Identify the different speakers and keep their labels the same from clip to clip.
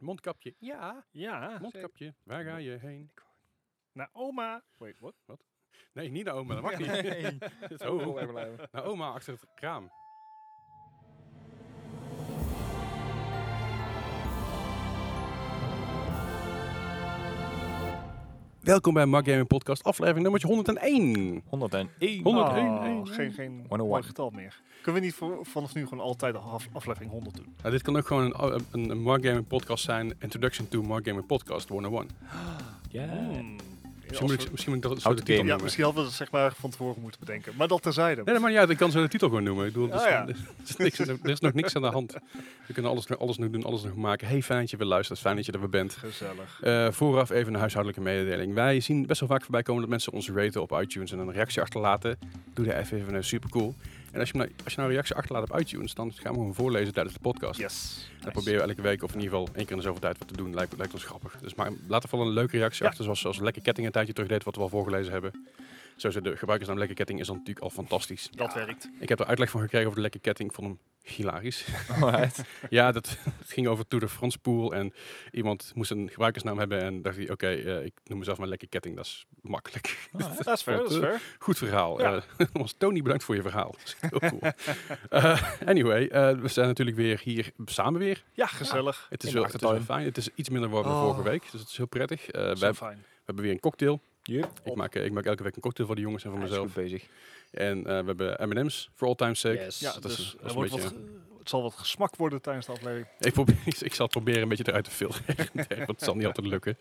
Speaker 1: Mondkapje. Ja,
Speaker 2: Ah,
Speaker 3: Ja.
Speaker 1: mondkapje. Waar ga je heen?
Speaker 3: Naar oma. Wait, what?
Speaker 1: Nee, niet naar oma, dat mag niet.
Speaker 2: Nee,
Speaker 1: Zo.
Speaker 2: vol even blijven.
Speaker 1: Naar oma achter het kraam. Welkom bij Mark Gaming Podcast, aflevering nummer 101.
Speaker 2: 101.
Speaker 1: 101.
Speaker 3: Oh,
Speaker 1: één, één.
Speaker 3: geen geen mooi
Speaker 2: 101.
Speaker 3: getal meer. Kunnen we niet voor, vanaf nu gewoon altijd een half- aflevering 100 doen?
Speaker 1: Nou, dit kan ook gewoon een, een, een Mark Gaming Podcast zijn. Introduction to Mark Gaming Podcast 101.
Speaker 2: Ja.
Speaker 3: Hmm. Als
Speaker 1: Misschien moet,
Speaker 3: we-
Speaker 1: ik, misschien moet ik dat zo
Speaker 2: Oud
Speaker 1: de titel
Speaker 2: game.
Speaker 3: ja,
Speaker 1: noemen.
Speaker 3: misschien hadden we dat zeg maar van tevoren moeten bedenken. Maar dat terzijde.
Speaker 1: Nee, dat maakt niet uit. Ik kan zo de titel gewoon noemen. Ik bedoel,
Speaker 3: Oh,
Speaker 1: er, is,
Speaker 3: ja.
Speaker 1: er is niks, er is nog niks aan de hand. We kunnen alles, alles nog doen, alles nog maken. Hey, fijn dat je weer luistert. Fijn dat je er weer bent.
Speaker 3: Gezellig.
Speaker 1: Eh, vooraf even een huishoudelijke mededeling. Wij zien best wel vaak voorbij komen dat mensen ons raten op iTunes en een reactie achterlaten. Doe daar even even een supercool. En als je, nou, als je nou een reactie achterlaat op iTunes, dan gaan we hem voorlezen tijdens de podcast.
Speaker 3: Yes.
Speaker 1: Dan proberen we elke week of in ieder geval één keer in de zoveel tijd wat te doen. Lijkt, lijkt ons grappig. Dus maar laat er vooral een leuke reactie
Speaker 3: Ja.
Speaker 1: achter, zoals, zoals Lekker Ketting een tijdje terug deed, wat we al voorgelezen hebben. Sowieso de gebruikersnaam Lekker Ketting is dan natuurlijk al fantastisch.
Speaker 3: Dat werkt.
Speaker 1: Ik heb er uitleg van gekregen over de Lekker Ketting. Ik vond hem hilarisch.
Speaker 2: Alright.
Speaker 1: Ja, dat, het ging over Tour de France pool en iemand moest een gebruikersnaam hebben en dacht hij, oké, eh, ik noem mezelf maar lekker ketting, dat is makkelijk.
Speaker 3: Dat is fair, dat is fair.
Speaker 1: Goed verhaal.
Speaker 3: Ja.
Speaker 1: Eh, ons Tony, bedankt voor je verhaal. Dat is Heel cool. Eh, anyway, eh, we zijn natuurlijk weer hier samen weer.
Speaker 3: Ja, gezellig.
Speaker 1: Het is,
Speaker 2: In de
Speaker 1: wel, het is wel
Speaker 2: achtertuin.
Speaker 1: fijn. Het is iets minder warm dan
Speaker 3: Oh.
Speaker 1: vorige week, dus het is heel prettig. Eh, we,
Speaker 3: Zo
Speaker 1: hebben,
Speaker 3: fijn.
Speaker 1: we hebben weer een cocktail.
Speaker 2: Yep.
Speaker 1: Ik maak, eh, ik maak elke week een cocktail voor de jongens en voor
Speaker 2: Hij is goed
Speaker 1: mezelf.
Speaker 2: bezig.
Speaker 1: En eh, we hebben M&M's, for all time's sake.
Speaker 2: Yes.
Speaker 3: Ja,
Speaker 1: dat is-
Speaker 3: dus
Speaker 1: dat
Speaker 3: er
Speaker 1: is een
Speaker 3: wordt wat,
Speaker 1: beetje-
Speaker 3: ge- het zal wat gesmak worden tijdens de aflevering.
Speaker 1: Ik, probeer, ik zal het proberen een beetje eruit te filteren. want het zal niet altijd lukken.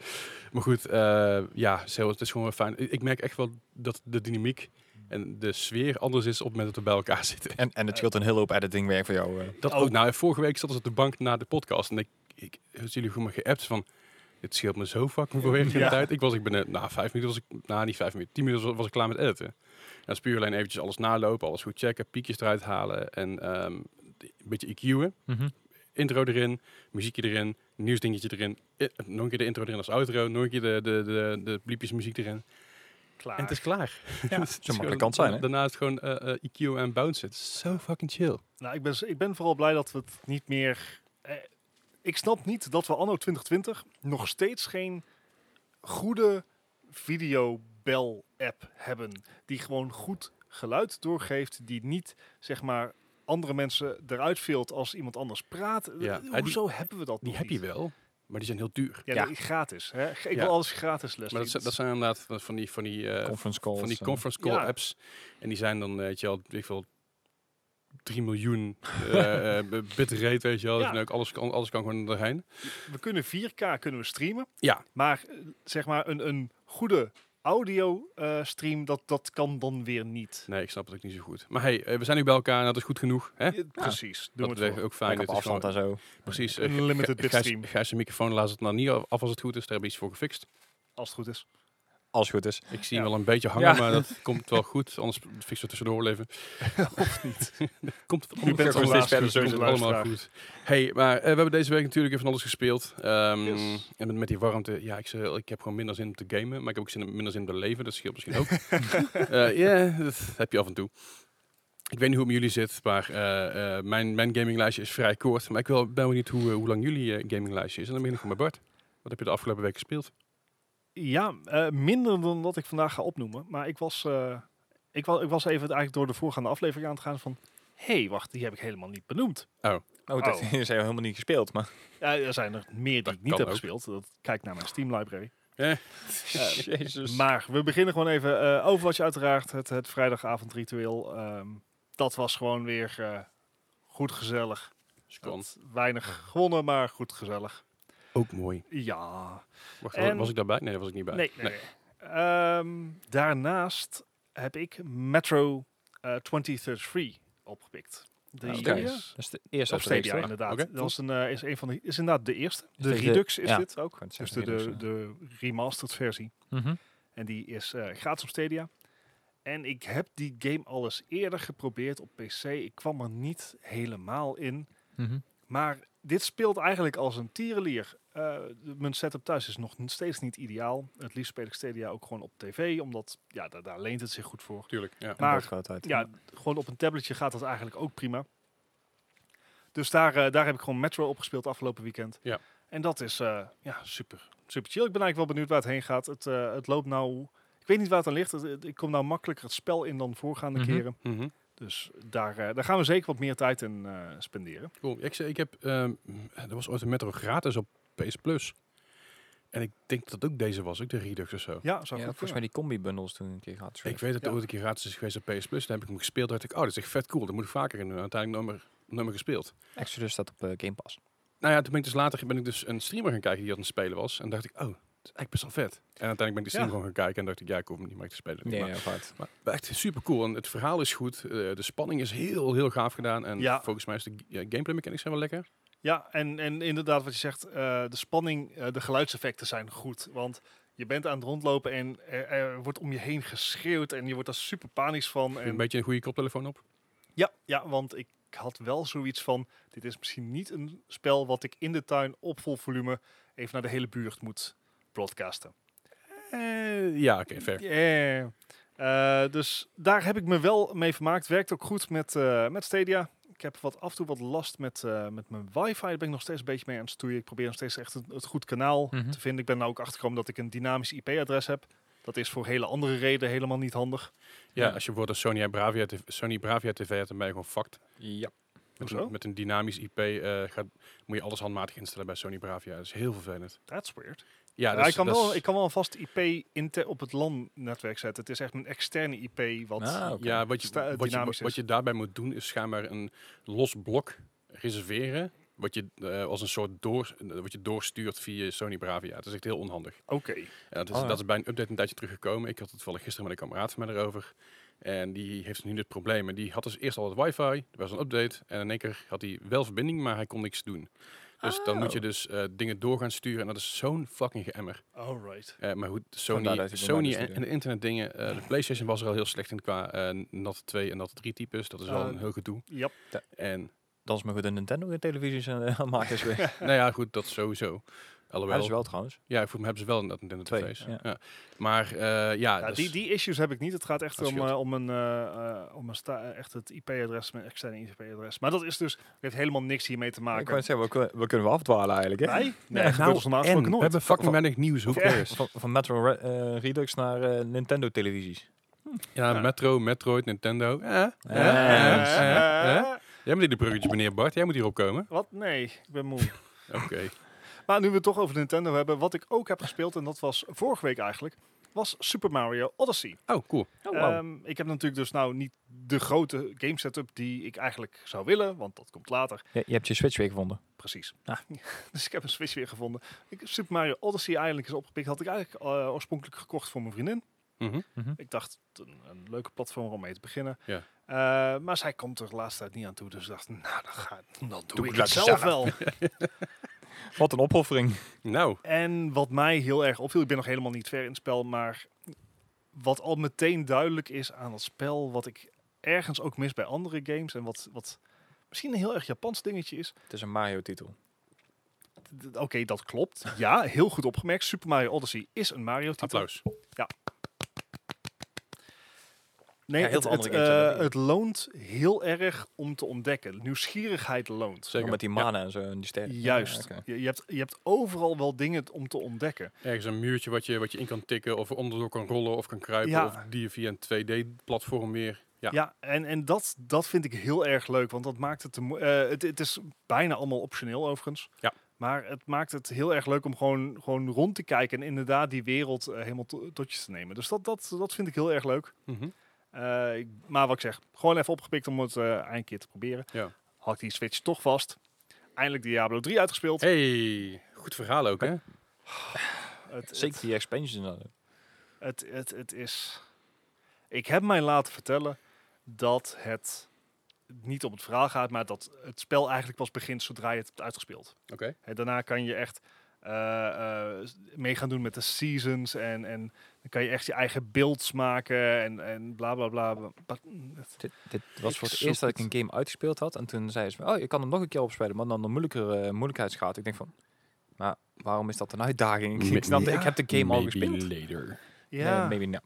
Speaker 1: Maar goed, eh, ja, zo, het is gewoon wel fijn. Ik ik merk echt wel dat de dynamiek en de sfeer anders is op het moment dat we bij elkaar zitten.
Speaker 2: En, en het scheelt een hele hoop editingwerk voor jou. eh.
Speaker 1: Dat
Speaker 3: Oh.
Speaker 1: ook. Nou, vorige week zat ze op de bank na de podcast en ik, ik had jullie gewoon maar geappt van... Het scheelt me zo fucking veel werk en
Speaker 3: Ja.
Speaker 1: tijd. Ik was, ik ben, eh, na vijf minuten was ik, nou niet vijf minuten, tien minuten was, was ik klaar met editen. En dat is puur alleen eventjes alles nalopen, alles goed checken, piekjes eruit halen en ehm, een beetje EQ'en
Speaker 2: Mhm.
Speaker 1: intro erin, muziekje erin, nieuwsdingetje erin, i- nog een keer de intro erin als outro, nog een keer de, de, de, de bliepjes muziek erin.
Speaker 3: Klaar.
Speaker 1: En het is klaar.
Speaker 2: Ja,
Speaker 1: Het is gewoon-
Speaker 2: zo makkelijk kan het zijn, hè?
Speaker 1: Daarna is het gewoon eh, eh, EQ en bounce. Het is zo fucking chill.
Speaker 3: Nou, ik ben, z- ik ben vooral blij dat we het niet meer. eh, ik snap niet dat we anno 2020 nog steeds geen goede videobel-app hebben. Die gewoon goed geluid doorgeeft. Die niet zeg maar andere mensen eruit veelt als iemand anders praat.
Speaker 1: Ja, Ah,
Speaker 3: Eh,
Speaker 1: die-
Speaker 3: Hoezo hebben we dat
Speaker 1: Die
Speaker 3: nog
Speaker 1: heb je
Speaker 3: niet?
Speaker 1: wel, maar die zijn heel duur.
Speaker 3: Ja,
Speaker 2: Ja.
Speaker 3: nee, gratis. Hè? Ik
Speaker 1: Ja.
Speaker 3: wil alles gratis les.
Speaker 1: Maar dat zijn, dat zijn inderdaad van die, van die, eh,
Speaker 2: Conference calls.
Speaker 1: van die
Speaker 2: eh.
Speaker 1: conference call
Speaker 3: Ja.
Speaker 1: apps. En die zijn dan, eh, weet je wel, weet ik veel, 3 miljoen eh eh, bitrate, weet je wel.
Speaker 3: Ja.
Speaker 1: En ook alles kan, alles kan gewoon erheen.
Speaker 3: We kunnen 4K kunnen we streamen.
Speaker 1: Ja,
Speaker 3: Maar eh, zeg maar een, een goede audio eh, stream, dat, dat kan dan weer niet.
Speaker 1: nee, ik snap het ook niet zo goed. Maar hey, eh, we zijn nu bij elkaar en dat is goed genoeg. Hè?
Speaker 3: Ja, Precies,
Speaker 1: dat
Speaker 3: doen we het
Speaker 1: werkt
Speaker 3: voor.
Speaker 1: ook fijn. Dit
Speaker 2: Lekker op
Speaker 1: is gewoon-
Speaker 2: afstand en zo.
Speaker 1: Precies. eh,
Speaker 3: Een limited
Speaker 1: Gijs-
Speaker 3: bitstream,
Speaker 1: Gijs' microfoon laat het nou niet af als het goed is. Daar hebben we iets voor gefixt.
Speaker 3: als het goed is.
Speaker 2: Als het goed is.
Speaker 1: Ik zie
Speaker 3: Ja.
Speaker 1: hem wel een beetje hangen,
Speaker 2: Ja.
Speaker 1: maar dat komt wel goed. Anders fixen we tussendoor wel even.
Speaker 3: Of niet.
Speaker 1: Komt
Speaker 3: U bent
Speaker 1: komt
Speaker 3: al
Speaker 1: steeds
Speaker 3: laatst
Speaker 1: verder,
Speaker 3: gezien,
Speaker 1: komt het allemaal
Speaker 3: luisteraar.
Speaker 1: goed. Hey, maar eh, we hebben deze week natuurlijk even van alles gespeeld. Ehm,
Speaker 3: Yes.
Speaker 1: En met, met die warmte, ja, ik, zei, ik heb gewoon minder zin om te gamen. Maar ik heb ook zin, minder zin om te leven. Dat scheelt misschien ook. Eh, Ja, dat heb je af en toe. Ik weet niet hoe het met jullie zit, maar eh, eh, mijn, mijn gaminglijstje is vrij kort. Maar ik wil, ben niet hoe, eh, hoe lang jullie eh, gaminglijstje is. En dan begin ik gewoon bij Bart. Wat heb je de afgelopen week gespeeld?
Speaker 3: Ja, eh, minder dan wat ik vandaag ga opnoemen. Maar ik was, eh, ik was, ik was even eigenlijk door de voorgaande aflevering aan het gaan van... Hé, hey, wacht, die heb ik helemaal niet benoemd.
Speaker 2: Oh, dat is helemaal niet gespeeld, maar...
Speaker 3: Ja, er zijn er meer die
Speaker 1: Dat
Speaker 3: ik niet
Speaker 1: kan
Speaker 3: heb
Speaker 1: ook. Eh,
Speaker 3: gespeeld. Dat, kijk naar mijn Steam library. Eh,
Speaker 2: Jezus.
Speaker 3: Maar we beginnen gewoon even eh Overwatch uiteraard. Het, het vrijdagavondritueel. ehm, dat was gewoon weer eh, goed gezellig.
Speaker 1: Scon.
Speaker 3: Had Weinig gewonnen, maar goed gezellig.
Speaker 1: Ook mooi.
Speaker 3: Ja,
Speaker 1: Wacht,
Speaker 3: En-
Speaker 1: was ik daarbij? Nee, daar was ik niet bij.
Speaker 3: Ehm, Nee, nee, nee. Ehm, daarnaast heb ik Metro eh 2033 opgepikt. Die
Speaker 1: Stadia?
Speaker 3: is
Speaker 2: Dat Ah, is de eerste
Speaker 3: op Stadia,
Speaker 2: aflevering.
Speaker 3: inderdaad.
Speaker 1: Oké.
Speaker 3: Dat is, een, eh, is, een van de, is inderdaad de eerste. De
Speaker 2: dit de-
Speaker 3: Redux is
Speaker 2: ja.
Speaker 3: dit ook.
Speaker 2: Kan het
Speaker 3: Dus de,
Speaker 2: zijn,
Speaker 3: de,
Speaker 2: Redux,
Speaker 3: de remastered versie.
Speaker 2: ja. Mhm.
Speaker 3: En die is eh, gratis op Stadia. En ik heb die game al eens eerder geprobeerd op PC. Ik kwam er niet helemaal in.
Speaker 2: Mhm.
Speaker 3: Maar dit speelt eigenlijk als een tierenlier. Eh, de- mijn setup thuis is nog n- steeds niet ideaal. Het liefst speel ik Stadia ook gewoon op tv, omdat ja, daar, daar leent het zich goed voor.
Speaker 1: Tuurlijk, ja.
Speaker 3: Maar-
Speaker 2: Beeldkwaliteit.
Speaker 3: Ja, gewoon op een tabletje gaat dat eigenlijk ook prima. Dus daar, eh, daar heb ik gewoon Metro opgespeeld afgelopen weekend.
Speaker 1: Ja.
Speaker 3: En dat is eh, ja, super, super chill. Ik ben eigenlijk wel benieuwd waar het heen gaat. Het, eh, het loopt nou... Ik weet niet waar het aan ligt. Het- het- ik kom nou makkelijker het spel in dan voorgaande
Speaker 2: Mhm.
Speaker 3: keren.
Speaker 1: Mhm.
Speaker 3: Dus daar, eh, daar gaan we zeker wat meer tijd in eh, spenderen.
Speaker 1: Cool. Ik, zei- ik heb, ehm, er was ooit een Metro gratis op PS Plus. En ik denk dat ook deze was, ook de Redux of zo.
Speaker 3: Ja, zou
Speaker 2: Ja,
Speaker 3: ik
Speaker 2: volgens mij die combi-bundles toen een keer gehad.
Speaker 1: Ik weet dat er
Speaker 3: Ja.
Speaker 1: ooit een keer gratis is geweest op PS Plus. Daar heb ik hem gespeeld. Daar dacht ik, oh, dat is echt vet cool. Dat moet ik vaker in doen. Uiteindelijk nooit meer, nooit meer gespeeld.
Speaker 2: Exodus staat op eh, Game Pass.
Speaker 1: Nou ja, toen ben ik dus later ben ik dus een streamer gaan kijken die dat aan het spelen was. En dacht ik, oh, dat is eigenlijk best wel vet. En uiteindelijk ben ik die stream
Speaker 3: Ja.
Speaker 1: gewoon gaan kijken en dacht ik, ja, ik hoef hem niet meer te spelen.
Speaker 2: Ja,
Speaker 1: Maar-
Speaker 2: ja, apart.
Speaker 1: Maar echt super cool. En het verhaal is goed. eh, de spanning is heel, heel gaaf gedaan. En
Speaker 3: Ja.
Speaker 1: volgens mij is de ja, gameplay mechanics zijn wel lekker.
Speaker 3: Ja, en, en inderdaad wat je zegt, eh, de spanning, eh, de geluidseffecten zijn goed. Want je bent aan het rondlopen en er, er wordt om je heen geschreeuwd en je wordt daar super panisch van.
Speaker 1: Een
Speaker 3: En,
Speaker 1: beetje een goede koptelefoon op.
Speaker 3: ja, ja, want ik had wel zoiets van, dit is misschien niet een spel wat ik in de tuin op vol volume even naar de hele buurt moet broadcasten.
Speaker 1: Eh, ja, oké, ver.
Speaker 3: Yeah. Eh, dus daar heb ik me wel mee vermaakt. Werkt ook goed met, eh, met Stadia. Ik heb wat, af en toe wat last met, eh, met mijn wifi. Daar ben ik nog steeds een beetje mee aan het stoeien. Ik probeer nog steeds echt het, het goed kanaal
Speaker 2: Mhm.
Speaker 3: te vinden. Ik ben nou ook achtergekomen dat ik een dynamisch IP-adres heb. Dat is voor hele andere redenen helemaal niet handig.
Speaker 1: Ja, als je bijvoorbeeld een Sony en Bravia, TV, Sony Bravia TV hebt, dan ben je gewoon fucked.
Speaker 2: Ja.
Speaker 1: Met,
Speaker 3: Hoezo?
Speaker 1: een, met een dynamisch IP eh, gaat, moet je alles handmatig instellen bij Sony Bravia. Dat is heel vervelend.
Speaker 3: That's weird.
Speaker 1: Ja,
Speaker 3: Ja,
Speaker 1: dat is-
Speaker 3: ik, kan
Speaker 1: dat is-
Speaker 3: wel, ik kan wel een vast IP inte- op het LAN-netwerk zetten. Het is echt een externe IP wat...
Speaker 2: Ah, oké.
Speaker 1: Ja, wat je,
Speaker 3: Sta-
Speaker 1: wat, je,
Speaker 3: dynamisch
Speaker 1: wat
Speaker 3: is.
Speaker 1: je daarbij moet doen is schijnbaar een los blok reserveren. Wat je eh, als een soort door, eh, wat je doorstuurt via Sony Bravia. Het is echt heel onhandig.
Speaker 3: Oké.
Speaker 1: En dat, is,
Speaker 2: Oh, ja.
Speaker 1: dat is bij een update een tijdje teruggekomen. Ik had het toevallig gisteren met een kameraad van mij erover. En die heeft nu dit probleem. En die had dus eerst al het wifi. Er was een update. En in één keer had hij wel verbinding, maar hij kon niks doen. Dus dan moet je
Speaker 2: Oh.
Speaker 1: dus eh, dingen door gaan sturen. En dat is zo'n fucking geëmmer.
Speaker 3: Alright.
Speaker 1: Eh, maar goed,
Speaker 2: Vandaar
Speaker 1: Sony,
Speaker 2: dat hij voor mij
Speaker 1: Sony
Speaker 2: dus
Speaker 1: en,
Speaker 2: niet
Speaker 1: en de internetdingen. eh, de PlayStation was er al heel slecht in qua eh NAT 2 en NAT 3 types. Dat is al
Speaker 3: Ah.
Speaker 1: een heel gedoe.
Speaker 3: Yep.
Speaker 1: En
Speaker 2: Dat is maar goed. De Nintendo en televisies en uh, is weer.
Speaker 1: nou ja, goed, dat sowieso.
Speaker 2: Ja, dat is
Speaker 1: Alhoewel,
Speaker 2: wel trouwens.
Speaker 1: ja, voor me hebben ze wel een Nintendo
Speaker 2: Twee,
Speaker 1: TV's. Ja.
Speaker 2: ja.
Speaker 1: Maar eh, ja,
Speaker 3: Ja,
Speaker 1: dat
Speaker 3: die,
Speaker 1: is-
Speaker 3: die issues heb ik niet. Het gaat echt
Speaker 1: Dat
Speaker 3: om,
Speaker 1: scheelt.
Speaker 3: eh, om een, eh, eh, om een sta- eh, echt het IP-adres, mijn externe IP-adres. Maar dat is dus, het heeft helemaal niks hiermee te
Speaker 2: Ik kan
Speaker 3: maken.
Speaker 2: zeggen, we, kunnen- we kunnen wel afdwalen eigenlijk. Hè?
Speaker 3: Nee? Nee, dat gebeurt
Speaker 1: nou,
Speaker 3: ons normaal
Speaker 1: en
Speaker 3: gesproken
Speaker 1: we
Speaker 3: nooit.
Speaker 1: hebben fucking
Speaker 2: Van-
Speaker 1: weinig nieuws. Hoe
Speaker 3: Ja.
Speaker 1: cares?
Speaker 2: Van, van Metro Re- eh, Redux naar eh, Nintendo televisies.
Speaker 1: Ja,
Speaker 3: Ja.
Speaker 1: Metro, Metroid, Nintendo. Eh, eh,
Speaker 2: Eh,
Speaker 1: eh,
Speaker 2: eh,
Speaker 1: eh, eh.
Speaker 3: Eh,
Speaker 1: Jij bent in de bruggetje, meneer Bart. Jij moet hierop komen.
Speaker 3: Wat? Nee, ik ben moe.
Speaker 1: Oké.
Speaker 3: maar nu we het toch over Nintendo hebben, wat ik ook heb gespeeld, en dat was vorige week eigenlijk, was Super Mario Odyssey.
Speaker 1: Oh, cool.
Speaker 3: Ehm, ik heb natuurlijk dus nou niet de grote game setup die ik eigenlijk zou willen, want dat komt later.
Speaker 2: je, je hebt je Switch weer gevonden.
Speaker 3: Precies.
Speaker 2: Ah.
Speaker 3: dus ik heb een Switch weer gevonden. Ik, Super Mario Odyssey eigenlijk is opgepikt. Had ik eigenlijk eh, oorspronkelijk gekocht voor mijn vriendin.
Speaker 1: Mhm.
Speaker 3: Ik dacht, een, een leuke platform om mee te beginnen.
Speaker 1: Ja.
Speaker 3: Eh, maar zij komt er de laatste tijd niet aan toe. Dus ik dacht, nou, dan, ga, dan doe,
Speaker 2: Doe
Speaker 3: ik
Speaker 2: ik
Speaker 3: het
Speaker 2: lekker
Speaker 3: zelf wel.
Speaker 2: Wat een opoffering.
Speaker 1: Nou,
Speaker 3: en wat mij heel erg opviel, ik ben nog helemaal niet ver in het spel. Maar wat al meteen duidelijk is aan het spel, wat ik ergens ook mis bij andere games. En wat, wat misschien een heel erg Japans dingetje is.
Speaker 2: Het is een Mario-titel.
Speaker 3: D- Oké, dat klopt. Ja, heel goed opgemerkt. Super Mario Odyssey is een Mario-titel.
Speaker 1: applaus.
Speaker 3: Nee,
Speaker 2: Ja, heel
Speaker 3: het,
Speaker 2: veel
Speaker 3: het,
Speaker 2: andere games hebben
Speaker 3: eh,
Speaker 2: dat
Speaker 3: het loont heel erg om te ontdekken. Nieuwsgierigheid loont.
Speaker 1: Zeker.
Speaker 2: Met die
Speaker 1: Ja,
Speaker 2: mana en zo en die sterren.
Speaker 3: Juist.
Speaker 2: Ja, oké.
Speaker 3: je, je hebt, je hebt overal wel dingen t- om te ontdekken.
Speaker 1: ergens een muurtje wat je, wat je in kan tikken of onderdoor kan rollen of kan kruipen.
Speaker 3: Ja.
Speaker 1: Of die je via een 2D-platform weer. Ja.
Speaker 3: Ja, en, en dat, dat vind ik heel erg leuk. Want dat maakt het, te mo- eh, het... Het is bijna allemaal optioneel overigens.
Speaker 1: Ja.
Speaker 3: Maar het maakt het heel erg leuk om gewoon, gewoon rond te kijken. En inderdaad die wereld eh, helemaal to- tot je te nemen. Dus dat, dat, dat vind ik heel erg leuk.
Speaker 1: Mhm.
Speaker 3: Eh, ik- maar wat ik zeg, gewoon even opgepikt om het eh, eind keer te proberen.
Speaker 1: Ja.
Speaker 3: Had ik die Switch toch vast. Eindelijk Diablo 3 uitgespeeld.
Speaker 1: Hey, goed verhaal ook, hè?
Speaker 3: Het, het-
Speaker 2: Zeker die expansions. en zo.
Speaker 3: Het, het, het is. Ik heb mij laten vertellen dat het niet om het verhaal gaat, maar dat het spel eigenlijk pas begint zodra je het hebt uitgespeeld.
Speaker 1: Oké.
Speaker 3: Hè, daarna kan je echt eh, eh, s- mee gaan doen met de seasons en, en dan kan je echt je eigen beelds maken en, en bla bla bla. bla. But-
Speaker 2: Dit, dit was
Speaker 3: Ik
Speaker 2: voor het
Speaker 3: zoek
Speaker 2: eerst dat ik
Speaker 3: het.
Speaker 2: een game uitgespeeld had. En toen zei ze, oh, je kan hem nog een keer opspelen, maar dan de moeilijkere eh, moeilijkheidsgraad. Ik denk van, maar waarom is dat een uitdaging? Ik-
Speaker 1: Mi-
Speaker 2: Ik snap,
Speaker 3: ja.
Speaker 2: ik heb de game al gespeeld.
Speaker 1: later.
Speaker 3: Ja,
Speaker 2: Nee, maybe not.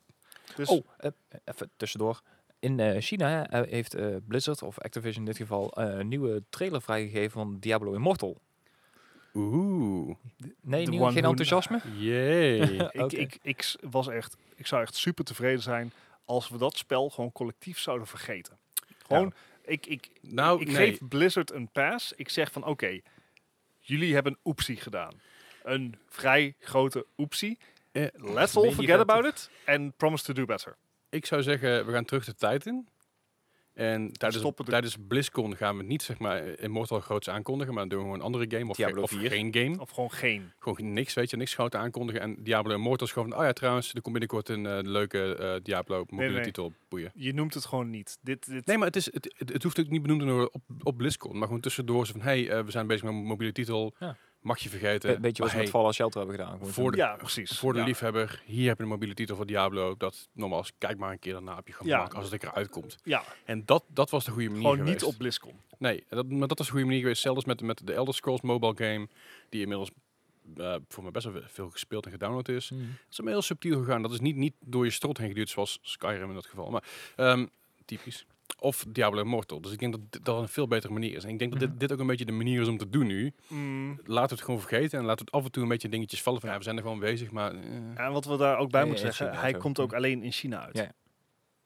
Speaker 3: dus
Speaker 2: Oh, eh, even tussendoor. In eh, China eh, heeft eh, Blizzard, of Activision in dit geval, eh, een nieuwe trailer vrijgegeven van Diablo Immortal.
Speaker 1: Oeh,
Speaker 2: Nee,
Speaker 3: The
Speaker 2: nieuw-
Speaker 3: one
Speaker 2: geen
Speaker 3: who-
Speaker 2: enthousiasme?
Speaker 1: jee.
Speaker 3: Ik,
Speaker 2: Oké.
Speaker 3: ik, ik s- was echt, ik zou echt super tevreden zijn als we dat spel gewoon collectief zouden vergeten. Gewoon, ik, ik,
Speaker 1: nou,
Speaker 3: ik
Speaker 1: nee.
Speaker 3: geef Blizzard een pass. Ik zeg van oké, jullie hebben een oepsie gedaan. Een vrij grote oepsie.
Speaker 1: Eh,
Speaker 3: Let's
Speaker 2: mini
Speaker 3: all forget
Speaker 2: grote.
Speaker 3: about it and promise to do better.
Speaker 1: Ik zou zeggen, we gaan terug de tijd in. En tijdens,
Speaker 3: stoppen de-
Speaker 1: tijdens BlizzCon gaan we niet zeg maar Immortal groots aankondigen, maar dan doen we gewoon een andere game of, ge-
Speaker 2: Diablo
Speaker 1: of
Speaker 2: 4.
Speaker 1: geen game.
Speaker 3: Of gewoon geen.
Speaker 1: Gewoon niks, weet je, niks groot aankondigen. En Diablo Immortal is gewoon van, oh ja, trouwens, er komt binnenkort een eh, leuke eh, Diablo mobiele
Speaker 3: nee.
Speaker 1: titel boeien.
Speaker 3: Je noemt het gewoon niet. Dit, dit,
Speaker 1: Nee, maar het, is, het, het, het hoeft ook niet benoemd te worden op, op BlizzCon, maar gewoon tussendoor zo van, hey, eh, we zijn bezig met een mobiele titel,
Speaker 2: Ja.
Speaker 1: mag je vergeten.
Speaker 2: Be- beetje wat
Speaker 1: maar
Speaker 2: we met
Speaker 1: hey,
Speaker 2: Fallout Shelter hebben gedaan. Gewoon
Speaker 1: Voor
Speaker 2: zo'n-
Speaker 1: de-
Speaker 3: ja, precies.
Speaker 1: voor de
Speaker 3: Ja.
Speaker 1: liefhebber, hier heb je een mobiele titel van Diablo, dat normaal is, kijk maar een keer daarna op je gemak,
Speaker 3: Ja.
Speaker 1: als het er eruit komt.
Speaker 3: Ja,
Speaker 1: En dat, dat was de goede manier
Speaker 3: gewoon
Speaker 1: geweest.
Speaker 3: niet op BlizzCon.
Speaker 1: Nee, dat, maar dat was een goede manier geweest. Zelfs met, met de Elder Scrolls mobile game, die inmiddels eh, voor mij best wel veel gespeeld en gedownload is.
Speaker 2: Hmm.
Speaker 1: Het is allemaal heel subtiel gegaan. Dat is niet, niet door je strot heen geduwd, zoals Skyrim in dat geval. Maar ehm, typisch. Of Diablo Immortal. Dus ik denk dat dit- dat een veel betere manier is. En ik denk dat dit,
Speaker 2: Mhm.
Speaker 1: dit ook een beetje de manier is om te doen nu.
Speaker 3: Mm.
Speaker 1: Laten we het gewoon vergeten en laten we het af en toe een beetje dingetjes vallen. Van, ja, we zijn er gewoon bezig, maar... eh.
Speaker 3: Ja, En wat we daar ook bij
Speaker 2: Ja,
Speaker 3: moeten
Speaker 2: ja, in
Speaker 3: zeggen,
Speaker 2: China
Speaker 3: hij
Speaker 2: ook.
Speaker 3: komt ook alleen in China uit.
Speaker 2: Ja, ja.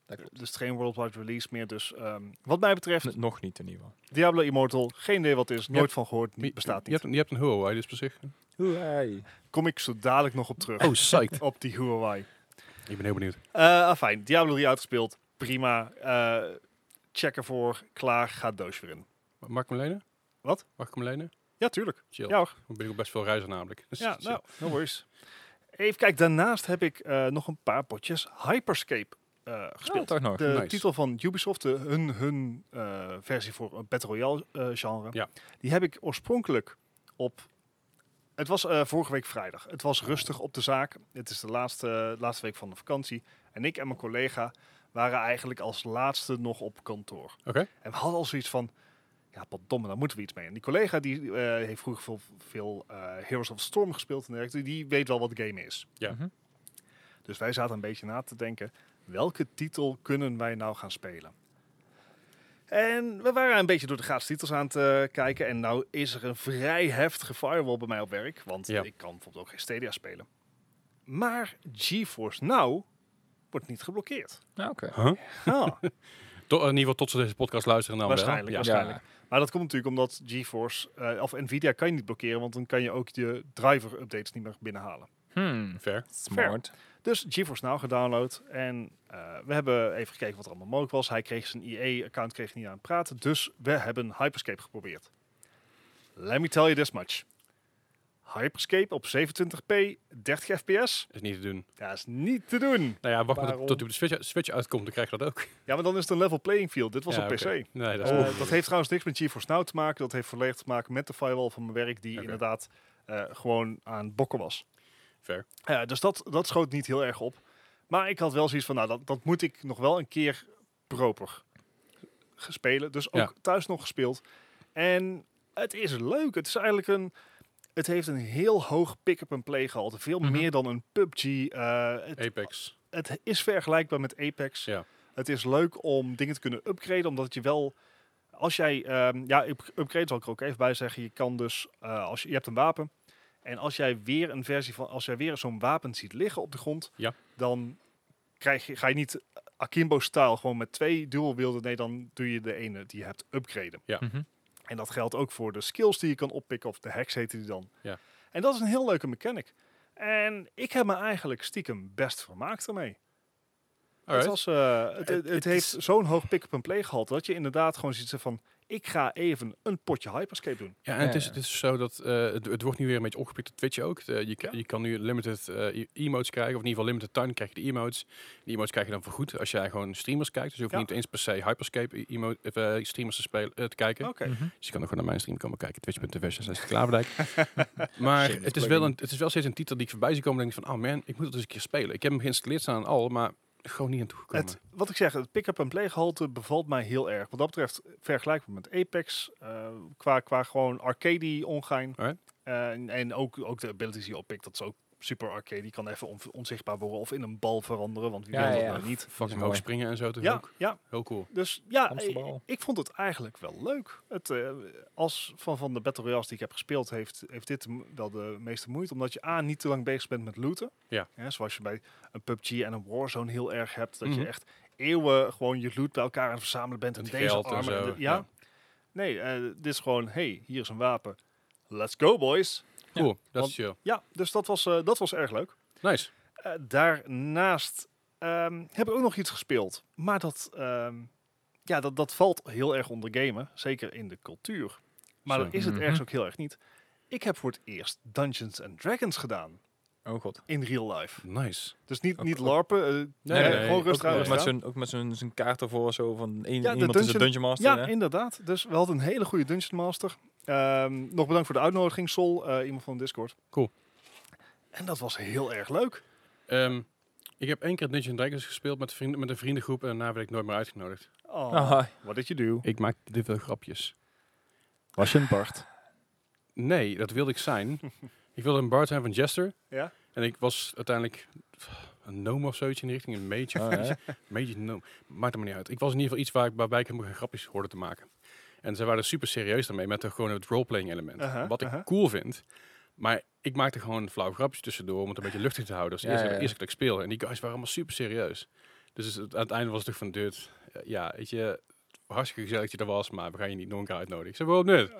Speaker 3: Dat klopt. Dus geen worldwide release meer. Dus ehm, wat mij betreft,
Speaker 2: N- Nog niet in ieder geval.
Speaker 3: Diablo Immortal, geen idee wat het is,
Speaker 1: Je
Speaker 3: nooit
Speaker 1: hebt-
Speaker 3: van gehoord,
Speaker 1: Je-
Speaker 3: niet, bestaat
Speaker 1: Je
Speaker 3: niet.
Speaker 1: hebt, een- je hebt een Huawei, dus per zich.
Speaker 3: Kom ik zo dadelijk nog op terug,
Speaker 1: Oh, psyched.
Speaker 3: op die Huawei.
Speaker 1: ik ben heel benieuwd.
Speaker 3: Eh fijn, Diablo 3 uitgespeeld, prima. Eh, check ervoor, klaar, gaat doos weer in.
Speaker 1: Mag ik hem lenen?
Speaker 3: Wat?
Speaker 1: Mag ik hem lenen?
Speaker 3: Ja, tuurlijk.
Speaker 1: Chill.
Speaker 3: Ja hoor.
Speaker 1: Ik ben ook best veel reizen namelijk. Dus
Speaker 3: Ja,
Speaker 1: chill.
Speaker 3: nou, no worries. Even kijken, daarnaast heb ik eh, nog een paar potjes Hyperscape eh, gespeeld.
Speaker 2: Speelt toch nog?
Speaker 3: De
Speaker 1: Nice.
Speaker 3: titel van Ubisoft, de, hun, hun eh, versie voor een Battle Royale eh, genre,
Speaker 1: Ja.
Speaker 3: die heb ik oorspronkelijk op. Het was eh, vorige week vrijdag. Het was rustig op de zaak. Het is de laatste, laatste week van de vakantie. En ik en mijn collega waren eigenlijk als laatste nog op kantoor.
Speaker 1: Oké.
Speaker 3: En we hadden al zoiets van. Ja, potdomme, daar moeten we iets mee. En die collega die eh, heeft vroeger veel, veel eh, Heroes of the Storm gespeeld en dergelijke. Die weet wel wat de game is.
Speaker 1: Ja.
Speaker 2: Mhm.
Speaker 3: Dus wij zaten een beetje na te denken, welke titel kunnen wij nou gaan spelen? En we waren een beetje door de gratis titels aan te kijken. En nou is er een vrij heftige firewall bij mij op werk. Want
Speaker 1: Ja.
Speaker 3: ik kan bijvoorbeeld ook geen Stadia spelen. Maar GeForce Now wordt niet geblokkeerd.
Speaker 2: Nou, oké.
Speaker 1: Huh?
Speaker 3: Ah,
Speaker 1: To- in ieder geval tot ze deze podcast luisteren dan wel.
Speaker 3: waarschijnlijk,
Speaker 1: Ja.
Speaker 3: waarschijnlijk. Maar dat komt natuurlijk omdat GeForce, eh, of Nvidia kan je niet blokkeren. Want dan kan je ook je driver updates niet meer binnenhalen.
Speaker 2: Hmm.
Speaker 1: Fair.
Speaker 2: Smart.
Speaker 3: Dus GeForce Now gedownload. En eh, we hebben even gekeken wat er allemaal mogelijk was. Hij kreeg zijn EA-account kreeg niet aan het praten. Dus we hebben Hyperscape geprobeerd. Let me tell you this much. Hyperscape op 27p, 30 fps.
Speaker 1: Is niet te doen.
Speaker 3: Dat is niet te doen.
Speaker 1: Nou ja, wacht maar tot-
Speaker 3: Waarom?
Speaker 1: tot hij op de Switch, Switch uitkomt, dan krijg je dat ook.
Speaker 3: Ja, maar dan is het een level playing field. Dit was
Speaker 1: Ja,
Speaker 3: op
Speaker 1: oké.
Speaker 3: PC.
Speaker 1: Nee, dat is
Speaker 3: Eh,
Speaker 1: oeh.
Speaker 3: dat heeft trouwens niks met GeForce Now te maken. Dat heeft volledig te maken met de firewall van mijn werk. Die
Speaker 1: Oké.
Speaker 3: inderdaad eh, gewoon aan het bokken was.
Speaker 1: Fair.
Speaker 3: Ja, dus dat, dat schoot niet heel erg op. Maar ik had wel zoiets van, nou, dat, dat moet ik nog wel een keer proper g- spelen. Dus ook
Speaker 1: Ja.
Speaker 3: thuis nog gespeeld. En het is leuk. Het is eigenlijk een... Het heeft een heel hoog pick-up en play gehalte. Veel
Speaker 2: Mhm.
Speaker 3: meer dan een PUBG. eh, het,
Speaker 1: Apex.
Speaker 3: het is vergelijkbaar met Apex.
Speaker 1: Ja.
Speaker 3: Het is leuk om dingen te kunnen upgraden, omdat je wel... Als jij... ehm, ja, up- upgrade zal ik er ook even bij zeggen. Je kan dus... eh, als je, je hebt een wapen. En als jij weer een versie van... Als jij weer zo'n wapen ziet liggen op de grond...
Speaker 1: Ja.
Speaker 3: Dan krijg je, ga je niet akimbo-style gewoon met twee dualwielden. Nee, dan doe je de ene die je hebt upgraden.
Speaker 2: Mhm.
Speaker 3: En dat geldt ook voor de skills die je kan oppikken, of de hacks heten die dan.
Speaker 1: Ja.
Speaker 3: En dat is een heel leuke mechanic. En ik heb me eigenlijk stiekem best vermaakt ermee. Het,
Speaker 1: Alright.
Speaker 3: was, eh, het, het,
Speaker 1: het
Speaker 3: heeft zo'n hoog pick-up-and-play gehaald dat je inderdaad gewoon ziet van... Ik ga even een potje Hyperscape doen.
Speaker 1: Ja, en het
Speaker 2: Ja,
Speaker 1: is,
Speaker 2: ja.
Speaker 1: het is zo dat eh, het, het wordt nu weer een beetje opgepikt op Twitch ook. Eh, je, k-
Speaker 3: Ja.
Speaker 1: je kan nu limited eh, e- emotes krijgen, of in ieder geval limited time krijg je de emotes. Die emotes krijg je dan vergoed als jij gewoon streamers kijkt. Dus je hoeft
Speaker 3: Ja.
Speaker 1: niet eens per se Hyperscape e- emo- of, eh, streamers te, spelen, eh, te kijken.
Speaker 3: Oké.
Speaker 2: Mhm.
Speaker 1: Dus je kan ook gewoon naar mijn stream komen kijken, twitch.tv slash Klaverdijk. maar
Speaker 2: Shameless
Speaker 1: het is, wel
Speaker 2: plugging.
Speaker 1: een, het is wel steeds een titel die ik voorbij zie komen en denk ik van, oh man, ik moet het eens een keer spelen. Ik heb hem geïnstalleerd staan en al, maar gewoon niet aan toegekomen.
Speaker 3: Het, wat ik zeg, het pick-up en play gehalte bevalt mij heel erg. Wat dat betreft vergelijkbaar met Apex. eh, qua, qua gewoon arcade ongein.
Speaker 1: Alright.
Speaker 3: Eh, en- en ook, ook de abilities die je oppikt, dat is ook super arcade. Die kan even on- onzichtbaar worden of in een bal veranderen, want wie
Speaker 2: Ja,
Speaker 3: wil dat
Speaker 2: ja, ja.
Speaker 3: nou niet?
Speaker 1: Fucking
Speaker 2: mooi.
Speaker 1: hoog springen en zo te
Speaker 3: Ja, ja,
Speaker 1: Heel cool.
Speaker 3: dus ja,
Speaker 2: Hamsterbal.
Speaker 3: ik, ik vond het eigenlijk wel leuk. Het, eh, als van, van de Battle Royales die ik heb gespeeld, heeft, heeft dit m- wel de meeste moeite. Omdat je A, niet te lang bezig bent met looten.
Speaker 1: Ja.
Speaker 3: zoals je bij een PUBG en een Warzone heel erg hebt. Dat
Speaker 1: Mhm.
Speaker 3: je echt eeuwen gewoon je loot bij elkaar aan het verzamelen bent. En
Speaker 1: Het
Speaker 3: deze
Speaker 1: geld en
Speaker 3: armen. en
Speaker 1: zo,
Speaker 3: de- ja.
Speaker 1: ja.
Speaker 3: Nee, eh, dit is gewoon, hey, hier is een wapen. Let's go, boys.
Speaker 1: Cool, dat
Speaker 3: Want-
Speaker 1: is chill.
Speaker 3: Ja, dus dat was, eh, dat was erg leuk.
Speaker 1: Nice.
Speaker 3: Eh, daarnaast ehm, heb ik ook nog iets gespeeld. Maar dat, ehm, ja, dat, dat valt heel erg onder gamen. Zeker in de cultuur. Maar
Speaker 1: Zo.
Speaker 3: dat is het
Speaker 2: Mhm.
Speaker 3: ergens ook heel erg niet. Ik heb voor het eerst Dungeons and Dragons gedaan.
Speaker 2: Oh god.
Speaker 3: In real life.
Speaker 1: Nice.
Speaker 3: Dus niet,
Speaker 2: Ook-
Speaker 3: niet
Speaker 2: ook-
Speaker 3: larpen. eh,
Speaker 1: nee, nee,
Speaker 3: gewoon
Speaker 1: ook
Speaker 3: rustig aan
Speaker 1: niet.
Speaker 2: Ook met
Speaker 3: rustig aan.
Speaker 2: zo'n, ook met zo'n, zo'n kaart ervoor zo van een,
Speaker 3: Ja, de
Speaker 2: iemand is een
Speaker 3: dungeon-
Speaker 2: dungeon master.
Speaker 3: Ja,
Speaker 2: hè?
Speaker 3: inderdaad. Dus we hadden een hele goede Dungeon Master. Ehm, nog bedankt voor de uitnodiging, Sol. eh, iemand van Discord.
Speaker 1: Cool.
Speaker 3: En dat was heel erg leuk.
Speaker 1: Ehm, ik heb één keer Dungeons and Dragons gespeeld met, vrienden, met een vriendengroep en daarna werd ik nooit meer uitgenodigd.
Speaker 3: Oh,
Speaker 2: Ah,
Speaker 3: What did you do?
Speaker 1: Ik maak dit wel grapjes.
Speaker 3: Was je een Bart?
Speaker 1: Nee, dat wilde ik zijn. ik wilde een bard zijn van Jester.
Speaker 3: Ja?
Speaker 1: En ik was uiteindelijk een gnome of zoiets in de richting, een mage.
Speaker 2: oh, ja.
Speaker 1: Beetje noem. Maakt er maar niet uit. Ik was in ieder geval iets waar, ik- waarbij ik helemaal geen grapjes hoorde te maken. En zij waren super serieus daarmee met de, gewoon het roleplaying element.
Speaker 3: Aha,
Speaker 1: wat ik
Speaker 3: aha.
Speaker 1: cool vind. Maar ik maakte gewoon flauw grapjes tussendoor om het een beetje luchtig te houden. Dat
Speaker 2: Ja,
Speaker 1: is
Speaker 2: ja, ja.
Speaker 1: eerst eerste dat ik speelde. En die guys waren allemaal super serieus. Dus het- aan het einde was het toch van, dude, eh, ja, weet je, hartstikke gezellig dat je er was, maar we gaan je niet nog een keer uitnodigen. Ze waren wel nut.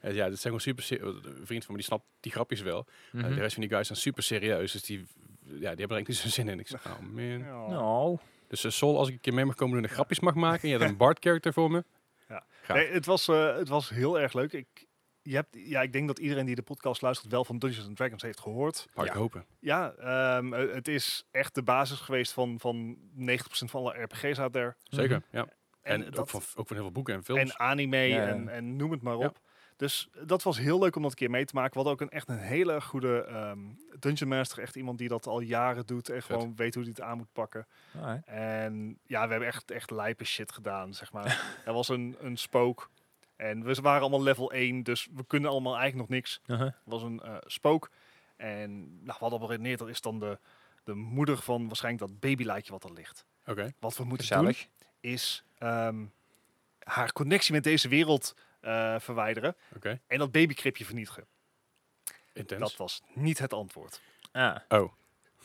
Speaker 1: En ja, dit zijn gewoon super serieus. Een vriend van me, die snapt die grapjes wel. Eh,
Speaker 2: Mhm.
Speaker 1: de rest van die guys zijn super serieus. Dus die, ja, die hebben er eigenlijk niet zo'n zin in. Ik zeg, oh man.
Speaker 2: Nou,
Speaker 1: Dus eh, Sol, als ik een keer mee mag komen doen en grapjes mag maken. En je hebt een Bard-character voor me. Ja.
Speaker 3: Nee, het was, eh, het was heel erg leuk. Ik, je hebt, ja, ik denk dat iedereen die de podcast luistert wel van Dungeons and Dragons heeft gehoord.
Speaker 1: Hard
Speaker 2: Ja.
Speaker 1: hopen.
Speaker 3: Ja, ehm, eh, het is echt de basis geweest van, van 90% van alle RPG's out there.
Speaker 1: Zeker, ja.
Speaker 3: En,
Speaker 1: Mhm. En, ook,
Speaker 3: dat,
Speaker 1: van, ook van heel veel boeken en films.
Speaker 3: en anime
Speaker 2: Ja, ja.
Speaker 3: En, en noem het maar
Speaker 1: Ja.
Speaker 3: op. Dus dat was heel leuk om dat een keer mee te maken. We hadden ook een, echt een hele goede ehm, Dungeon Master. Echt iemand die dat al jaren doet en
Speaker 1: Vet.
Speaker 3: gewoon weet hoe hij het aan moet pakken.
Speaker 2: alright.
Speaker 3: En ja, we hebben echt, echt lijpe shit gedaan, zeg maar. er was een, een spook. En we waren allemaal level 1, dus we kunnen allemaal eigenlijk nog niks.
Speaker 2: Uh-huh.
Speaker 3: Er was een eh, spook. En nou, we hadden al beredeneerd, dat is dan de, de moeder van waarschijnlijk dat babylaatje wat er ligt.
Speaker 1: Oké,
Speaker 3: Wat we moeten doen,
Speaker 2: Gezellig.
Speaker 3: is ehm, haar connectie met deze wereld eh, verwijderen.
Speaker 1: oké.
Speaker 3: En dat babykripje vernietigen. Dat
Speaker 1: Intens.
Speaker 3: was niet het antwoord.
Speaker 2: Ah.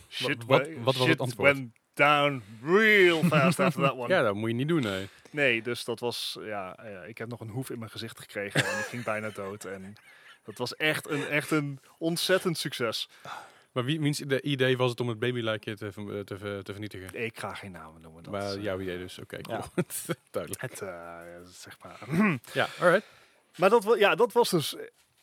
Speaker 3: Shit,
Speaker 1: wat-
Speaker 3: wa-
Speaker 1: wat was het
Speaker 3: shit
Speaker 1: antwoord?
Speaker 3: went down real fast after that one.
Speaker 1: Ja, dat moet je niet doen, nee.
Speaker 3: Nee, dus dat was, ja, ja, ik heb nog een hoef in mijn gezicht gekregen en ik ging bijna dood. En dat was echt een, echt een ontzettend succes.
Speaker 1: Maar wie, wiens ide- idee was het om het babylijkje te, ver- te, ver- te vernietigen?
Speaker 3: Ik ga geen namen noemen. Dat,
Speaker 1: maar
Speaker 3: eh,
Speaker 1: jouw idee dus, oké,
Speaker 2: Ja.
Speaker 1: cool. Duidelijk.
Speaker 3: het, eh, zeg maar.
Speaker 1: Ja, alright.
Speaker 3: maar dat, wa- ja, dat was dus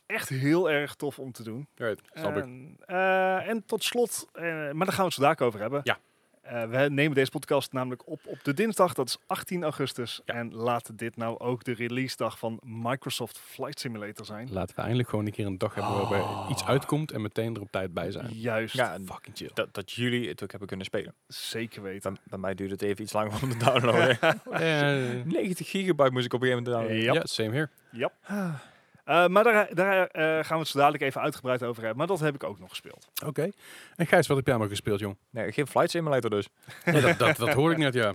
Speaker 3: echt heel erg tof om te doen.
Speaker 1: Alright, snap ik.
Speaker 3: En, eh, en tot slot, eh, maar daar gaan we het zo daar over hebben.
Speaker 1: Ja.
Speaker 3: Eh, we nemen deze podcast namelijk op op de dinsdag, dat is 18 augustus.
Speaker 1: Ja.
Speaker 3: En laat dit nou ook de release dag van Microsoft Flight Simulator zijn.
Speaker 1: Ehm, Laten we eindelijk gewoon een keer een dag hebben waarbij iets uitkomt en meteen er op tijd bij zijn.
Speaker 3: Juist,
Speaker 2: Ja, en
Speaker 1: Oh. Fucking chill.
Speaker 2: dat, dat jullie het ook hebben kunnen spelen.
Speaker 3: zeker weten.
Speaker 2: Bij, bij mij duurde het even iets langer om te downloaden.
Speaker 1: Eh,
Speaker 2: 90 gigabyte moest ik op een gegeven moment downloaden.
Speaker 1: Ja, same here.
Speaker 3: Eh, maar daar, daar eh, gaan we het zo dadelijk even uitgebreid over hebben. Maar dat heb ik ook nog gespeeld.
Speaker 1: Oké. En Gijs, wat heb jij allemaal gespeeld, jong?
Speaker 2: Nee, geen flight simulator dus.
Speaker 1: Ja, dat, dat, dat hoor ik net, ja.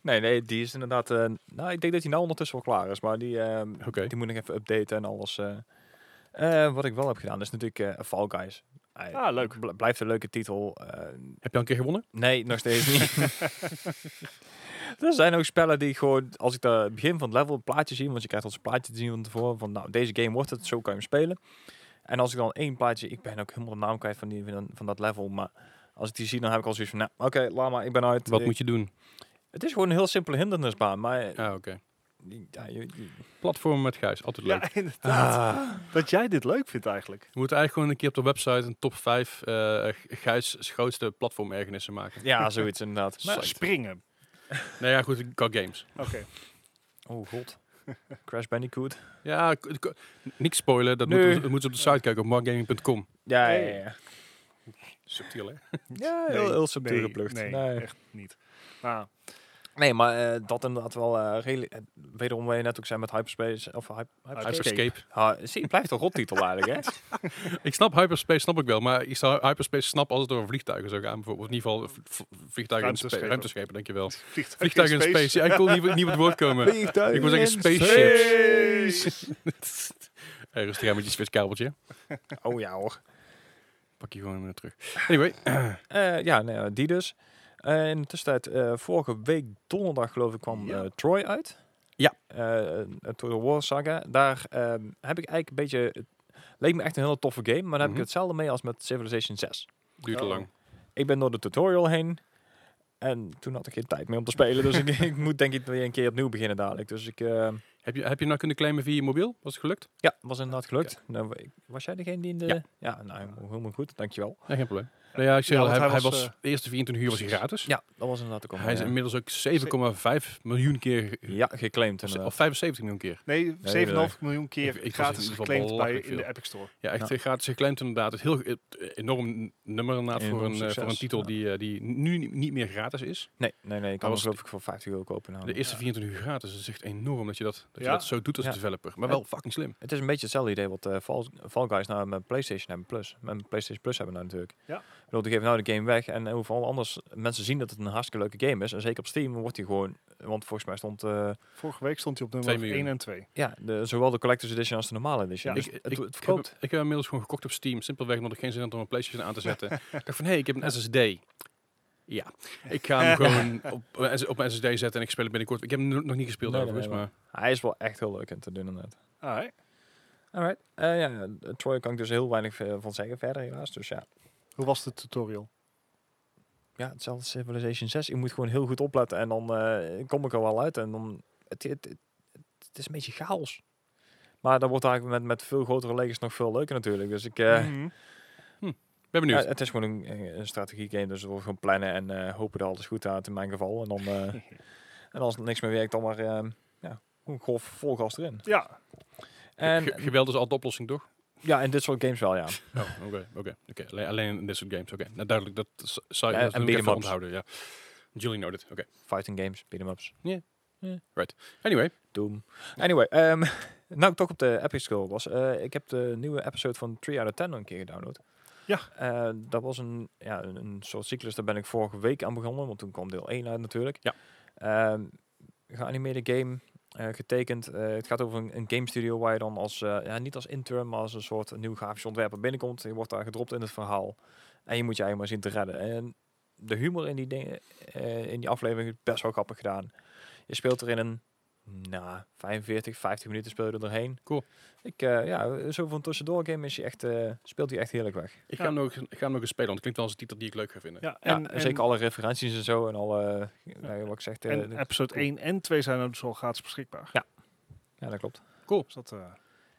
Speaker 2: Nee, nee, die is inderdaad... eh, nou, ik denk dat die nou ondertussen wel klaar is. Maar die, ehm,
Speaker 1: Oké.
Speaker 2: die moet nog even updaten en alles. eh. Eh, wat ik wel heb gedaan is natuurlijk eh Fall Guys. Hij
Speaker 3: Ah, leuk.
Speaker 2: bl- blijft een leuke titel. eh,
Speaker 1: Heb je al een keer gewonnen?
Speaker 2: nee, nog steeds niet. er zijn ook spellen die ik gewoon... Als ik daar het begin van het level een plaatje zie... Want je krijgt als een plaatje te zien van tevoren. Van nou, deze game wordt het. Zo kan je hem spelen. En als ik dan één plaatje... Ik ben ook helemaal de naam kwijt van, die, van, van dat level. Maar als ik die zie, dan heb ik al zoiets van... Nou, oké, laat maar. Ik ben uit.
Speaker 1: Wat
Speaker 2: Ik-
Speaker 1: moet je doen?
Speaker 2: Het is gewoon een heel simpele hindernisbaan. Maar...
Speaker 1: Ah, oké.
Speaker 2: Ja, je- je-
Speaker 1: Platform met Gijs, altijd leuk. Ah.
Speaker 3: Ja, inderdaad. Dat jij dit leuk vindt eigenlijk.
Speaker 1: We moeten eigenlijk gewoon een keer op de website een top 5 eh Gijs' grootste platformergenissen maken.
Speaker 2: Ja, zoiets inderdaad.
Speaker 3: Maar springen.
Speaker 1: Nou ja, goed, ik kan games.
Speaker 3: Oké.
Speaker 2: Oh god. Crash Bandicoot.
Speaker 1: Ja, k- k- niks spoilen, dat
Speaker 2: Nee.
Speaker 1: moeten moet, moet op de site kijken op markgaming.com.
Speaker 2: Ja,
Speaker 3: ja, ja,
Speaker 2: ja.
Speaker 1: Subtiel, hè?
Speaker 2: Ja,
Speaker 3: Nee,
Speaker 2: heel, heel subtiel
Speaker 3: nee,
Speaker 2: geplukt.
Speaker 3: Nee, echt niet. Nou,
Speaker 2: Nee, maar eh, dat inderdaad wel eh redelijk. eh, wederom wat je net ook zei met hyperspace of hype, hyperscape.
Speaker 1: Hyperscape.
Speaker 2: Ah, zie, het blijft een rottitel eigenlijk, hè?
Speaker 1: Ik snap hyperspace, snap ik wel. Maar ik zou hyperspace snap als het door vliegtuigen zou gaan. Bijvoorbeeld in ieder geval v- v- vliegtuigen in space.
Speaker 3: Ruimteschepen.
Speaker 1: Ruimteschepen, denk je wel.
Speaker 3: Vliegtuig,
Speaker 1: Vliegtuigen in space. Ja, ik kon niet, niet op het woord komen.
Speaker 2: Vliegtuigen
Speaker 1: Ik wil zeggen
Speaker 2: in
Speaker 1: spaceships.
Speaker 3: Space!
Speaker 1: Eh, Rustig aan met je switchkabeltje.
Speaker 2: Oh ja hoor.
Speaker 1: Pak je gewoon weer terug. Anyway,
Speaker 2: Eh, ja, nee, eh, die dus. Eh, in de tussentijd, eh, vorige week donderdag geloof ik, kwam
Speaker 3: Ja.
Speaker 2: eh, Troy uit.
Speaker 1: Ja.
Speaker 2: Eh, eh, Troy de War Saga. Daar ehm, heb ik eigenlijk een beetje... Het leek me echt een hele toffe game, maar daar heb ik
Speaker 1: Mhm.
Speaker 2: hetzelfde mee als met Civilization 6.
Speaker 1: duurt te
Speaker 3: Oh.
Speaker 1: lang.
Speaker 2: Ik ben door de tutorial heen. En toen had ik geen tijd meer om te spelen. Dus ik, ik moet denk ik weer een keer opnieuw beginnen dadelijk. Dus ik... eh,
Speaker 1: Heb je, heb je nou kunnen claimen via je mobiel? Was het gelukt?
Speaker 2: ja, was inderdaad gelukt. Nou, wa- was jij degene die in de...
Speaker 1: Ja.
Speaker 2: nou, helemaal- helemaal goed. Dankjewel.
Speaker 1: Nee, geen probleem. Nou ja, ik zeg
Speaker 3: Ja,
Speaker 1: al,
Speaker 3: want
Speaker 1: hij,
Speaker 3: hij
Speaker 1: hij
Speaker 3: was, eh,
Speaker 1: was, de eerste 24 uur was hij gratis.
Speaker 2: Ja, dat was inderdaad ook al.
Speaker 1: Hij is inmiddels ook 7,5 miljoen keer, ge-
Speaker 2: eh, Ja, geclaimd
Speaker 1: of
Speaker 2: inderdaad.
Speaker 1: ze- of 75 miljoen keer.
Speaker 3: Nee, 7,5 miljoen
Speaker 1: Ik- ik
Speaker 3: keer
Speaker 1: was in
Speaker 3: gratis
Speaker 1: ieder geval
Speaker 3: geclaimd bij,
Speaker 1: belachelijk
Speaker 3: in de
Speaker 1: veel.
Speaker 3: Epic Store.
Speaker 1: Ja, echt
Speaker 2: Ja.
Speaker 1: eh, gratis geclaimd inderdaad. Het is heel ge- het- enorm nummer inderdaad voor
Speaker 2: Enorm
Speaker 1: een, eh, voor een
Speaker 2: succes,
Speaker 1: titel
Speaker 2: ja.
Speaker 1: die, eh, die nu ni- niet meer gratis is.
Speaker 2: Nee, nee, nee. Ik kan
Speaker 1: was
Speaker 2: was geloof ik voor 50 euro kopen.
Speaker 1: De
Speaker 2: nou. namelijk.
Speaker 1: eerste
Speaker 3: Ja.
Speaker 1: 24 uur gratis. Dat is echt enorm dat je dat, dat, je
Speaker 3: Ja.
Speaker 1: dat zo doet als
Speaker 2: Oh, Ja.
Speaker 1: developer. Maar
Speaker 2: Ja.
Speaker 1: wel fucking slim.
Speaker 2: Het is een beetje hetzelfde idee wat eh Fall, Fall Guys nou met PlayStation hebben Plus. Met PlayStation Plus hebben nou natuurlijk.
Speaker 3: Ja.
Speaker 2: Ik bedoel, die geven nou de game weg en eh, hoeveel anders mensen zien dat het een hartstikke leuke game is. En zeker op Steam wordt die gewoon, want volgens mij stond eh,
Speaker 3: Vorige week stond hij op
Speaker 1: Twee
Speaker 3: nummer
Speaker 1: miljoen.
Speaker 3: 1 en 2.
Speaker 2: ja, de, zowel de Collector's Edition als de normale edition.
Speaker 3: Ja,
Speaker 2: Dus
Speaker 1: ik,
Speaker 2: het,
Speaker 1: ik,
Speaker 2: het
Speaker 1: ik, heb,
Speaker 2: verkoopt.
Speaker 1: ik heb hem inmiddels gewoon gekocht op Steam. Simpelweg omdat ik geen zin had om een PlayStation aan te zetten. ik dacht van, hé, hey, ik heb een SSD. Ja, ik ga hem gewoon op, eh, op mijn SSD zetten en ik speel het binnenkort. Ik heb hem no- nog niet gespeeld
Speaker 2: Nee, nee,
Speaker 1: overigens,
Speaker 2: nee,
Speaker 1: maar
Speaker 2: Hij is wel echt heel leuk in te doen inderdaad.
Speaker 3: Alright.
Speaker 2: Alright. Eh, ja, ja, eh, Troy kan ik dus heel weinig eh, van zeggen verder helaas. Dus ja.
Speaker 3: Hoe was de tutorial?
Speaker 2: ja, hetzelfde als Civilization 6. Je moet gewoon heel goed opletten en dan eh, kom ik er wel uit. En dan, het, het, het, het is een beetje chaos. Maar dat wordt eigenlijk met, met veel grotere legers nog veel leuker natuurlijk. Dus ik, eh,
Speaker 3: Mhm.
Speaker 1: ik ben
Speaker 2: ja,
Speaker 1: benieuwd.
Speaker 2: het is gewoon een, eh, een strategie game. Dus we wordt gewoon plannen en eh, hopen dat alles goed gaat in mijn geval. En, dan, eh, en als het niks meer werkt, dan maar eh, ja, gewoon golf vol gas erin.
Speaker 3: Ja,
Speaker 1: En,
Speaker 2: En
Speaker 1: Geweld is altijd de oplossing, toch?
Speaker 2: ja, in dit soort games wel, ja.
Speaker 1: Oh, oké, oké. oké. Alleen- Alleen in dit soort games, oké. Nou, duidelijk, dat s- zou je
Speaker 2: Ja,
Speaker 1: dat
Speaker 2: en
Speaker 1: moet ik
Speaker 2: beat 'em
Speaker 1: even
Speaker 2: ups.
Speaker 1: onthouden, ja. Julie noted, oké.
Speaker 2: Fighting games, beat 'em ups,
Speaker 1: Anyway,
Speaker 2: Doom. Anyway, ehm, nou ik toch op de Epic Scroll was. eh, ik heb de nieuwe episode van 3 out of 10 nog een keer gedownload.
Speaker 3: Ja.
Speaker 2: Eh, dat was een, ja, een, een soort cyclus, daar ben ik vorige week aan begonnen, want toen kwam deel 1 uit natuurlijk.
Speaker 1: Ja.
Speaker 2: Ehm, geanimeerde game, eh, getekend. Eh, het gaat over een, een game studio waar je dan als, eh, ja, niet als interim, maar als een soort nieuw grafisch ontwerper binnenkomt. Je wordt daar gedropt in het verhaal en je moet je eigen maar zien te redden. En de humor in die, dingen, eh, in die aflevering is best wel grappig gedaan. Je speelt er in een, nou, 45, 50 minuten speel je er doorheen.
Speaker 1: Cool.
Speaker 2: Ik, eh, ja, zo van tussendoor game is je echt, eh, speelt hij echt heerlijk weg.
Speaker 1: ik
Speaker 3: Ja.
Speaker 1: ga, hem nog, ik ga hem nog eens spelen, want het klinkt wel als een titel die ik leuk ga vinden.
Speaker 3: ja
Speaker 2: Ja,
Speaker 3: en,
Speaker 2: en zeker alle referenties en zo en alle, eh,
Speaker 3: Ja.
Speaker 2: ja, wat ik zeg, eh,
Speaker 3: en,
Speaker 2: de-
Speaker 3: en episode
Speaker 2: cool.
Speaker 3: 1 en 2 zijn er dus al gratis beschikbaar.
Speaker 2: ja, dat klopt.
Speaker 3: Dus dat, eh,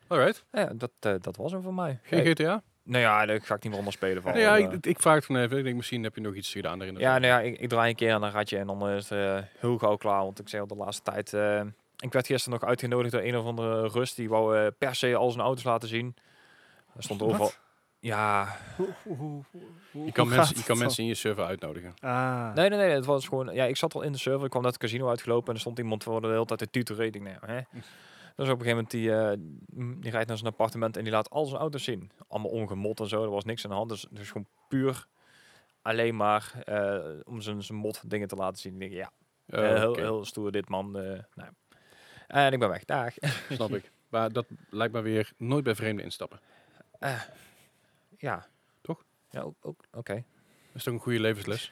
Speaker 1: Alright,
Speaker 2: Ja, dat, eh, dat was hem voor mij.
Speaker 1: geen
Speaker 2: Hey,
Speaker 1: GTA?
Speaker 2: nou ja, daar ga ik niet meer onder spelen van.
Speaker 1: Nou ja,
Speaker 2: want, eh,
Speaker 1: ik, ik vraag het van even. Ik denk, misschien heb je nog iets gedaan daarin.
Speaker 2: ja, nou ja ik, ik draai een keer aan een ratje en dan is het eh, heel gauw klaar. Want ik zei al de laatste tijd... eh, ik werd gisteren nog uitgenodigd door een of andere rust. Die wou eh, per se al zijn auto's laten zien. Er stond
Speaker 3: Wat?
Speaker 2: overal... Ja,
Speaker 3: hoe- hoe- hoe- hoe- hoe
Speaker 1: Je kan,
Speaker 3: gaat
Speaker 1: mensen, je
Speaker 3: het
Speaker 1: kan
Speaker 3: dan?
Speaker 1: mensen in je server uitnodigen.
Speaker 3: Ah,
Speaker 2: Nee, nee, nee. Het was gewoon... Ja, ik zat al in de server. Ik kwam net het casino uitgelopen. En er stond iemand voor de hele tijd te tuteren. Ik denk, nou, hè.
Speaker 1: Hm.
Speaker 2: Dus op een gegeven moment, die, eh, mm, die rijdt naar zijn appartement en die laat al zijn auto's zien. Allemaal ongemot en zo. Er was niks aan de hand. Dus, dus gewoon puur alleen maar eh, om zijn, zijn mot dingen te laten zien. Ik denk, ja,
Speaker 1: Eh,
Speaker 2: eh, heel,
Speaker 1: oké,
Speaker 2: heel stoer dit man. eh, nou. En ik ben weg. Dag.
Speaker 1: Snap ik. Maar dat lijkt me weer nooit bij vreemden instappen.
Speaker 2: ja.
Speaker 1: Toch?
Speaker 2: Ja, ook. ook- Oké.
Speaker 1: Dat is toch een goede levensles?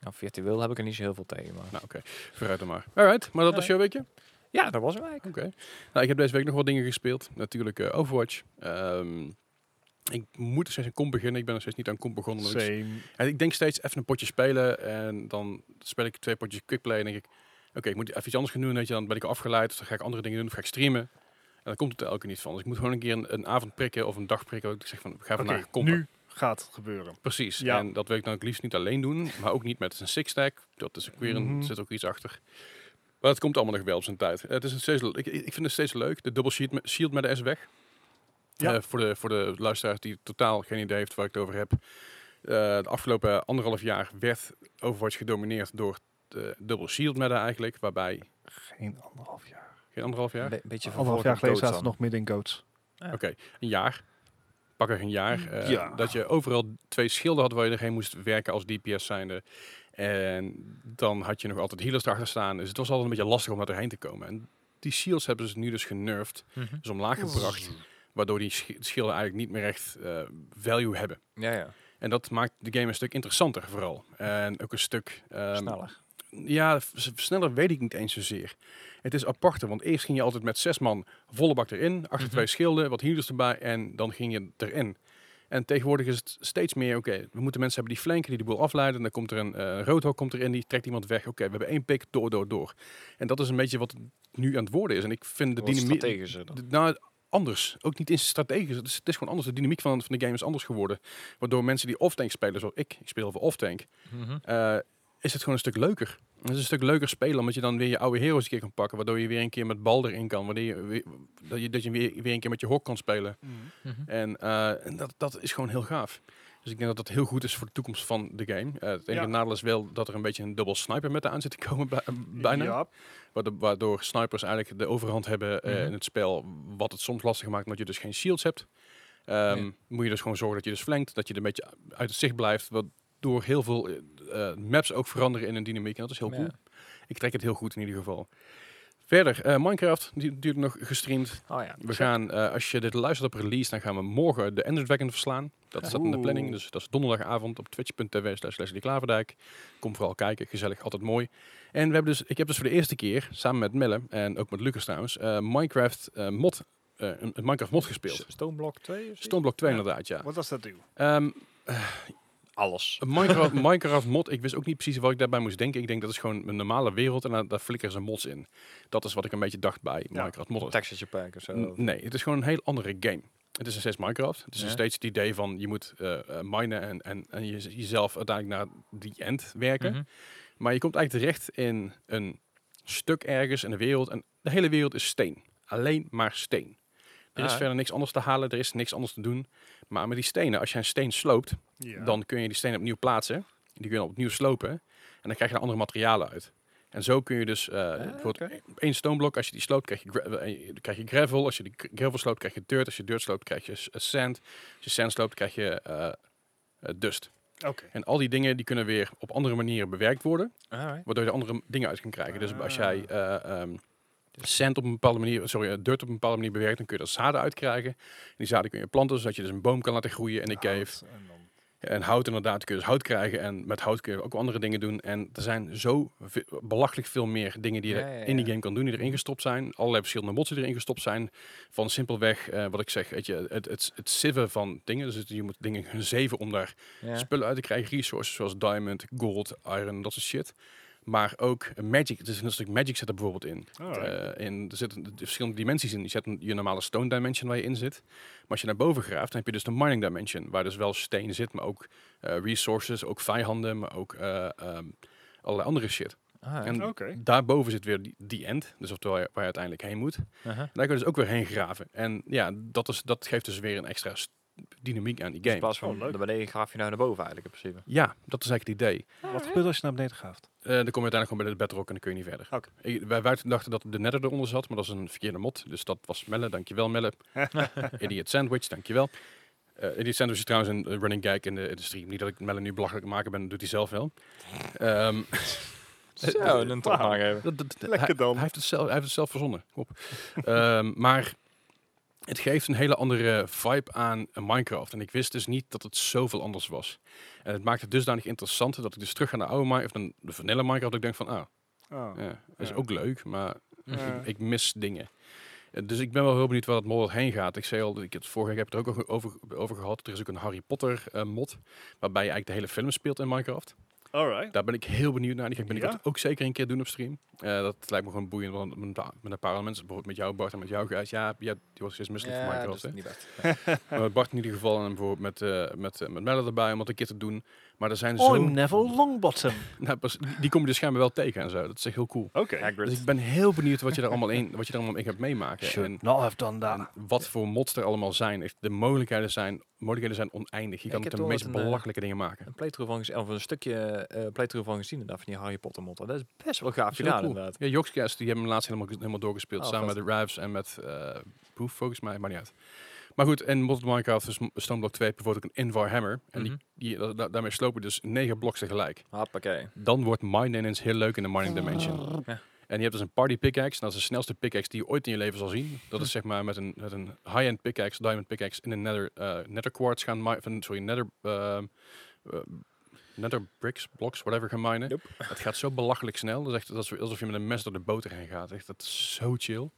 Speaker 2: Nou, virtueel heb ik er niet zo heel veel tegen. Maar...
Speaker 1: Nou, oké. Vooruit dan maar. Alright, maar dat was jouw weekje?
Speaker 2: Ja, dat was hem eigenlijk.
Speaker 1: Oké. Nou, ik heb deze week nog wat dingen gespeeld. Natuurlijk eh, Overwatch. Ehm, ik moet er steeds een comp beginnen. Ik ben er steeds niet aan comp begonnen. omdat ik
Speaker 3: same.
Speaker 1: En ik denk steeds even een potje spelen en dan speel ik twee potjes quickplay en denk ik, oké, ik moet even iets anders gaan doen, weet je, dan ben ik afgeleid, dus dan ga ik andere dingen doen, of ga ik streamen. En dan komt het er elke keer niet van. Dus ik moet gewoon een keer een, een avond prikken of een dag prikken, dat ik zeg van, ga
Speaker 3: Oké,
Speaker 1: vandaag kompen.
Speaker 3: nu gaat het gebeuren.
Speaker 1: Precies.
Speaker 3: Ja.
Speaker 1: En dat wil ik dan het liefst niet alleen doen, maar ook niet met een six-stack. Dat is ook weer een,
Speaker 3: Mhm.
Speaker 1: zit ook iets achter. Maar het komt allemaal nog wel op zijn tijd. Het is nog steeds, ik, ik vind het steeds leuk. De double shield, met- shield met de S weg.
Speaker 3: Ja.
Speaker 1: Eh, voor, de, voor de luisteraar die totaal geen idee heeft waar ik het over heb. Eh de afgelopen anderhalf jaar werd Overwatch gedomineerd door eh, dubbel shield meta eigenlijk, waarbij
Speaker 3: Geen anderhalf jaar.
Speaker 1: geen anderhalf jaar,
Speaker 2: Een beetje
Speaker 3: Anderhalf jaar geleden zaten we nog midden in Goats.
Speaker 1: oké, een jaar, pakweg een jaar, eh,
Speaker 3: Ja.
Speaker 1: dat je overal twee schilden had waar je erheen moest werken als DPS zijnde. En dan had je nog altijd healers erachter staan, dus het was altijd een beetje lastig om daar doorheen te komen. En die shields hebben ze nu dus genurfd, dus omlaag gebracht, waardoor die schi- schilden eigenlijk niet meer echt eh, value hebben.
Speaker 2: Mhm. Ja, ja.
Speaker 1: En dat maakt de game een stuk interessanter vooral. En ook een stuk... ehm,
Speaker 2: Sneller.
Speaker 1: Ja, s- sneller weet ik niet eens zozeer. Het is aparter, want eerst ging je altijd met zes man volle bak erin. Achter
Speaker 2: Mhm.
Speaker 1: twee schilden, wat healers erbij en dan ging je erin. En tegenwoordig is het steeds meer, oké, we moeten mensen hebben die flanken, die de boel afleiden. Dan komt er een eh roodhok komt erin, die trekt iemand weg. Oké, we hebben één pik, door, door, door. En dat is een beetje wat nu aan het worden is. En ik vind de dynamiek...
Speaker 2: strategische dan.
Speaker 1: De- Nou, anders. Ook niet eens strategisch. Het is, het is gewoon anders. De dynamiek van, van de game is anders geworden. Waardoor mensen die off-tank spelen, zoals ik, ik speel voor off-tank,
Speaker 2: Mhm.
Speaker 1: eh, is het gewoon een stuk leuker. Het is een stuk leuker spelen, omdat je dan weer je oude heroes een keer kan pakken. Waardoor je weer een keer met bal erin kan. Waardoor je, weer- dat je, dat je weer, weer een keer met je hok kan spelen.
Speaker 3: Mm.
Speaker 2: Mhm.
Speaker 1: En, eh, en dat, dat is gewoon heel gaaf. Dus ik denk dat dat heel goed is voor de toekomst van de game. Eh, het enige
Speaker 3: Ja.
Speaker 1: nadeel is wel dat er een beetje een dubbel sniper met aan zit te komen, bij- bijna.
Speaker 3: Ja,
Speaker 1: Waardo- Waardoor snipers eigenlijk de overhand hebben eh,
Speaker 2: Mhm.
Speaker 1: in het spel. Wat het soms lastig maakt, omdat je dus geen shields hebt. Ehm,
Speaker 2: Nee.
Speaker 1: Moet je dus gewoon zorgen dat je dus flankt. Dat je er een beetje uit het zicht blijft. Waardoor heel veel eh, eh, maps ook veranderen in een dynamiek. En dat is heel
Speaker 2: Ja.
Speaker 1: cool. Ik trek het heel goed in ieder geval. Verder, eh, Minecraft, die duurt nog gestreamd.
Speaker 2: Oh ja.
Speaker 1: We gaan, eh, als je dit luistert op release, dan gaan we morgen de Ender Dragon verslaan. Dat staat in de
Speaker 3: Oeh.
Speaker 1: planning, dus dat is donderdagavond op twitch.tv slash Leslie Klaverdijk. Kom vooral kijken, gezellig, altijd mooi. En we hebben dus, ik heb dus voor de eerste keer, samen met Melle en ook met Lucas trouwens, eh, Minecraft eh, mod, eh, een, een Minecraft mod gespeeld.
Speaker 2: Stoomblok 2?
Speaker 1: Stormblock 2 inderdaad, ja.
Speaker 3: wat was dat doe?
Speaker 1: Ehm,
Speaker 2: Alles.
Speaker 1: een Minecraft, Minecraft mod, ik wist ook niet precies wat ik daarbij moest denken. Ik denk dat is gewoon een normale wereld en daar, daar flikkeren ze mods in. Dat is wat ik een beetje dacht bij
Speaker 3: Ja,
Speaker 1: Minecraft mod.
Speaker 2: Texas Pack of zo.
Speaker 1: N- Nee, het is gewoon een heel andere game. Het is nog steeds Minecraft. Het is nog
Speaker 2: Ja.
Speaker 1: steeds het idee van je moet eh, eh, minen en, en, en je- jezelf uiteindelijk naar die end werken.
Speaker 2: Mhm.
Speaker 1: Maar je komt eigenlijk terecht in een stuk ergens in de wereld. En de hele wereld is steen. Alleen maar steen. Er is
Speaker 2: Ah.
Speaker 1: verder niks anders te halen, er is niks anders te doen. Maar met die stenen, als je een steen sloopt,
Speaker 3: Ja.
Speaker 1: dan kun je die stenen opnieuw plaatsen. Die kun je opnieuw slopen. En dan krijg je er andere materialen uit. En zo kun je dus, eh bijvoorbeeld
Speaker 2: oké.
Speaker 1: één stoomblok, als je die sloopt, krijg je, gra- eh, eh, krijg je gravel. Als je die gra- gravel sloopt, krijg je dirt. Als je dirt sloopt, krijg je s- eh, sand. Als je sand sloopt, krijg je eh, eh, dust.
Speaker 3: Oké.
Speaker 1: En al die dingen die kunnen weer op andere manieren bewerkt worden
Speaker 2: Alright.
Speaker 1: waardoor je er andere dingen uit kan krijgen. Dus als jij
Speaker 3: Ah.
Speaker 1: eh ehm, sand op een bepaalde manier, sorry, eh, dirt op een bepaalde manier bewerkt, dan kun je er zaden uitkrijgen. En die zaden kun je planten, zodat je dus een boom kan laten groeien in
Speaker 3: Ah,
Speaker 1: de cave.
Speaker 3: Hout en dan-
Speaker 1: En hout inderdaad, kun je dus hout krijgen. En met hout kun je ook andere dingen doen. En er zijn zo ve- belachelijk veel meer dingen die je
Speaker 2: Ja, ja,
Speaker 1: in die
Speaker 2: ja.
Speaker 1: game kan doen, die erin gestopt zijn. Allerlei verschillende mods die erin gestopt zijn. Van simpelweg, eh, wat ik zeg, weet je, het, het, het siven van dingen. Dus het- je moet dingen gaan zeven om daar
Speaker 2: Ja.
Speaker 1: spullen uit te krijgen. Resources zoals diamond, gold, iron, dat soort shit. Maar ook magic. Er is een stuk magic zit er bijvoorbeeld in.
Speaker 3: Alright.
Speaker 1: Eh, in er zitten d- verschillende dimensies in. Je zet een, je normale stone dimension waar je in zit. Maar als je naar boven graaft, dan heb je dus de mining dimension. Waar dus wel steen zit, maar ook eh, resources, ook vijanden, maar ook eh, ehm, allerlei andere shit.
Speaker 2: Ah,
Speaker 1: En
Speaker 3: Oké.
Speaker 1: daarboven zit weer die, die end. Dus oftewel waar je, waar je uiteindelijk heen moet.
Speaker 2: aha.
Speaker 1: Daar kun je dus ook weer heen graven. En ja, dat, is, dat geeft dus weer een extra st- dynamiek aan die
Speaker 2: Dus in
Speaker 1: game.
Speaker 2: plaats
Speaker 3: Oh,
Speaker 2: van
Speaker 3: leuk.
Speaker 2: naar beneden graaf je nou naar boven eigenlijk in principe.
Speaker 1: Ja, dat is eigenlijk het idee.
Speaker 3: Wat gebeurt als je naar beneden gaat?
Speaker 1: Eh, dan kom je uiteindelijk gewoon bij de bedrock en dan kun je niet verder.
Speaker 3: Oké.
Speaker 1: Ik- wij, wij dachten dat de netter eronder zat, maar dat is een verkeerde mod. Dus dat was Melle, dankjewel Melle. Idiot Sandwich, dankjewel. Eh Idiot Sandwich is trouwens een eh, running gag in de, in de stream. Niet dat ik Melle nu belachelijk maken ben, dat doet hij zelf wel. Ehm,
Speaker 2: Zo, een trap
Speaker 3: Wauw.
Speaker 2: aangeven.
Speaker 1: dat- dat-
Speaker 3: Lekker
Speaker 1: hij-
Speaker 3: dan.
Speaker 1: Hij heeft het zelf, hij heeft het zelf verzonnen. Kom Op. Ehm, maar het geeft een hele andere vibe aan een Minecraft. En ik wist dus niet dat het zoveel anders was. En het maakt het dusdanig interessanter dat ik dus terug ga naar oude Minecraft, of naar de vanille Minecraft, dat ik denk van, ah,
Speaker 3: Oh.
Speaker 1: ja, dat is
Speaker 3: Ja.
Speaker 1: ook leuk, maar
Speaker 2: Mhm.
Speaker 3: Ja.
Speaker 1: ik, ik mis dingen. Eh, Dus ik ben wel heel benieuwd waar dat mod heen gaat. Ik zei al, dat ik het vorige keer heb het er ook over, over gehad. Er is ook een Harry Potter eh, mod, waarbij je eigenlijk de hele film speelt in Minecraft.
Speaker 3: Alright.
Speaker 1: Daar ben ik heel benieuwd naar. Die ga ik binnenkort
Speaker 3: Ja?
Speaker 1: ook zeker een keer doen op stream. Eh, dat lijkt me gewoon boeiend, want met, een pa- met een paar andere mensen, bijvoorbeeld met jou Bart en met jou Gijs. Ja, ja die was steeds misselijk van
Speaker 2: Ja, dat
Speaker 1: Minecraft.
Speaker 2: is
Speaker 3: dus-
Speaker 1: hè?
Speaker 2: niet best.
Speaker 1: Maar met Bart in ieder geval en bijvoorbeeld met, eh met, eh, met Melle erbij om dat een keer te doen. Maar er zijn zo...
Speaker 3: I'm Neville Longbottom.
Speaker 1: Nou, pas- die kom je dus schijnbaar wel tegen en zo. Dat is echt heel cool.
Speaker 3: Oké.
Speaker 1: Dus ik ben heel benieuwd wat je daar allemaal in, wat je daar allemaal in gaat meemaken. En,
Speaker 3: Should not have done
Speaker 1: en
Speaker 3: that.
Speaker 1: wat voor mods er allemaal zijn. Echt, De mogelijkheden zijn, mogelijkheden zijn oneindig. Je
Speaker 2: Ik
Speaker 1: kan
Speaker 2: heb
Speaker 1: de
Speaker 2: wel
Speaker 1: meest
Speaker 2: eens een, eh,
Speaker 1: belachelijke dingen maken.
Speaker 2: Een playthrough van, gez- of een stukje eh, playthrough van gezien, inderdaad, van die Harry Potter modder. Dat is best wel gaaf
Speaker 1: is heel
Speaker 2: gedaan,
Speaker 1: cool.
Speaker 2: inderdaad.
Speaker 1: Ja, Joxcast, die hebben hem laatst helemaal, helemaal doorgespeeld.
Speaker 2: Oh,
Speaker 1: samen
Speaker 2: vet.
Speaker 1: met de Ravs en met eh Proof, volgens mij. Maar niet uit. Maar goed, en Modern Minecraft, dus Stone Block 2, heeft bijvoorbeeld ook een Invar Hammer. En die,
Speaker 2: Mhm.
Speaker 1: die, da- da- daarmee slopen dus negen bloks tegelijk.
Speaker 2: Hoppakee.
Speaker 1: Dan wordt Minenance heel leuk in de Mining Dimension.
Speaker 2: Ja.
Speaker 1: En je hebt dus een Party Pickaxe. Dat is de snelste pickaxe die je ooit in je leven zal zien. Dat is zeg maar met een, met een high-end pickaxe, diamond pickaxe, in een nether, eh, nether quartz gaan mi- van Sorry, nether... ehm, eh, Nether bricks, blocks, whatever gaan minen.
Speaker 2: Yup.
Speaker 1: Het gaat zo belachelijk snel. Dat is echt alsof- alsof je met een mes door de boter heen gaat. Echt, dat is zo chill.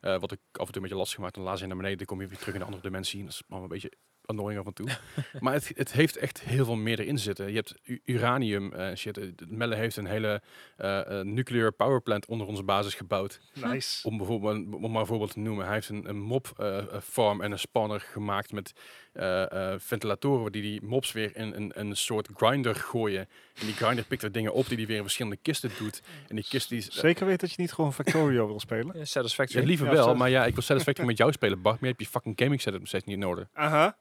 Speaker 1: Eh, wat ik af en toe een beetje lastig maakt. Dan laat je naar beneden, dan kom je weer terug in een andere dimensie. En dat is allemaal een beetje annoying af en toe. maar het, het heeft echt heel veel meer erin zitten. Je hebt u- uranium eh, shit. Eh, Melle heeft een hele eh eh, nuclear power plant onder onze basis gebouwd.
Speaker 3: Nice.
Speaker 1: Om, bijvoorbeeld, om maar een voorbeeld te noemen. Hij heeft een, een mob eh, eh, farm en een spanner gemaakt met eh, eh, ventilatoren die die mobs weer in een, een soort grinder gooien. En die grinder pikt er dingen op die die weer in verschillende kisten doet. En die kist die... is-
Speaker 3: Zeker weet dat je niet gewoon Factorio wil spelen.
Speaker 2: Ja,
Speaker 1: Ja,
Speaker 2: Satisfactory.
Speaker 1: liever
Speaker 3: Ja,
Speaker 1: wel,
Speaker 3: zelf-
Speaker 1: maar ja, ik wil Satisfactory met jou spelen, Bart. Maar je hebt je fucking gaming setup nog steeds niet nodig.
Speaker 3: Aha.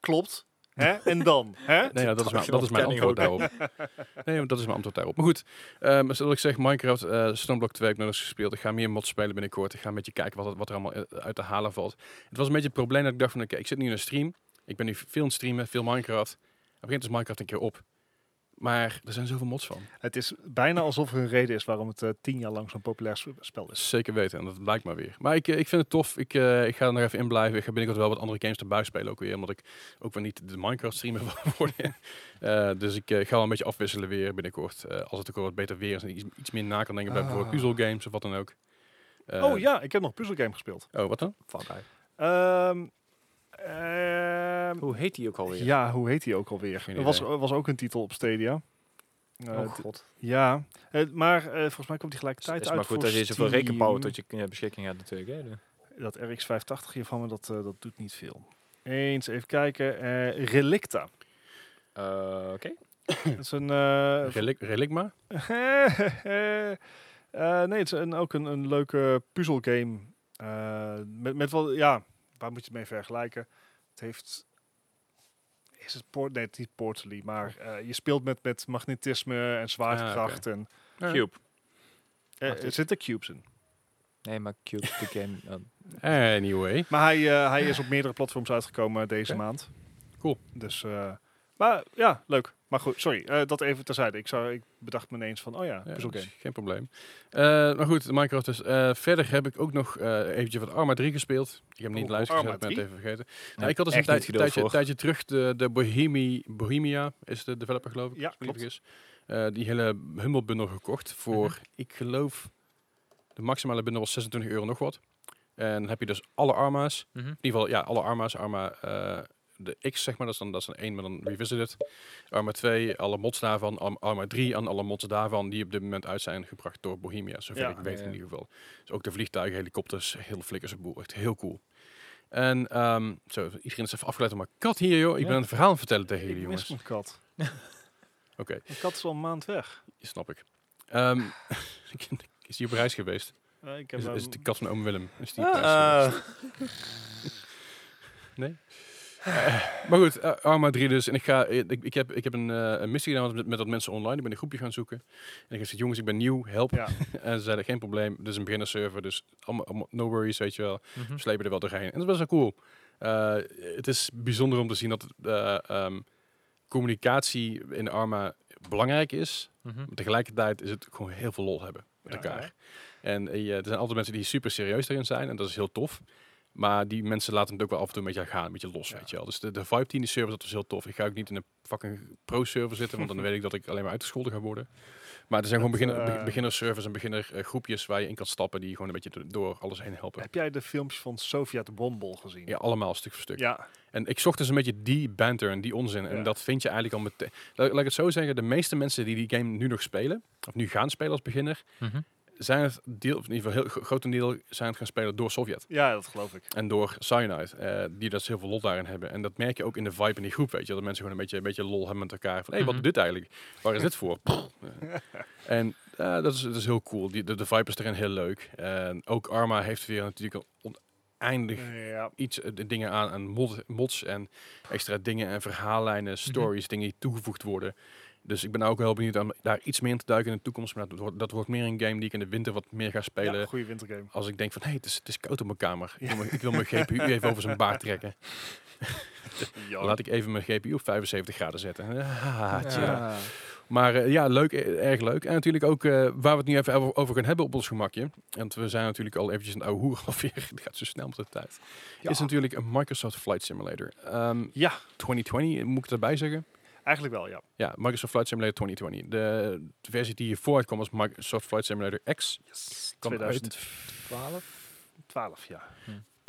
Speaker 3: Klopt. Hè? En dan? Hè?
Speaker 1: Nee, ja, dat, is mijn,
Speaker 2: je
Speaker 1: dat is mijn
Speaker 2: ontkenning
Speaker 1: antwoord daarop. Nee, maar dat is mijn antwoord daarop. Maar goed, ehm, zoals ik zeg, Minecraft, eh Stormblock 2 heb ik nog eens gespeeld. Ik ga meer mods spelen binnenkort. Ik ga met je kijken wat, het- wat er allemaal eh, uit te halen valt. Het was een beetje het probleem dat ik dacht van, oké, ik zit nu in een stream. Ik ben nu veel aan het streamen, veel Minecraft. Op een gegeven moment is Minecraft een keer op. Maar er zijn zoveel mods van.
Speaker 3: Het is bijna alsof er een reden is waarom het eh, tien jaar lang zo'n populair s- spel is.
Speaker 1: Zeker weten, en dat blijkt maar weer. Maar ik, eh, ik vind het tof. Ik, eh, ik ga er nog even in blijven. Ik ga binnenkort wel wat andere games erbij spelen ook weer. Omdat ik ook weer niet de Minecraft-streamer wil worden. Eh, dus ik eh, ga wel een beetje afwisselen weer binnenkort. Eh, als het ook wel wat beter weer is en iets, iets meer na kan denken bij bijvoorbeeld
Speaker 3: Ah.
Speaker 1: puzzelgames of wat dan ook. Eh,
Speaker 3: oh ja, ik heb nog een puzzelgame gespeeld.
Speaker 1: Oh, wat dan?
Speaker 2: Fuck, hij.
Speaker 3: Ehm, ehm,
Speaker 2: Hoe heet die ook alweer?
Speaker 3: ja, hoe heet die ook alweer?
Speaker 1: Geen
Speaker 3: Er was,
Speaker 1: idee.
Speaker 3: er was ook een titel op Stadia. Eh,
Speaker 2: oh
Speaker 3: d-
Speaker 2: god.
Speaker 3: ja, Eh, maar eh, volgens mij komt die
Speaker 2: Het
Speaker 3: gelijkertijd
Speaker 2: is
Speaker 3: uit
Speaker 2: maar goed
Speaker 3: voor
Speaker 2: dat je zoveel
Speaker 3: Steam.
Speaker 2: rekenpower tot je eh, beschikking hebt natuurlijk. Hè? De-
Speaker 3: Dat RX580 hiervan, maar dat, eh, dat doet niet veel. Eens even kijken. eh, Relicta.
Speaker 2: Eh, Oké.
Speaker 3: dat is een... eh,
Speaker 1: Relic Relicma?
Speaker 3: Eh, nee, het is een, ook een, een leuke puzzelgame. Eh, met, met wel, ja, waar moet je het mee vergelijken? Het heeft. Is het port? Nee, het is niet Portally, maar
Speaker 1: Oh.
Speaker 3: eh, je speelt met, met magnetisme en zwaartekracht.
Speaker 1: Ah,
Speaker 3: en,
Speaker 1: Ja.
Speaker 2: Cube.
Speaker 3: eh,
Speaker 2: Wacht
Speaker 3: er zitten cubes in.
Speaker 2: Nee, maar Cube the game. eh,
Speaker 1: Anyway.
Speaker 3: Maar hij, eh, hij is op meerdere platforms uitgekomen deze
Speaker 1: Oké.
Speaker 3: maand.
Speaker 1: Cool.
Speaker 3: Dus, eh, maar ja, leuk. Maar goed, sorry, eh, dat even terzijde. Ik, zou, ik bedacht me ineens van, oh ja,
Speaker 1: Ja,
Speaker 3: puzzelgame.
Speaker 1: dat is Eh, dus Geen probleem. Eh, maar goed, Minecraft dus. Eh, verder heb ik ook nog eh eventjes wat Arma 3 gespeeld. Ik heb hem niet
Speaker 3: Oh,
Speaker 1: luisterd,
Speaker 3: Arma
Speaker 1: heb ik net
Speaker 3: 3?
Speaker 1: even vergeten.
Speaker 2: Nee,
Speaker 1: nou, ik had dus een
Speaker 2: echt
Speaker 1: tijd,
Speaker 2: niet geduld
Speaker 1: tijdje,
Speaker 2: voor.
Speaker 1: tijdje terug de, de Bohemi, Bohemia, is de developer geloof ik.
Speaker 3: Ja,
Speaker 1: als ik me niet
Speaker 3: klopt.
Speaker 1: vergis. Eh, die hele Humble bundle gekocht voor,
Speaker 2: Mhm.
Speaker 1: ik geloof, de maximale bundel was 26 euro nog wat. En dan heb je dus alle Arma's.
Speaker 2: mhm.
Speaker 1: In ieder geval, ja, alle Arma's. Arma eh, de X, zeg maar, dat is dan, dat is dan één, maar dan revisited. Arma 2, alle mods daarvan. Arm- Arma 3 en alle mods daarvan, die op dit moment uit zijn gebracht door Bohemia. Zover
Speaker 3: Ja,
Speaker 1: ik weet
Speaker 2: ja,
Speaker 1: in
Speaker 2: ja.
Speaker 1: ieder geval. Dus ook de vliegtuigen, helikopters, heel flikkers en boel. Echt heel cool. En ehm, zo, iedereen is even afgeleid door mijn kat hier, joh. Ik
Speaker 3: Ja.
Speaker 1: ben een verhaal aan het vertellen tegen jullie,
Speaker 3: Ik mis
Speaker 1: jongens.
Speaker 3: mijn kat.
Speaker 1: Oké,
Speaker 3: Mijn kat is al een maand weg.
Speaker 1: snap ik. Ehm, is die op reis geweest?
Speaker 3: Eh, ik heb
Speaker 1: Is,
Speaker 3: hem-
Speaker 1: is het de kat van oom Willem? Is die op reis geweest?
Speaker 2: Ah,
Speaker 1: Maar goed, eh, Arma 3 dus. En ik, ga, eh, ik, ik, heb, ik heb een, eh, een missie gedaan met, met dat mensen online. Ik ben een groepje gaan zoeken. En ik heb gezegd, jongens, ik ben nieuw, help.
Speaker 3: Ja.
Speaker 1: en ze zeiden, geen probleem, dit is een beginnerserver, dus allemaal, allemaal- no worries, weet je wel.
Speaker 2: mhm.
Speaker 1: We slepen er wel doorheen. En dat is best wel cool. Eh, het is bijzonder om te zien dat eh, ehm, communicatie in Arma belangrijk is.
Speaker 2: Mhm.
Speaker 1: Maar tegelijkertijd is het gewoon heel veel lol hebben met
Speaker 3: Ja.
Speaker 1: elkaar. En eh, je- er zijn altijd mensen die super serieus erin zijn. En dat is heel tof. Maar die mensen laten het ook wel af en toe een beetje gaan. Een beetje los,
Speaker 3: Ja.
Speaker 1: weet je wel. Dus de, de vibe die in die server zit, dat is heel tof. Ik ga ook niet in een fucking pro-server zitten. Want dan weet ik dat ik alleen maar uitgescholden ga worden. Maar er zijn gewoon
Speaker 3: Dat,
Speaker 1: beginner, be-
Speaker 3: eh,
Speaker 1: beginnerservers en beginnergroepjes groepjes waar je in kan stappen. Die gewoon een beetje door alles heen helpen.
Speaker 3: Heb jij de filmpjes van Sofia de Bombol gezien?
Speaker 1: Ja, allemaal stuk voor stuk.
Speaker 3: Ja.
Speaker 1: En ik zocht dus een beetje die banter en die onzin. En
Speaker 3: Ja.
Speaker 1: dat vind je eigenlijk al meteen. Laat, laat ik het zo zeggen, de meeste mensen die die game nu nog spelen, of nu gaan spelen als beginner,
Speaker 2: Mhm.
Speaker 1: zijn het deel, of in ieder geval heel gro- grotendeel zijn het gaan spelen door Sovjet.
Speaker 3: ja, dat geloof ik.
Speaker 1: En door Cyanide, eh, die dus heel veel lol daarin hebben. En dat merk je ook in de vibe in die groep, weet je. wel. Dat mensen gewoon een beetje, een beetje lol hebben met elkaar. Van, hé, wat
Speaker 2: Mhm.
Speaker 1: doet dit eigenlijk? Waar is dit voor? Pff, eh. en eh, dat, is, dat is heel cool. Die, de, de vibe is erin heel leuk. En ook Arma heeft weer natuurlijk een oneindig
Speaker 3: Ja.
Speaker 1: iets eh, de dingen aan,
Speaker 3: Mhm.
Speaker 1: aan mod, mods en extra dingen en verhaallijnen, stories, dingen die toegevoegd worden. Dus ik ben ook wel benieuwd om daar iets meer in te duiken in de toekomst. Maar dat wordt, dat wordt meer een game die ik in de winter wat meer ga spelen.
Speaker 3: Ja, goede wintergame.
Speaker 1: Als ik denk van, hé, hey, het, is, het is koud op mijn kamer. Ik
Speaker 3: Ja.
Speaker 1: wil mijn- Ik wil mijn GPU even over zijn baard trekken.
Speaker 3: Oh.
Speaker 1: Laat ik even mijn GPU op 75 graden zetten. Ah, tja.
Speaker 2: mhm. Ja.
Speaker 1: Maar eh, ja, leuk, eh, erg leuk. En natuurlijk ook eh, waar we het nu even over- over gaan hebben op ons gemakje. Want we zijn natuurlijk al eventjes een oude hoer alweer. Het gaat zo snel met de tijd.
Speaker 3: Ja.
Speaker 1: Is natuurlijk een Microsoft Flight Simulator. Ehm,
Speaker 3: Ja.
Speaker 1: 2020, moet ik erbij zeggen?
Speaker 3: Eigenlijk wel, ja.
Speaker 1: Ja, Microsoft Flight Simulator 2020. De versie die hiervoor uitkwam was Microsoft Flight Simulator X. Kwam uit.
Speaker 3: 2012? 12, ja.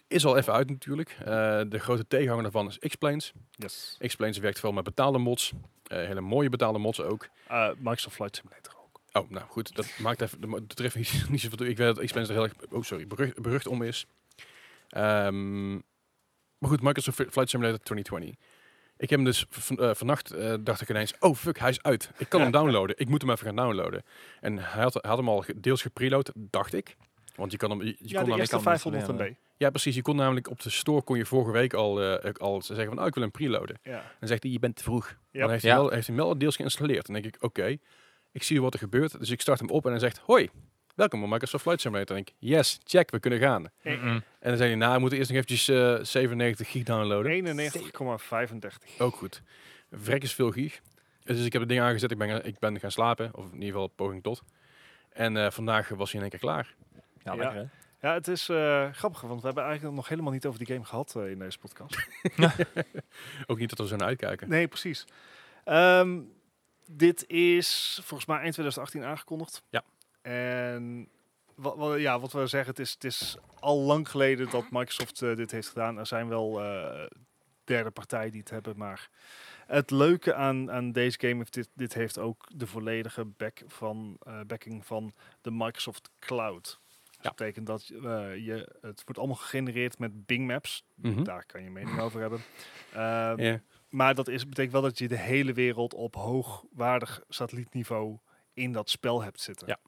Speaker 1: Is al even uit natuurlijk. Eh, de grote tegenhanger daarvan is X-Planes.
Speaker 3: Yes.
Speaker 1: X-Planes werkt veel met betaalde mods. Eh, hele mooie betaalde mods ook.
Speaker 3: Eh, Microsoft Flight Simulator ook.
Speaker 1: Oh, nou goed, dat maakt even, dat ma- dat treft niet, niet zoveel toe. Ik weet dat Xbox er heel erg, oh sorry, berucht, berucht om is. Ehm, maar goed, Microsoft Flight Simulator 2020. Ik heb hem dus van- eh, vannacht, eh, dacht ik ineens, oh fuck, hij is uit. Ik kan hem downloaden. Ik moet hem even gaan downloaden. En hij had, hij had hem al ge- deels gepreload, dacht ik. Want je kan hem, je, je
Speaker 3: Ja,
Speaker 1: kon
Speaker 3: de
Speaker 1: namelijk-
Speaker 3: eerste
Speaker 2: kan
Speaker 3: 500
Speaker 2: installeren.
Speaker 3: MB.
Speaker 1: ja, precies. Je kon namelijk op de store, kon je vorige week al, eh, al zeggen van, oh ik wil hem preloaden.
Speaker 3: Ja.
Speaker 1: Dan zegt hij, je bent te vroeg.
Speaker 3: Ja.
Speaker 1: Dan heeft hij,
Speaker 2: Ja.
Speaker 1: wel, heeft hij hem wel deels geïnstalleerd. Dan denk ik, oké, ik zie wat er gebeurt. Dus ik start hem op en hij zegt, hoi, welkom bij Microsoft Flight Simulator. Dan denk ik, yes, check, we kunnen gaan.
Speaker 2: Mm-mm.
Speaker 1: En dan zei hij, nou, we moeten eerst nog eventjes eh, 97 gig downloaden.
Speaker 3: 91,35.
Speaker 1: Ook goed. Vrek is veel gig. Dus ik heb het ding aangezet, ik ben, gaan- ik ben gaan slapen. Of in ieder geval poging tot. En eh, vandaag was hij in één keer klaar.
Speaker 2: Ja,
Speaker 3: Ja.
Speaker 2: lekker hè?
Speaker 3: Ja, het is eh, grappig, want we hebben eigenlijk nog helemaal niet over die game gehad eh, in deze podcast.
Speaker 1: Ook niet dat we zo naar uitkijken.
Speaker 3: Nee, precies. Ehm, dit is volgens mij eind 2018 aangekondigd.
Speaker 1: Ja.
Speaker 3: En wat, ja, wat we zeggen, het is, het is al lang geleden dat Microsoft eh, dit heeft gedaan. Er zijn wel eh, derde partijen die het hebben, maar het leuke aan, aan deze game heeft dit, dit heeft ook de volledige back van, eh, backing van de Microsoft Cloud. Dus
Speaker 1: Ja.
Speaker 3: Dat betekent dat eh, je, het wordt allemaal gegenereerd met Bing Maps.
Speaker 1: Mhm.
Speaker 3: Daar kan je mening over hebben. Ehm,
Speaker 1: Ja.
Speaker 3: maar dat is, betekent wel dat je de hele wereld op hoogwaardig satellietniveau in dat spel hebt zitten.
Speaker 1: Ja.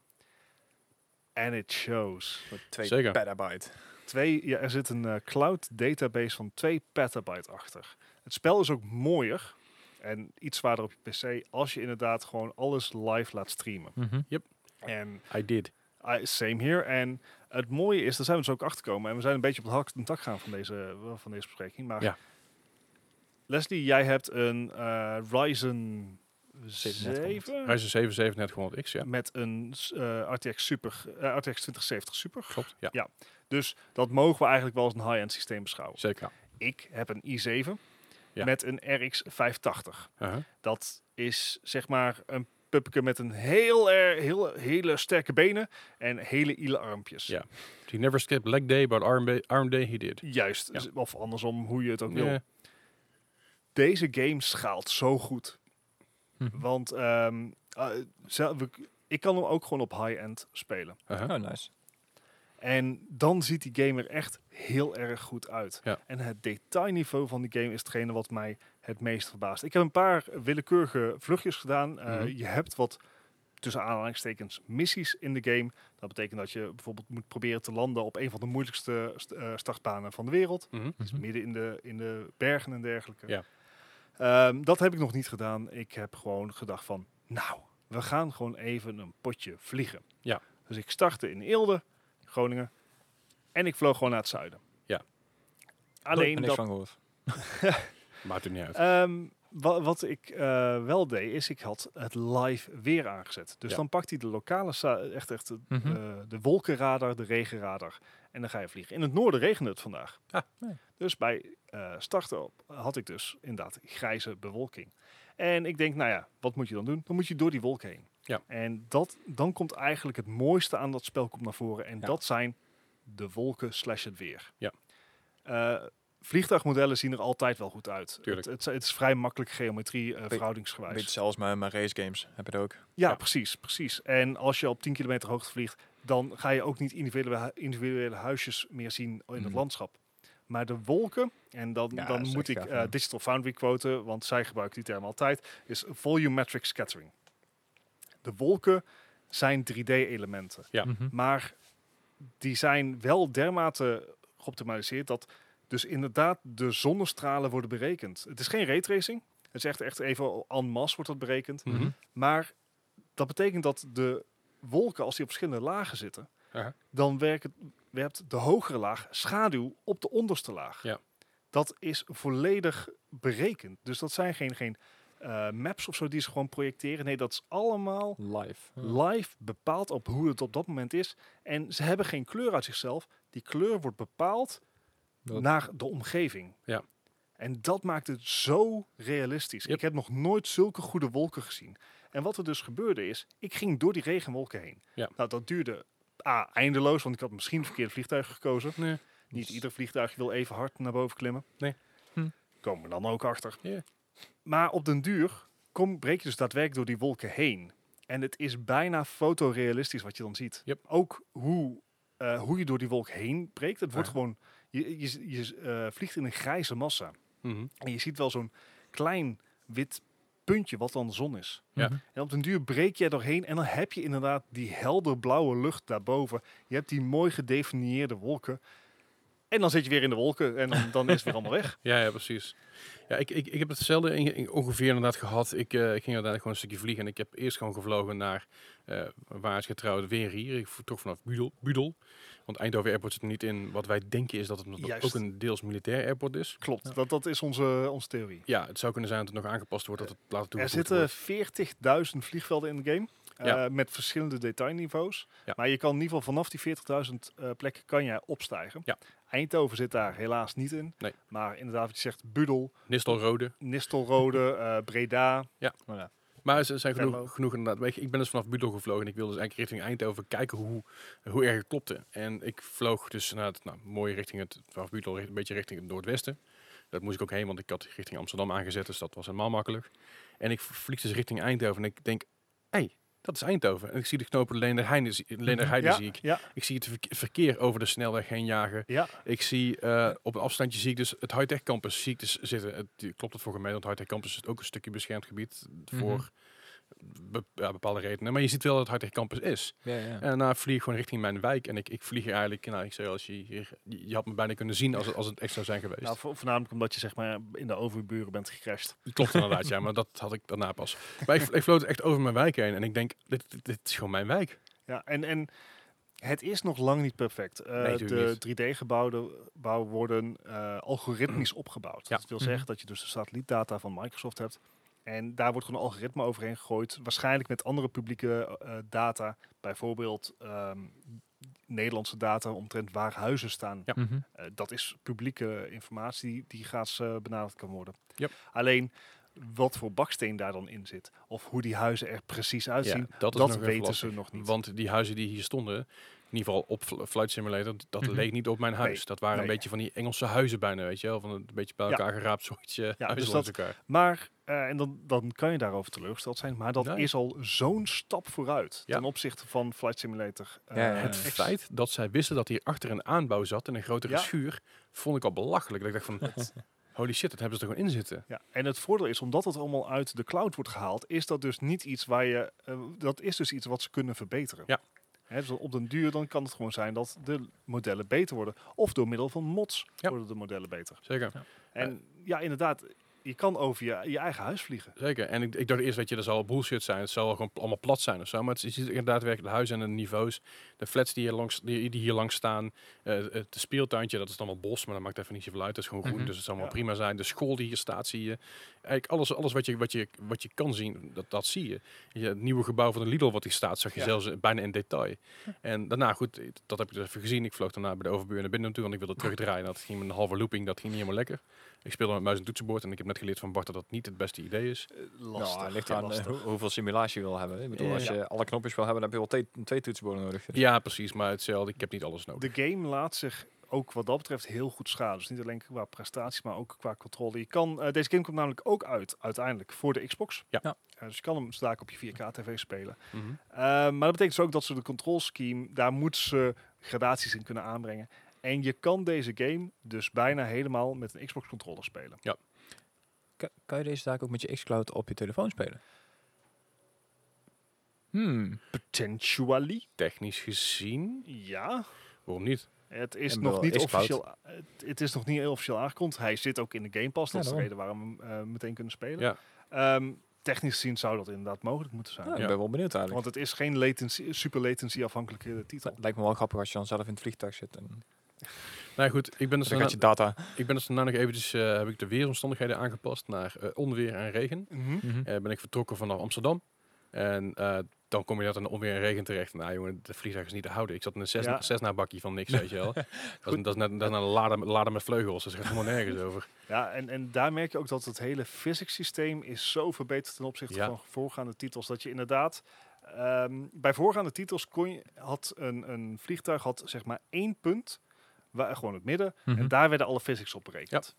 Speaker 3: En it shows.
Speaker 2: Voor twee
Speaker 1: Zeker.
Speaker 2: petabyte.
Speaker 3: Twee, ja, er zit een eh, cloud database van 2 petabyte achter. Het spel is ook mooier en iets zwaarder op je PC als je inderdaad gewoon alles live laat streamen.
Speaker 2: Mhm,
Speaker 3: En
Speaker 1: I did.
Speaker 3: I- Ah, same here. En het mooie is, daar zijn we dus ook achter gekomen. En we zijn een beetje op het hak en tak gaan van deze, eh, van deze bespreking. Maar
Speaker 1: Ja.
Speaker 3: Leslie, jij hebt een eh, Ryzen
Speaker 2: 3700.
Speaker 3: 7
Speaker 1: Ryzen 7 3700X, ja.
Speaker 3: met een s- eh, RTX, Super, eh, RTX 2070 Super.
Speaker 1: Klopt, ja.
Speaker 3: Dus dat mogen we eigenlijk wel als een high-end systeem beschouwen.
Speaker 1: Zeker.
Speaker 3: Ik heb een i7
Speaker 1: Ja.
Speaker 3: met een RX 580.
Speaker 1: Uh-huh.
Speaker 3: Dat is zeg maar een puppeke met een heel, er- heel, hele sterke benen en hele ile armpjes.
Speaker 1: Ja. He never skipped leg day, but arm, ba- arm day he did.
Speaker 3: Juist,
Speaker 1: Ja.
Speaker 3: z- of andersom, hoe je het ook
Speaker 1: Ja.
Speaker 3: wil. Deze game schaalt zo goed.
Speaker 2: Mhm.
Speaker 3: Want ehm, eh, zel- we- ik kan hem ook gewoon op high-end spelen.
Speaker 1: Uh-huh.
Speaker 2: Oh, nice.
Speaker 3: En dan ziet die game er echt heel erg goed uit.
Speaker 1: Ja.
Speaker 3: En het detailniveau van die game is hetgene wat mij het meest verbaast. Ik heb een paar willekeurige vluchtjes gedaan. Eh,
Speaker 1: Mhm.
Speaker 3: Je hebt wat tussen aanhalingstekens missies in de game. Dat betekent dat je bijvoorbeeld moet proberen te landen op een van de moeilijkste st- eh, startbanen van de wereld.
Speaker 1: Mhm.
Speaker 3: Dus midden in de, in de bergen en dergelijke.
Speaker 1: Ja.
Speaker 3: Ehm, dat heb ik nog niet gedaan. Ik heb gewoon gedacht van, nou, we gaan gewoon even een potje vliegen.
Speaker 1: Ja.
Speaker 3: Dus ik startte in Eelde, Groningen, en ik vloog gewoon naar het zuiden.
Speaker 1: Ja.
Speaker 3: Alleen
Speaker 2: niks
Speaker 3: dat,
Speaker 2: van gehoord.
Speaker 1: Maakt het niet uit.
Speaker 3: ehm, wa- wat ik eh, wel deed, is ik had het live weer aangezet. Dus
Speaker 1: Ja.
Speaker 3: dan pakt hij de lokale, za- echt, echt de,
Speaker 2: Mhm.
Speaker 3: eh, de wolkenradar, de regenradar. En dan ga je vliegen. In het noorden regende het vandaag.
Speaker 1: Ah,
Speaker 2: nee.
Speaker 3: Dus bij eh starten op had ik dus inderdaad grijze bewolking. En ik denk, nou ja, wat moet je dan doen? Dan moet je door die wolk heen.
Speaker 1: Ja.
Speaker 3: En dat, dan komt eigenlijk het mooiste aan dat spel komt naar voren. En
Speaker 2: Ja.
Speaker 3: dat zijn de wolken slash het weer.
Speaker 1: Ja.
Speaker 3: Eh, vliegtuigmodellen zien er altijd wel goed uit.
Speaker 1: Tuurlijk.
Speaker 3: Het, het, het is vrij makkelijk geometrie, eh
Speaker 2: Be-
Speaker 3: verhoudingsgewijs.
Speaker 2: Beetje zelfs mijn, mijn race games heb je het ook.
Speaker 3: Ja,
Speaker 1: Ja.
Speaker 3: precies, precies. En als je op 10 kilometer hoogte vliegt, dan ga je ook niet individuele, hu- individuele huisjes meer zien in het
Speaker 2: Mhm.
Speaker 3: landschap. Maar de wolken, en dan,
Speaker 2: Ja,
Speaker 3: dan
Speaker 2: dat is
Speaker 3: moet
Speaker 2: echt
Speaker 3: ik
Speaker 2: gaaf,
Speaker 3: eh,
Speaker 2: ja.
Speaker 3: Digital Foundry quoten, want zij gebruikt die term altijd, is volumetric scattering. De wolken zijn 3D-elementen,
Speaker 1: Ja.
Speaker 2: Mhm.
Speaker 3: maar die zijn wel dermate geoptimaliseerd dat dus inderdaad de zonnestralen worden berekend. Het is geen raytracing, Het is echt, echt even en masse wordt dat berekend.
Speaker 1: Mhm.
Speaker 3: Maar dat betekent dat de wolken, als die op verschillende lagen zitten,
Speaker 1: Aha.
Speaker 3: dan werkt, werpt de hogere laag schaduw op de onderste laag.
Speaker 1: Ja.
Speaker 3: Dat is volledig berekend. Dus dat zijn geen, geen eh, maps of zo die ze gewoon projecteren. Nee, dat is allemaal
Speaker 2: Live.
Speaker 3: live bepaald op hoe het op dat moment is. En ze hebben geen kleur uit zichzelf. Die kleur wordt bepaald
Speaker 2: Dat-
Speaker 3: naar de omgeving.
Speaker 1: Ja.
Speaker 3: En dat maakt het zo realistisch.
Speaker 1: Yep.
Speaker 3: Ik heb nog nooit zulke goede wolken gezien. En wat er dus gebeurde is, ik ging door die regenwolken heen.
Speaker 1: Ja.
Speaker 3: Nou, dat duurde A, eindeloos, want ik had misschien het verkeerde vliegtuig gekozen.
Speaker 1: Nee.
Speaker 3: Niet ieder vliegtuig wil even hard naar boven klimmen.
Speaker 1: Dus- Nee.
Speaker 2: Hm.
Speaker 3: Komen we dan ook achter.
Speaker 1: Ja.
Speaker 3: Maar op den duur kom, breek je dus daadwerkelijk door die wolken heen. En het is bijna fotorealistisch wat je dan ziet.
Speaker 1: Yep.
Speaker 3: Ook hoe, eh, hoe je door die wolk heen breekt. Het wordt
Speaker 1: Ja.
Speaker 3: gewoon... Je, je, je eh, vliegt in een grijze massa.
Speaker 1: Mhm.
Speaker 3: En je ziet wel zo'n klein wit puntje wat dan de zon is.
Speaker 1: Ja.
Speaker 3: En op den duur breek jij doorheen en dan heb je inderdaad die helderblauwe lucht daarboven. Je hebt die mooi gedefinieerde wolken. En dan zit je weer in de wolken en dan, dan is het weer allemaal weg.
Speaker 1: Ja, ja, precies. Ja, ik, ik, ik heb hetzelfde in- in- ongeveer inderdaad gehad. Ik, eh, ik ging uiteindelijk gewoon een stukje vliegen. En ik heb eerst gewoon gevlogen naar eh, waar is getrouwd weer hier. Ik vertrok vanaf Budel. Budel. Want Eindhoven Airport zit er niet in. Wat wij denken is dat het omdat het
Speaker 3: Juist.
Speaker 1: ook een deels militair airport is.
Speaker 3: Klopt, dat, dat is onze, onze theorie.
Speaker 1: Ja, het zou kunnen zijn dat het nog aangepast wordt dat het later toe
Speaker 3: Eh, Er zitten 40.000 vliegvelden in de game. eh,
Speaker 1: Ja.
Speaker 3: met verschillende detailniveaus.
Speaker 1: Ja.
Speaker 3: Maar je kan in ieder geval vanaf die 40.000 eh, plekken kan jij opstijgen.
Speaker 1: Ja.
Speaker 3: Eindhoven zit daar helaas niet in.
Speaker 1: Nee.
Speaker 3: Maar inderdaad, wat je zegt, Budel,
Speaker 1: Nistelrode.
Speaker 3: Nistelrode, eh, Breda.
Speaker 1: Maar ze zijn
Speaker 3: Venlo.
Speaker 1: genoeg, genoeg inderdaad. Weet je, Ik ben dus vanaf Budel gevlogen en ik wilde dus eigenlijk richting Eindhoven kijken hoe, hoe erg het klopte. En ik vloog dus naar het, nou, mooi richting het, vanaf Budel richt- een beetje richting het noordwesten. Dat moest ik ook heen, want ik had richting Amsterdam aangezet, dus dat was helemaal makkelijk. En ik vlieg dus richting Eindhoven en ik denk, hé, hey, dat is Eindhoven. En ik zie de knopen Leenderheide zie Leenderheide
Speaker 3: ja,
Speaker 1: zie ik.
Speaker 3: ja,
Speaker 1: Ik zie het verke- verkeer over de snelweg heen jagen.
Speaker 3: ja,
Speaker 1: Ik zie eh, op een afstandje zie ik dus het high-tech campus zie ik dus zitten. Het, die- klopt het voor mij, want high-tech campus is ook een stukje beschermd gebied voor be- ja, bepaalde redenen. Maar je ziet wel dat het high-tech campus is.
Speaker 2: Ja, ja.
Speaker 1: En daarna vlieg ik gewoon richting mijn wijk en ik, ik vlieg hier eigenlijk, nou ik zei als je hier, je je had me bijna kunnen zien als het, als het echt zou zijn geweest.
Speaker 3: Nou, vo- voornamelijk omdat je zeg maar in de overburen bent gecrashed.
Speaker 1: Klopt inderdaad, ja, maar dat had ik daarna pas. Maar ik, ik floot echt over mijn wijk heen en ik denk, dit, dit, dit is gewoon mijn wijk.
Speaker 3: Ja, en, en het is nog lang niet perfect. Eh,
Speaker 1: natuurlijk
Speaker 3: de
Speaker 1: niet.
Speaker 3: 3D-gebouwen worden eh, algoritmisch opgebouwd.
Speaker 1: Ja. Mhm.
Speaker 3: Dat wil zeggen dat je dus de satellietdata van Microsoft hebt. En daar wordt gewoon een algoritme overheen gegooid. Waarschijnlijk met andere publieke eh, data. Bijvoorbeeld ehm, Nederlandse data omtrent waar huizen staan.
Speaker 1: Ja.
Speaker 2: Mhm.
Speaker 3: Eh, dat is publieke informatie die, die gratis eh, benaderd kan worden.
Speaker 1: Yep.
Speaker 3: Alleen wat voor baksteen daar dan in zit. Of hoe die huizen er precies uitzien.
Speaker 1: Ja, dat is nog
Speaker 3: dat
Speaker 1: even
Speaker 3: weten
Speaker 1: lastig.
Speaker 3: ze nog niet.
Speaker 1: Want die huizen die hier stonden, in ieder geval op Fl- Flight Simulator, d- dat
Speaker 2: Mhm.
Speaker 1: leek niet op mijn huis.
Speaker 3: Nee,
Speaker 1: Dat waren een
Speaker 3: nee.
Speaker 1: beetje van die Engelse huizen bijna, weet je wel. Van een beetje bij
Speaker 3: Ja.
Speaker 1: elkaar geraapt soort eh, huizen
Speaker 3: dus
Speaker 1: langs
Speaker 3: dat-
Speaker 1: elkaar.
Speaker 3: Maar, eh, en dan, dan kan je daarover teleurgesteld zijn, maar dat
Speaker 1: Nee.
Speaker 3: is al zo'n stap vooruit
Speaker 1: Ja.
Speaker 3: ten opzichte van Flight Simulator. eh,
Speaker 2: Ja, ja, ja.
Speaker 1: Het
Speaker 2: eh,
Speaker 3: X.
Speaker 1: feit dat zij wisten dat hier achter een aanbouw zat en een grotere
Speaker 3: Ja.
Speaker 1: schuur, vond ik al belachelijk. Dat ik dacht van, holy shit, dat hebben ze er gewoon in zitten.
Speaker 3: Ja, en het voordeel is, omdat het allemaal uit de cloud wordt gehaald, is dat dus niet iets waar je, eh, dat is dus iets wat ze kunnen verbeteren.
Speaker 1: Ja.
Speaker 3: Hè, dus op den duur dan kan het gewoon zijn dat de modellen beter worden. Of door middel van mods
Speaker 1: Ja.
Speaker 3: worden de modellen beter.
Speaker 1: Zeker.
Speaker 3: En ja, inderdaad, je kan over je, je eigen huis vliegen.
Speaker 1: Zeker. En ik, ik dacht eerst, weet je, dat zal bullshit zijn. Het zal wel gewoon pl- allemaal plat zijn of zo. Maar het, je ziet ook inderdaad werkelijk de huizen en de niveaus. De flats die hier langs, die, die hier langs staan. eh, het speeltuintje, dat is allemaal bos. Maar dat maakt even niet zoveel uit. Het is gewoon groen,
Speaker 2: Mhm.
Speaker 1: dus het zal allemaal
Speaker 3: Ja.
Speaker 1: prima zijn. De school die hier staat, zie je. Eigenlijk alles, alles wat, je, wat, je, wat je kan zien, dat, dat zie je. je. Het nieuwe gebouw van de Lidl wat hier staat, zag je
Speaker 3: Ja. Hm.
Speaker 1: zelfs bijna in detail. En daarna, goed, dat heb ik dus even gezien. Ik vloog daarna bij de overbuur naar binnen toe, want ik wilde terugdraaien. Dat ging met een halve looping, dat ging niet helemaal lekker. Ik speelde met muis en toetsenbord en ik heb net geleerd van Bart dat dat niet het beste idee is.
Speaker 3: Eh, Lastig.
Speaker 2: Nou, het ligt
Speaker 3: ja,
Speaker 2: aan eh,
Speaker 3: lastig.
Speaker 2: hoe- hoeveel simulatie je wil hebben. Ik bedoel,
Speaker 1: Ja.
Speaker 2: als je alle knopjes wil hebben, dan heb je wel twee, twee toetsenborden nodig.
Speaker 1: Ja, precies. Maar hetzelfde, ik heb niet
Speaker 2: eh,
Speaker 1: alles nodig.
Speaker 3: De game laat zich ook wat dat betreft heel goed schalen. Dus niet alleen qua prestaties, maar ook qua controle. Je kan, eh, deze game komt namelijk ook uit uiteindelijk voor de Xbox.
Speaker 1: Ja.
Speaker 2: Ja.
Speaker 3: Eh, dus je kan hem straks op je 4K TV spelen.
Speaker 2: Mhm.
Speaker 3: Eh, maar dat betekent dus ook dat ze de control scheme, daar moet ze gradaties in kunnen aanbrengen. En je kan deze game dus bijna helemaal met een Xbox controller spelen.
Speaker 2: Kan, kan je deze zaak ook met je xCloud op je telefoon spelen? Hmm.
Speaker 3: Potentially?
Speaker 1: Technisch gezien,
Speaker 3: Ja.
Speaker 1: waarom niet?
Speaker 3: Het is
Speaker 2: En
Speaker 3: nog
Speaker 2: wel,
Speaker 3: niet
Speaker 2: is cloud.
Speaker 3: officieel. Het, het is nog niet heel officieel aangekondigd. Hij zit ook in de Game Pass.
Speaker 2: Ja,
Speaker 3: Dat is de
Speaker 2: daarom.
Speaker 3: reden waarom we hem eh, meteen kunnen spelen.
Speaker 1: Ja.
Speaker 3: Ehm, technisch gezien zou dat inderdaad mogelijk moeten zijn.
Speaker 2: Ja,
Speaker 1: Ja.
Speaker 2: Ah, Ik ben wel benieuwd eigenlijk.
Speaker 3: Want het is geen latency, super latency afhankelijke titel.
Speaker 2: Het lijkt me wel grappig als je dan zelf in het vliegtuig zit. En
Speaker 1: Nou ja, goed, ik ben dus
Speaker 2: dan gaat je
Speaker 1: daarna,
Speaker 2: data.
Speaker 1: ik ben dus daarna nog eventjes, eh, heb ik de weersomstandigheden aangepast naar eh, onweer en
Speaker 2: Mhm.
Speaker 1: regen. Eh, ben ik vertrokken vanaf Amsterdam. En eh, dan kom je dat in de onweer en regen terecht. Nou jongen, de vliegtuig is niet te houden. Ik zat in een Cessna,
Speaker 3: Ja.
Speaker 1: Cessna bakje van niks, weet je wel. dat, is, een- dat, is net, dat is een lader, met- lader met vleugels. Dus er gaat helemaal nergens over.
Speaker 3: Ja, en, en daar merk je ook dat het hele physics systeem is zo verbeterd ten opzichte
Speaker 1: Ja.
Speaker 3: van voorgaande titels. Dat je inderdaad, ehm, bij voorgaande titels kon je, had een, een vliegtuig had zeg maar één punt, waar, gewoon het midden,
Speaker 2: Mhm.
Speaker 3: en daar werden alle physics op berekend.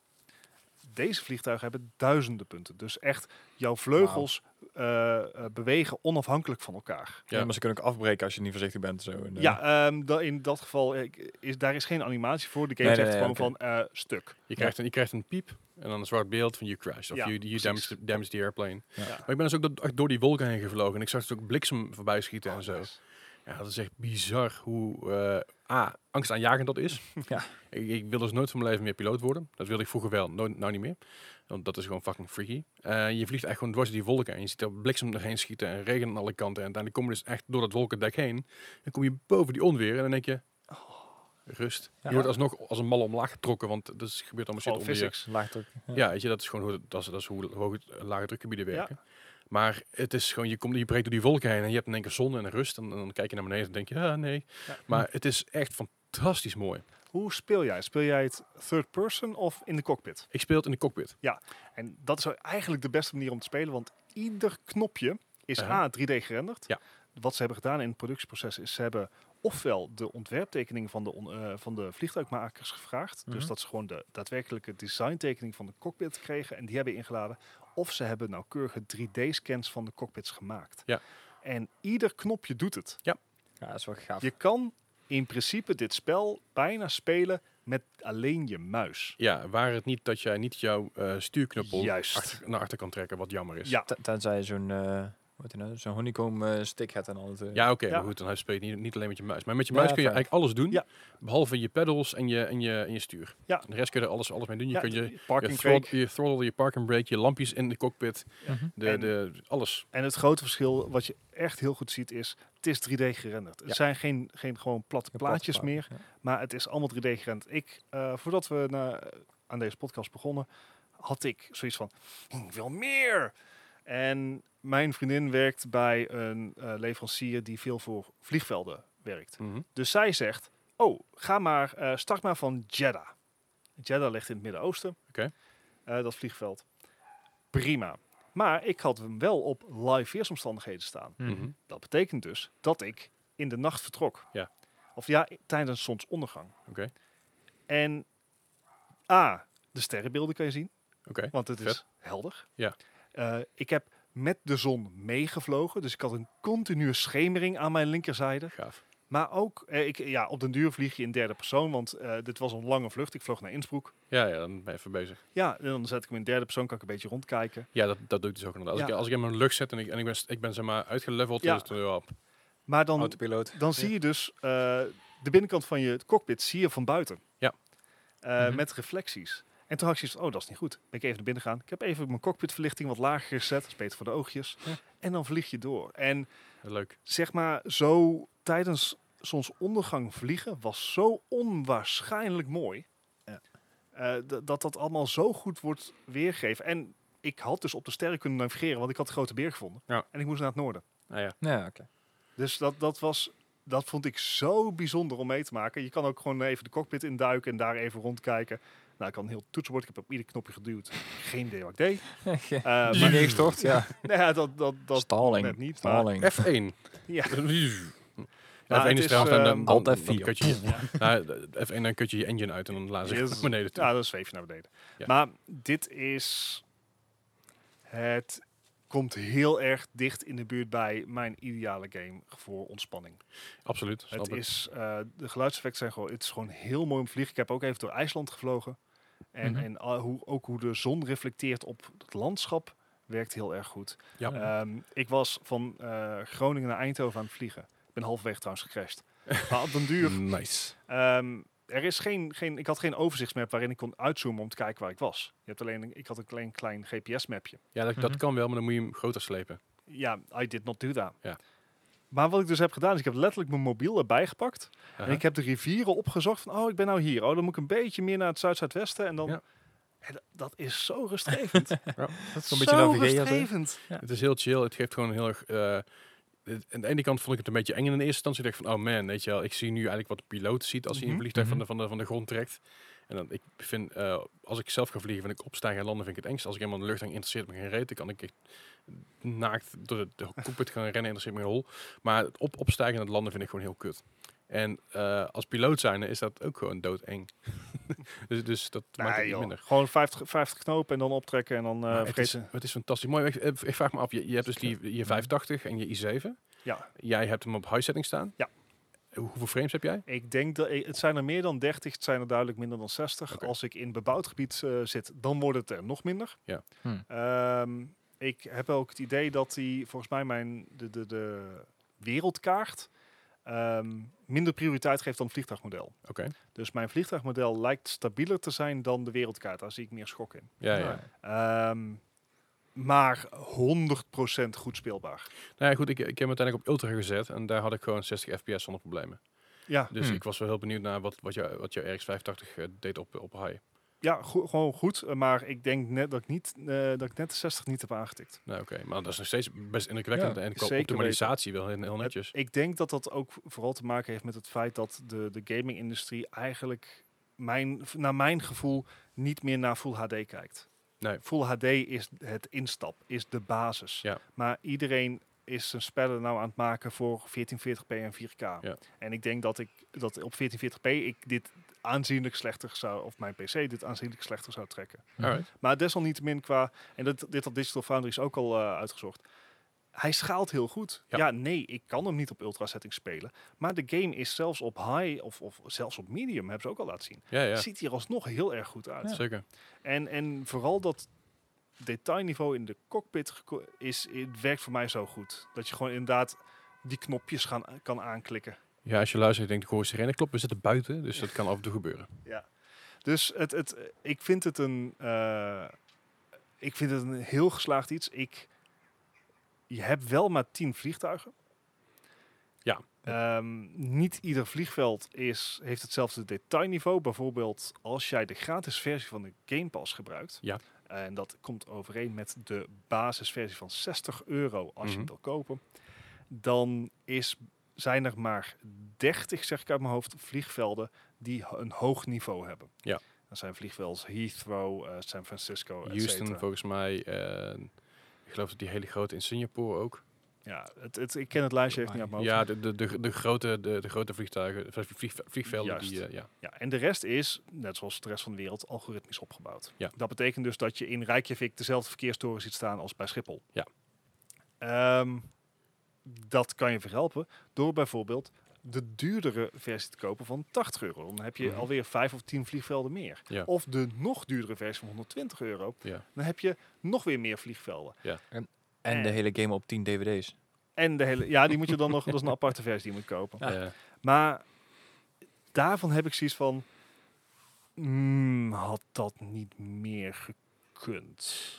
Speaker 3: Deze vliegtuigen hebben duizenden punten. Dus echt, jouw vleugels eh, eh, bewegen onafhankelijk van elkaar.
Speaker 2: Ja,
Speaker 1: Ja.
Speaker 2: maar ze kunnen ook afbreken als je niet voorzichtig bent. Zo. En, eh,
Speaker 3: Ja, ehm, da- in dat geval eh, k- is, daar is geen animatie voor. De game
Speaker 2: Nee, nee,
Speaker 3: zegt
Speaker 2: nee,
Speaker 3: gewoon
Speaker 2: oké.
Speaker 3: van eh, stuk.
Speaker 1: Je krijgt, een, je krijgt een piep en dan een zwart beeld van you crashed. Of
Speaker 3: Ja,
Speaker 1: you, you
Speaker 3: precies.
Speaker 1: damaged, the- damaged the airplane.
Speaker 2: Ja.
Speaker 1: Maar ik ben dus ook do- echt door die wolken heen gevlogen. En ik zag dus ook bliksem voorbij schieten en zo.
Speaker 3: Oh, nice.
Speaker 1: Ja, dat is echt bizar hoe eh A, angstaanjagend dat is.
Speaker 2: Ja.
Speaker 1: Ik, ik wil dus nooit van mijn leven meer piloot worden. Dat wilde ik vroeger wel, nooit, nou niet meer. Want dat is gewoon fucking freaky. Eh, je vliegt echt gewoon dwars door die wolken en je ziet dat bliksem erheen schieten en regen aan alle kanten. En uiteindelijk kom je dus echt door dat wolkendek heen. Dan kom je boven die onweer en dan denk je, rust.
Speaker 2: Oh. Ja.
Speaker 1: Je wordt alsnog als een malle omlaag getrokken, want dat is- gebeurt allemaal shit
Speaker 3: Gewoon
Speaker 1: onder je,
Speaker 3: physics.
Speaker 2: Laag druk. Ja.
Speaker 1: ja, weet je, dat is gewoon hoe, dat is, dat is hoe hoog het lage drukgebieden
Speaker 3: Ja.
Speaker 1: werken. Maar het is gewoon, je, komt, je breekt door die wolken heen en je hebt in één keer zon en rust. En, dan kijk je naar beneden en denk je, ah nee.
Speaker 3: Ja.
Speaker 1: Maar het is echt fantastisch mooi.
Speaker 3: Hoe speel jij? Speel jij het third person of in de cockpit?
Speaker 1: Ik speel het in de cockpit.
Speaker 3: En dat is eigenlijk de beste manier om te spelen, want ieder knopje is
Speaker 1: Ja.
Speaker 3: A, 3D gerenderd.
Speaker 1: Ja.
Speaker 3: Wat ze hebben gedaan in het productieproces is ze hebben ofwel de ontwerptekeningen van de, on- eh, van de vliegtuigmakers gevraagd. Dus
Speaker 2: Mhm.
Speaker 3: dat ze gewoon de daadwerkelijke designtekening van de cockpit kregen en die hebben ingeladen. Of ze hebben nauwkeurige 3D-scans van de cockpits gemaakt.
Speaker 1: Ja.
Speaker 3: En ieder knopje doet het.
Speaker 2: ja, dat is wel gaaf.
Speaker 3: Je kan in principe dit spel bijna spelen met alleen je muis.
Speaker 1: Ja, waar het niet dat jij niet jouw eh, stuurknuppel
Speaker 3: Juist.
Speaker 1: achter- naar achter kan trekken, wat jammer is.
Speaker 3: Ja,
Speaker 2: Ten- Tenzij je zo'n eh, wat je nou, zo'n honeycomb eh, stick hebt en al het. eh,
Speaker 1: Ja, oké,
Speaker 3: Ja.
Speaker 1: maar goed, dan speel je niet, niet alleen met je muis. Maar met je
Speaker 2: Ja,
Speaker 1: muis kun je
Speaker 2: fijn.
Speaker 1: eigenlijk alles doen,
Speaker 3: Ja.
Speaker 1: behalve je pedals en je, en je, en je stuur.
Speaker 3: Ja.
Speaker 1: De rest kun je er alles, alles mee doen. Je
Speaker 3: ja,
Speaker 1: kunt je,
Speaker 3: de
Speaker 1: je,
Speaker 3: parking brake.
Speaker 1: throttle, je throttle, je park and brake, je lampjes in de cockpit,
Speaker 2: Mhm.
Speaker 1: de,
Speaker 3: En-
Speaker 1: de, alles.
Speaker 3: En het grote verschil wat je echt heel goed ziet is, het is 3D gerenderd. Het
Speaker 1: Ja.
Speaker 3: zijn geen, geen gewoon platte
Speaker 2: Ja,
Speaker 3: plaatjes
Speaker 2: platform.
Speaker 3: meer,
Speaker 2: Ja.
Speaker 3: maar het is allemaal 3D gerenderd. Ik, eh, voordat we na- aan deze podcast begonnen, had ik zoiets van, "Hm, ik wil meer. En mijn vriendin werkt bij een eh, leverancier die veel voor vliegvelden werkt.
Speaker 1: Mhm.
Speaker 3: Dus zij zegt, oh, ga maar, eh, start maar van Jeddah. Jeddah ligt in het Midden-Oosten,
Speaker 1: Oké.
Speaker 3: Eh, dat vliegveld. Prima. Maar ik had hem wel op live weersomstandigheden staan.
Speaker 1: Mhm.
Speaker 3: Dat betekent dus dat ik in de nacht vertrok.
Speaker 1: Ja.
Speaker 3: Of ja, i- tijdens zonsondergang.
Speaker 1: Oké.
Speaker 3: En A, de sterrenbeelden kan je zien,
Speaker 1: Oké.
Speaker 3: want het is
Speaker 1: Vet.
Speaker 3: helder.
Speaker 1: Ja.
Speaker 3: Eh, ik heb met de zon meegevlogen, dus ik had een continue schemering aan mijn linkerzijde.
Speaker 1: Gaaf.
Speaker 3: Maar ook, eh, ik, ja, op den duur vlieg je in derde persoon, want eh, dit was een lange vlucht. Ik vloog naar Innsbruck.
Speaker 1: Ja, ja, dan ben je even bezig.
Speaker 3: Ja, en dan zet ik hem in derde persoon, kan ik een beetje rondkijken.
Speaker 1: Ja, dat, dat doe ik dus ook inderdaad. Als, ik,
Speaker 3: Ja.
Speaker 1: als ik in mijn lucht zet en ik, en ik ben, ik ben zeg maar uitgeleveld,
Speaker 3: Ja.
Speaker 1: dus dan, ja,
Speaker 3: Maar dan,
Speaker 2: Autopiloot.
Speaker 3: dan zie je dus eh, de binnenkant van je cockpit zie je van buiten.
Speaker 1: Ja.
Speaker 3: Eh,
Speaker 2: Mhm.
Speaker 3: Met reflecties. En toen had ik zoiets van, oh, dat is niet goed. Ben ik even naar binnen gaan. Ik heb even mijn cockpitverlichting wat lager gezet. Dat is beter voor de oogjes.
Speaker 1: Ja.
Speaker 3: En dan vlieg je door. En
Speaker 1: leuk.
Speaker 3: zeg maar, zo tijdens zonsondergang vliegen was zo onwaarschijnlijk mooi.
Speaker 2: Ja.
Speaker 3: Eh, d- dat dat allemaal zo goed wordt weergegeven. En ik had dus op de sterren kunnen navigeren, want ik had de grote beer gevonden.
Speaker 1: Ja.
Speaker 3: En ik moest naar het noorden.
Speaker 1: Nou ja,
Speaker 2: Ja, oké.
Speaker 3: Dus dat, dat was. Dat vond ik zo bijzonder om mee te maken. Je kan ook gewoon even de cockpit induiken en daar even rondkijken. Nou, ik kan een heel toetsenbord. Ik heb op ieder knopje geduwd. Geen idee wat ik deed.
Speaker 2: Okay.
Speaker 3: Eh, maar-
Speaker 2: maar neergestort, ja.
Speaker 3: nou ja, dat, dat, dat
Speaker 2: Stalling.
Speaker 3: net niet. Maar,
Speaker 2: Stalling.
Speaker 1: F1.
Speaker 3: ja.
Speaker 1: Nou,
Speaker 3: Nou,
Speaker 1: Ja, F1
Speaker 3: het
Speaker 1: is
Speaker 3: is,
Speaker 1: trouwens dan- dan-
Speaker 3: ehm,
Speaker 1: dan-
Speaker 2: Alt
Speaker 1: dan
Speaker 2: F4.
Speaker 1: kut je je- Nou, de- F1, dan kut je je engine uit en dan laat ze
Speaker 3: Yes.
Speaker 1: naar beneden toe.
Speaker 3: Ja, dan zweef je naar beneden.
Speaker 1: Ja.
Speaker 3: Maar dit is. Het komt heel erg dicht in de buurt bij mijn ideale game voor ontspanning.
Speaker 1: Absoluut, snap
Speaker 3: Het
Speaker 1: ik.
Speaker 3: is, eh, de geluidseffecten zijn gewoon, het is gewoon heel mooi om te vliegen. Ik heb ook even door IJsland gevlogen. En,
Speaker 2: Mhm.
Speaker 3: en al- hoe, ook hoe de zon reflecteert op het landschap werkt heel erg goed.
Speaker 1: Ja.
Speaker 3: Ehm, ik was van eh, Groningen naar Eindhoven aan het vliegen. Ik ben halverwege trouwens gecrashed. maar op den duur,
Speaker 1: Nice.
Speaker 3: ehm, er is geen, geen, ik had geen overzichtsmap waarin ik kon uitzoomen om te kijken waar ik was. Je hebt alleen, een- ik had een klein, klein GPS-mapje.
Speaker 1: Ja, dat, dat
Speaker 2: Mhm.
Speaker 1: kan wel, maar dan moet je hem groter slepen.
Speaker 3: Ja, I did not do that.
Speaker 1: Ja.
Speaker 3: Maar wat ik dus heb gedaan, is ik heb letterlijk mijn mobiel erbij gepakt.
Speaker 1: Aha.
Speaker 3: En ik heb de rivieren opgezocht van, oh, ik ben nou hier. Oh, dan moet ik een beetje meer naar het zuid-zuidwesten. En dan...
Speaker 1: Ja.
Speaker 3: En dat- dat is zo rustgevend.
Speaker 2: Dat is
Speaker 3: zo
Speaker 2: een beetje navigeerd, hè?
Speaker 3: rustgevend.
Speaker 1: Het is heel chill. Het geeft gewoon heel erg. eh, het- aan de ene kant vond ik het een beetje eng in de eerste instantie. Ik dacht van, oh man, weet je wel, ik zie nu eigenlijk wat de piloot ziet als hij een
Speaker 3: Mhm.
Speaker 1: vliegtuig van, de,
Speaker 2: Mhm.
Speaker 1: van, de, van de grond trekt. En dan, ik vind, eh, als ik zelf ga vliegen, vind ik opstijgen en landen vind ik het engst. Als ik helemaal in de lucht hang, interesseert me geen reet. Dan kan ik echt naakt door de, de cockpit gaan rennen, interesseert me geen hol. Maar het op, opstijgen en het landen vind ik gewoon heel kut. En eh, als piloot zijnde is dat ook gewoon doodeng. dus, dus dat maakt het
Speaker 3: Nee,
Speaker 1: niet
Speaker 3: joh.
Speaker 1: minder.
Speaker 3: Gewoon 50, 50 knopen en dan optrekken en dan eh
Speaker 1: Maar Nou, het, is,
Speaker 3: vergeten.
Speaker 1: het is fantastisch. Mooi. Ik, ik ik vraag me af, je, je hebt dus die, je 85 en je i7.
Speaker 3: Mhm. Ja.
Speaker 1: Jij hebt hem op high setting staan.
Speaker 3: Ja.
Speaker 1: Hoe- hoeveel frames heb jij?
Speaker 3: Ik denk dat het zijn er meer dan 30, het zijn er duidelijk minder dan 60.
Speaker 1: Oké.
Speaker 3: Als ik in bebouwd gebied eh, zit, dan wordt het er nog minder.
Speaker 1: Ja.
Speaker 2: Hm.
Speaker 3: Ehm, ik heb ook het idee dat die, volgens mij, mijn, de, de, de wereldkaart ehm, minder prioriteit geeft dan het vliegtuigmodel.
Speaker 1: Oké.
Speaker 3: Dus mijn vliegtuigmodel lijkt stabieler te zijn dan de wereldkaart. Daar zie ik meer schok in.
Speaker 1: Nou Ja, ja.
Speaker 3: Ehm, maar 100% goed speelbaar.
Speaker 1: Nou ja, goed, ik, ik heb hem uiteindelijk op ultra gezet en daar had ik gewoon 60 fps zonder problemen.
Speaker 3: Ja,
Speaker 1: Dus
Speaker 2: Hm.
Speaker 1: ik was wel heel benieuwd naar wat, wat, jou, wat jouw RX 85 eh, deed op, op high.
Speaker 3: ja go- gewoon goed. eh, Maar ik denk net dat ik, niet, eh, dat ik net de 60 niet heb aangetikt.
Speaker 1: Nou oké, maar dat is nog steeds best indrukwekkend.
Speaker 2: Ja,
Speaker 1: en qua
Speaker 3: zeker
Speaker 1: optimalisatie wel heel, heel netjes.
Speaker 3: Ik denk dat dat ook vooral te maken heeft met het feit dat de, de gaming-industrie eigenlijk, mijn, naar mijn gevoel, niet meer naar Full HD kijkt.
Speaker 1: Nee.
Speaker 3: Full HD is het instap, is de basis.
Speaker 1: Ja.
Speaker 3: Maar iedereen is zijn spellen nou aan het maken voor 1440p en 4K.
Speaker 1: Ja.
Speaker 3: En ik denk dat ik dat op 1440p ik dit aanzienlijk slechter zou, of mijn PC dit aanzienlijk slechter zou trekken.
Speaker 1: Alright.
Speaker 3: Maar desalniettemin qua, en dat, dit had Digital Foundries ook al eh, uitgezocht. Hij schaalt heel goed.
Speaker 1: Ja.
Speaker 3: Ja. nee, ik kan hem niet op ultra setting spelen. Maar de game is zelfs op high of, of zelfs op medium, hebben ze ook al laten zien.
Speaker 1: Ja, ja,
Speaker 3: Ziet hier alsnog heel erg goed uit.
Speaker 1: zeker.
Speaker 3: En, en vooral dat detailniveau in de cockpit geko- is, het werkt voor mij zo goed. Dat je gewoon inderdaad die knopjes gaan, kan aanklikken.
Speaker 1: Ja, als je luistert, denk ik, hoor sirene klopt. We zitten buiten, dus dat kan af en toe gebeuren.
Speaker 3: Dus het, het, ik vind het een. eh, ik vind het een heel geslaagd iets. Ik, je hebt wel maar tien vliegtuigen.
Speaker 1: Ja.
Speaker 3: Ehm, niet ieder vliegveld is, heeft hetzelfde detailniveau. Bijvoorbeeld als jij de gratis versie van de Game Pass gebruikt.
Speaker 1: Ja.
Speaker 3: En dat komt overeen met de basisversie van 60 euro als je
Speaker 1: Mhm.
Speaker 3: het wil kopen. Dan is, zijn er maar 30, zeg ik uit mijn hoofd, vliegvelden die ho- een hoog niveau hebben.
Speaker 1: Ja.
Speaker 3: Dat zijn vliegvelden Heathrow, eh, San Francisco, et
Speaker 1: Houston
Speaker 3: cetera.
Speaker 1: volgens mij, eh, ik geloof dat die hele grote in Singapore ook.
Speaker 3: Ja, het, het, ik ken het lijstje even niet uit mijn hoofd.
Speaker 1: Ja, de, de, de, de, grote, de, de grote vliegtuigen, vlieg- vlieg- vliegvelden. Die,
Speaker 3: Juist.
Speaker 1: eh, ja.
Speaker 3: Ja, en de rest is, net zoals de rest van de wereld, algoritmisch opgebouwd.
Speaker 1: Ja.
Speaker 3: Dat betekent dus dat je in Reykjavik dezelfde verkeerstoren ziet staan als bij Schiphol.
Speaker 1: Ja.
Speaker 3: Ehm, dat kan je verhelpen door bijvoorbeeld de duurdere versie te kopen van 80 euro. Dan heb je
Speaker 1: Mhm.
Speaker 3: alweer 5 of 10 vliegvelden meer.
Speaker 1: Ja.
Speaker 3: Of de nog duurdere versie van 120 euro.
Speaker 1: Ja.
Speaker 3: Dan heb je nog weer meer vliegvelden.
Speaker 2: En de
Speaker 3: Eh.
Speaker 2: hele game op 10 dvd's.
Speaker 3: En de hele, ja, die moet je dan nog, dat is een aparte versie die je moet kopen.
Speaker 2: Ja.
Speaker 1: Eh,
Speaker 3: Maar daarvan heb ik zoiets van. mm, had dat niet meer gekund?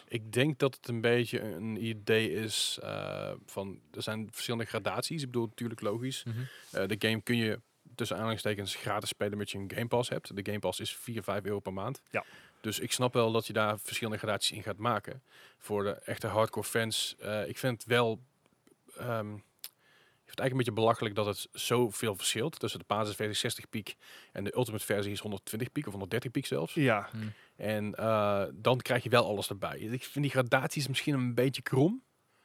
Speaker 1: ik denk dat het een beetje een- een idee is eh, van, er zijn verschillende gradaties. Ik bedoel, natuurlijk logisch.
Speaker 2: Mhm.
Speaker 1: Eh, de game kun je tussen aanhalingstekens gratis spelen met je een Game Pass hebt. De Game Pass is 4, 5 euro per maand.
Speaker 3: Ja.
Speaker 1: Dus ik snap wel dat je daar verschillende gradaties in gaat maken. Voor de echte hardcore fans, eh, ik vind het wel... ehm, ik vind het eigenlijk een beetje belachelijk dat het zoveel verschilt tussen de basisversie 60 piek en de ultimate versie is 120 piek of 130 piek zelfs.
Speaker 3: Ja,
Speaker 2: Hm.
Speaker 1: En eh, dan krijg je wel alles erbij. Ik vind die gradaties misschien een beetje krom,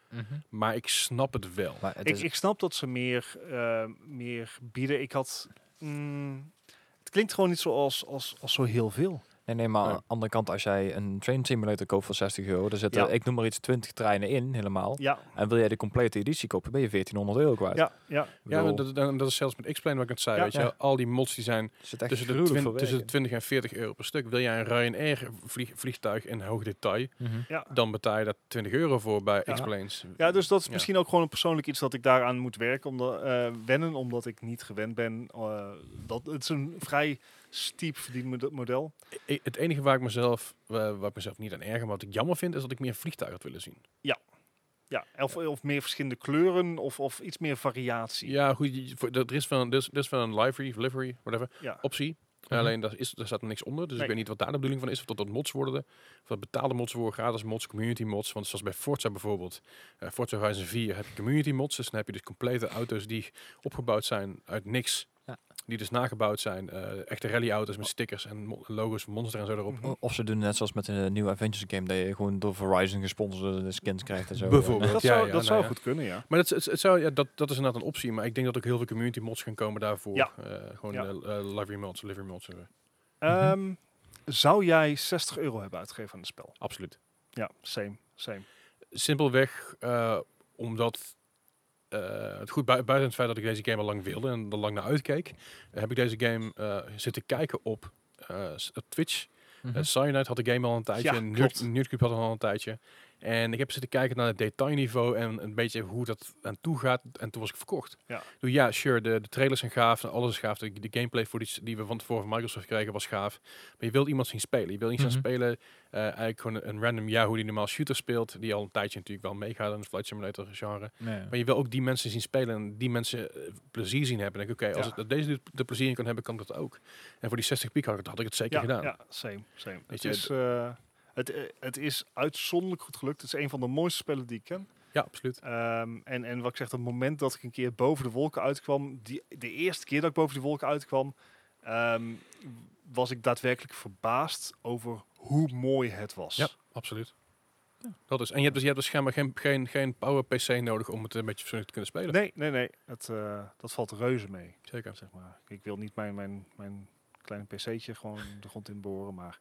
Speaker 2: Mhm.
Speaker 1: maar ik snap het wel.
Speaker 2: Maar het
Speaker 3: ik,
Speaker 2: is...
Speaker 3: ik snap dat ze meer, eh, meer bieden. Ik had. mm, het klinkt gewoon niet zo als, als, als zo heel veel.
Speaker 2: Nee, nee, maar
Speaker 1: Ja.
Speaker 2: aan de andere kant, als jij een train simulator koopt voor 60 euro, daar zitten,
Speaker 3: Ja.
Speaker 2: ik noem maar iets, 20 treinen in helemaal.
Speaker 3: Ja,
Speaker 2: En wil jij de complete editie kopen, ben je 1400 euro kwijt.
Speaker 3: ja, ja.
Speaker 2: Ik
Speaker 1: Ja,
Speaker 2: bedoel,
Speaker 1: maar dat, dat dat is zelfs met X-Plane wat ik net zei.
Speaker 3: Ja.
Speaker 1: weet je, wel. Al die mods die zijn
Speaker 2: er zit echt
Speaker 1: tussen de,
Speaker 2: gruwelijk
Speaker 1: twin-
Speaker 2: veel
Speaker 1: tussen de
Speaker 2: werk
Speaker 1: 20 en 40 euro per stuk. Wil jij een Ryanair vlieg- vliegtuig in hoog detail,
Speaker 2: in. Mhm.
Speaker 3: ja.
Speaker 1: dan betaal je daar 20 euro voor bij
Speaker 3: Ah. Ja.
Speaker 1: X-Planes.
Speaker 3: Ja, dus dat is
Speaker 1: Ja.
Speaker 3: misschien ook gewoon een persoonlijk iets dat ik daaraan moet werken, omdat, eh, wennen, omdat ik niet gewend ben. eh, dat, het is een vrij steep verdiend model.
Speaker 1: I- het enige waar ik mezelf, wa- waar ik mezelf niet aan erger, maar wat ik jammer vind, is dat ik meer vliegtuigen had willen zien.
Speaker 3: Ja, of, of meer verschillende kleuren of, of iets meer variatie.
Speaker 1: Ja, goed, je- voor- dat- er is van, dus, dus van een livery, livery, whatever,
Speaker 3: Ja.
Speaker 1: optie.
Speaker 2: Mhm.
Speaker 1: Alleen daar, is, daar staat niks onder, dus
Speaker 3: Nee.
Speaker 1: ik weet niet wat daar de bedoeling van is. Of dat dat mods worden, of dat betaalde mods worden, gratis mods, community mods. Want zoals bij Forza bijvoorbeeld, eh, Forza Horizon 4 heb je community mods. Dus dan heb je dus complete auto's die opgebouwd zijn uit niks.
Speaker 2: Ja.
Speaker 1: Die dus nagebouwd zijn. eh, echte rallyauto's met stickers en mo- logos van Monster en zo erop.
Speaker 3: Mhm.
Speaker 2: O- Of ze doen net zoals met een nieuwe Avengers game, dat je gewoon door Verizon gesponsorde skins krijgt en zo.
Speaker 1: Bijvoorbeeld.
Speaker 3: Dat
Speaker 1: Ja,
Speaker 3: zou,
Speaker 1: ja,
Speaker 3: dat
Speaker 1: nou
Speaker 3: zou
Speaker 1: ja.
Speaker 3: goed kunnen, ja.
Speaker 1: Maar dat, is- het, het zou, ja, dat, dat is inderdaad een optie. Maar ik denk dat ook heel veel community mods gaan komen daarvoor.
Speaker 3: Ja.
Speaker 1: Eh, gewoon
Speaker 3: Ja.
Speaker 1: eh eh, livery mods, livery mods. eh,
Speaker 2: Mhm.
Speaker 3: Ehm, zou jij 60 euro hebben uitgegeven aan het spel?
Speaker 1: absoluut.
Speaker 3: Ja, same, same.
Speaker 1: Simpelweg eh, omdat eh, het goed bui- buiten het feit dat ik deze game al lang wilde en er lang naar uitkeek, heb ik deze game eh, zitten kijken op eh, s- op Twitch.
Speaker 2: Mhm.
Speaker 1: Eh, Cyanide had de game al een tijdje,
Speaker 3: Ja,
Speaker 1: en
Speaker 3: klopt.
Speaker 1: Nerd- Nerdcube had het al een tijdje. En ik heb zitten kijken naar het detailniveau en een beetje hoe dat aan toe gaat. En toen was ik verkocht.
Speaker 3: Ja.
Speaker 1: Toen, ja, sure, de, de trailers zijn gaaf, alles is gaaf. De, de gameplay footage die we van tevoren van Microsoft kregen was gaaf. Maar je wilt iemand zien spelen. Je wilt niet
Speaker 2: Mhm.
Speaker 1: gaan spelen eh, eigenlijk gewoon een, een random Yahoo die normaal shooter speelt. Die al een tijdje natuurlijk wel meegaat in het Flight Simulator genre.
Speaker 2: Ja.
Speaker 1: Maar je wil ook die mensen zien spelen en die mensen eh, plezier zien hebben. Dan denk ik, oké,
Speaker 3: Ja.
Speaker 1: als het, deze de plezier in kan hebben, kan ik dat ook. En voor die 60 piek had ik, had ik het zeker
Speaker 3: ja,
Speaker 1: gedaan.
Speaker 3: ja, same, same. Het
Speaker 1: je,
Speaker 3: is, eh, het, eh, het is uitzonderlijk goed gelukt. Het is een van de mooiste spellen die ik ken.
Speaker 1: ja absoluut.
Speaker 3: Ehm, en, en wat ik zeg, het moment dat ik een keer boven de wolken uitkwam, die, de eerste keer dat ik boven de wolken uitkwam, ehm, was ik daadwerkelijk verbaasd over hoe mooi het was.
Speaker 1: Ja, absoluut. Dat is. En je hebt dus, je hebt dus schijnbaar geen, geen, geen power PC nodig om het een beetje fatsoenlijk te kunnen spelen.
Speaker 3: Nee, nee, nee. Het, eh, dat valt reuze mee,
Speaker 1: Zeker.
Speaker 3: zeg maar. Ik wil niet mijn, mijn, mijn kleine pc'tje gewoon de grond in boren, maar...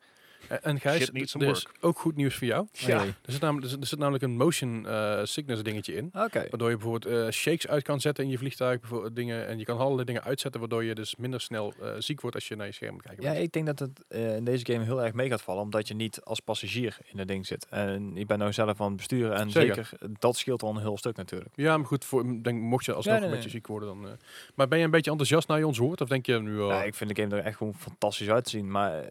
Speaker 1: En, en Gijs,
Speaker 3: Shit needs
Speaker 1: d-
Speaker 3: some
Speaker 1: er is ook goed nieuws voor jou.
Speaker 3: Ja.
Speaker 2: Oké.
Speaker 1: Er zit namelijk, er zit, er zit namelijk een motion eh, sickness dingetje in.
Speaker 2: Oké.
Speaker 1: Waardoor je bijvoorbeeld eh, shakes uit kan zetten in je vliegtuig. Bijvoorbeeld eh, dingen, en je kan allerlei dingen uitzetten, waardoor je dus minder snel eh, ziek wordt als je naar je scherm kijkt.
Speaker 2: Ja, ik denk dat het eh, in deze game heel erg mee gaat vallen, omdat je niet als passagier in het ding zit. En ik ben nou zelf aan het besturen en zeker,
Speaker 1: Zeker.
Speaker 2: dat scheelt al een heel stuk natuurlijk.
Speaker 1: ja, maar goed, voor, denk, mocht je alsnog
Speaker 2: Ja, nee,
Speaker 1: een beetje
Speaker 2: nee.
Speaker 1: ziek worden dan... eh. maar ben je een beetje enthousiast naar je ons hoort? Of denk je nu al...
Speaker 2: Ja, ik vind de game er echt gewoon fantastisch uit te zien, maar eh,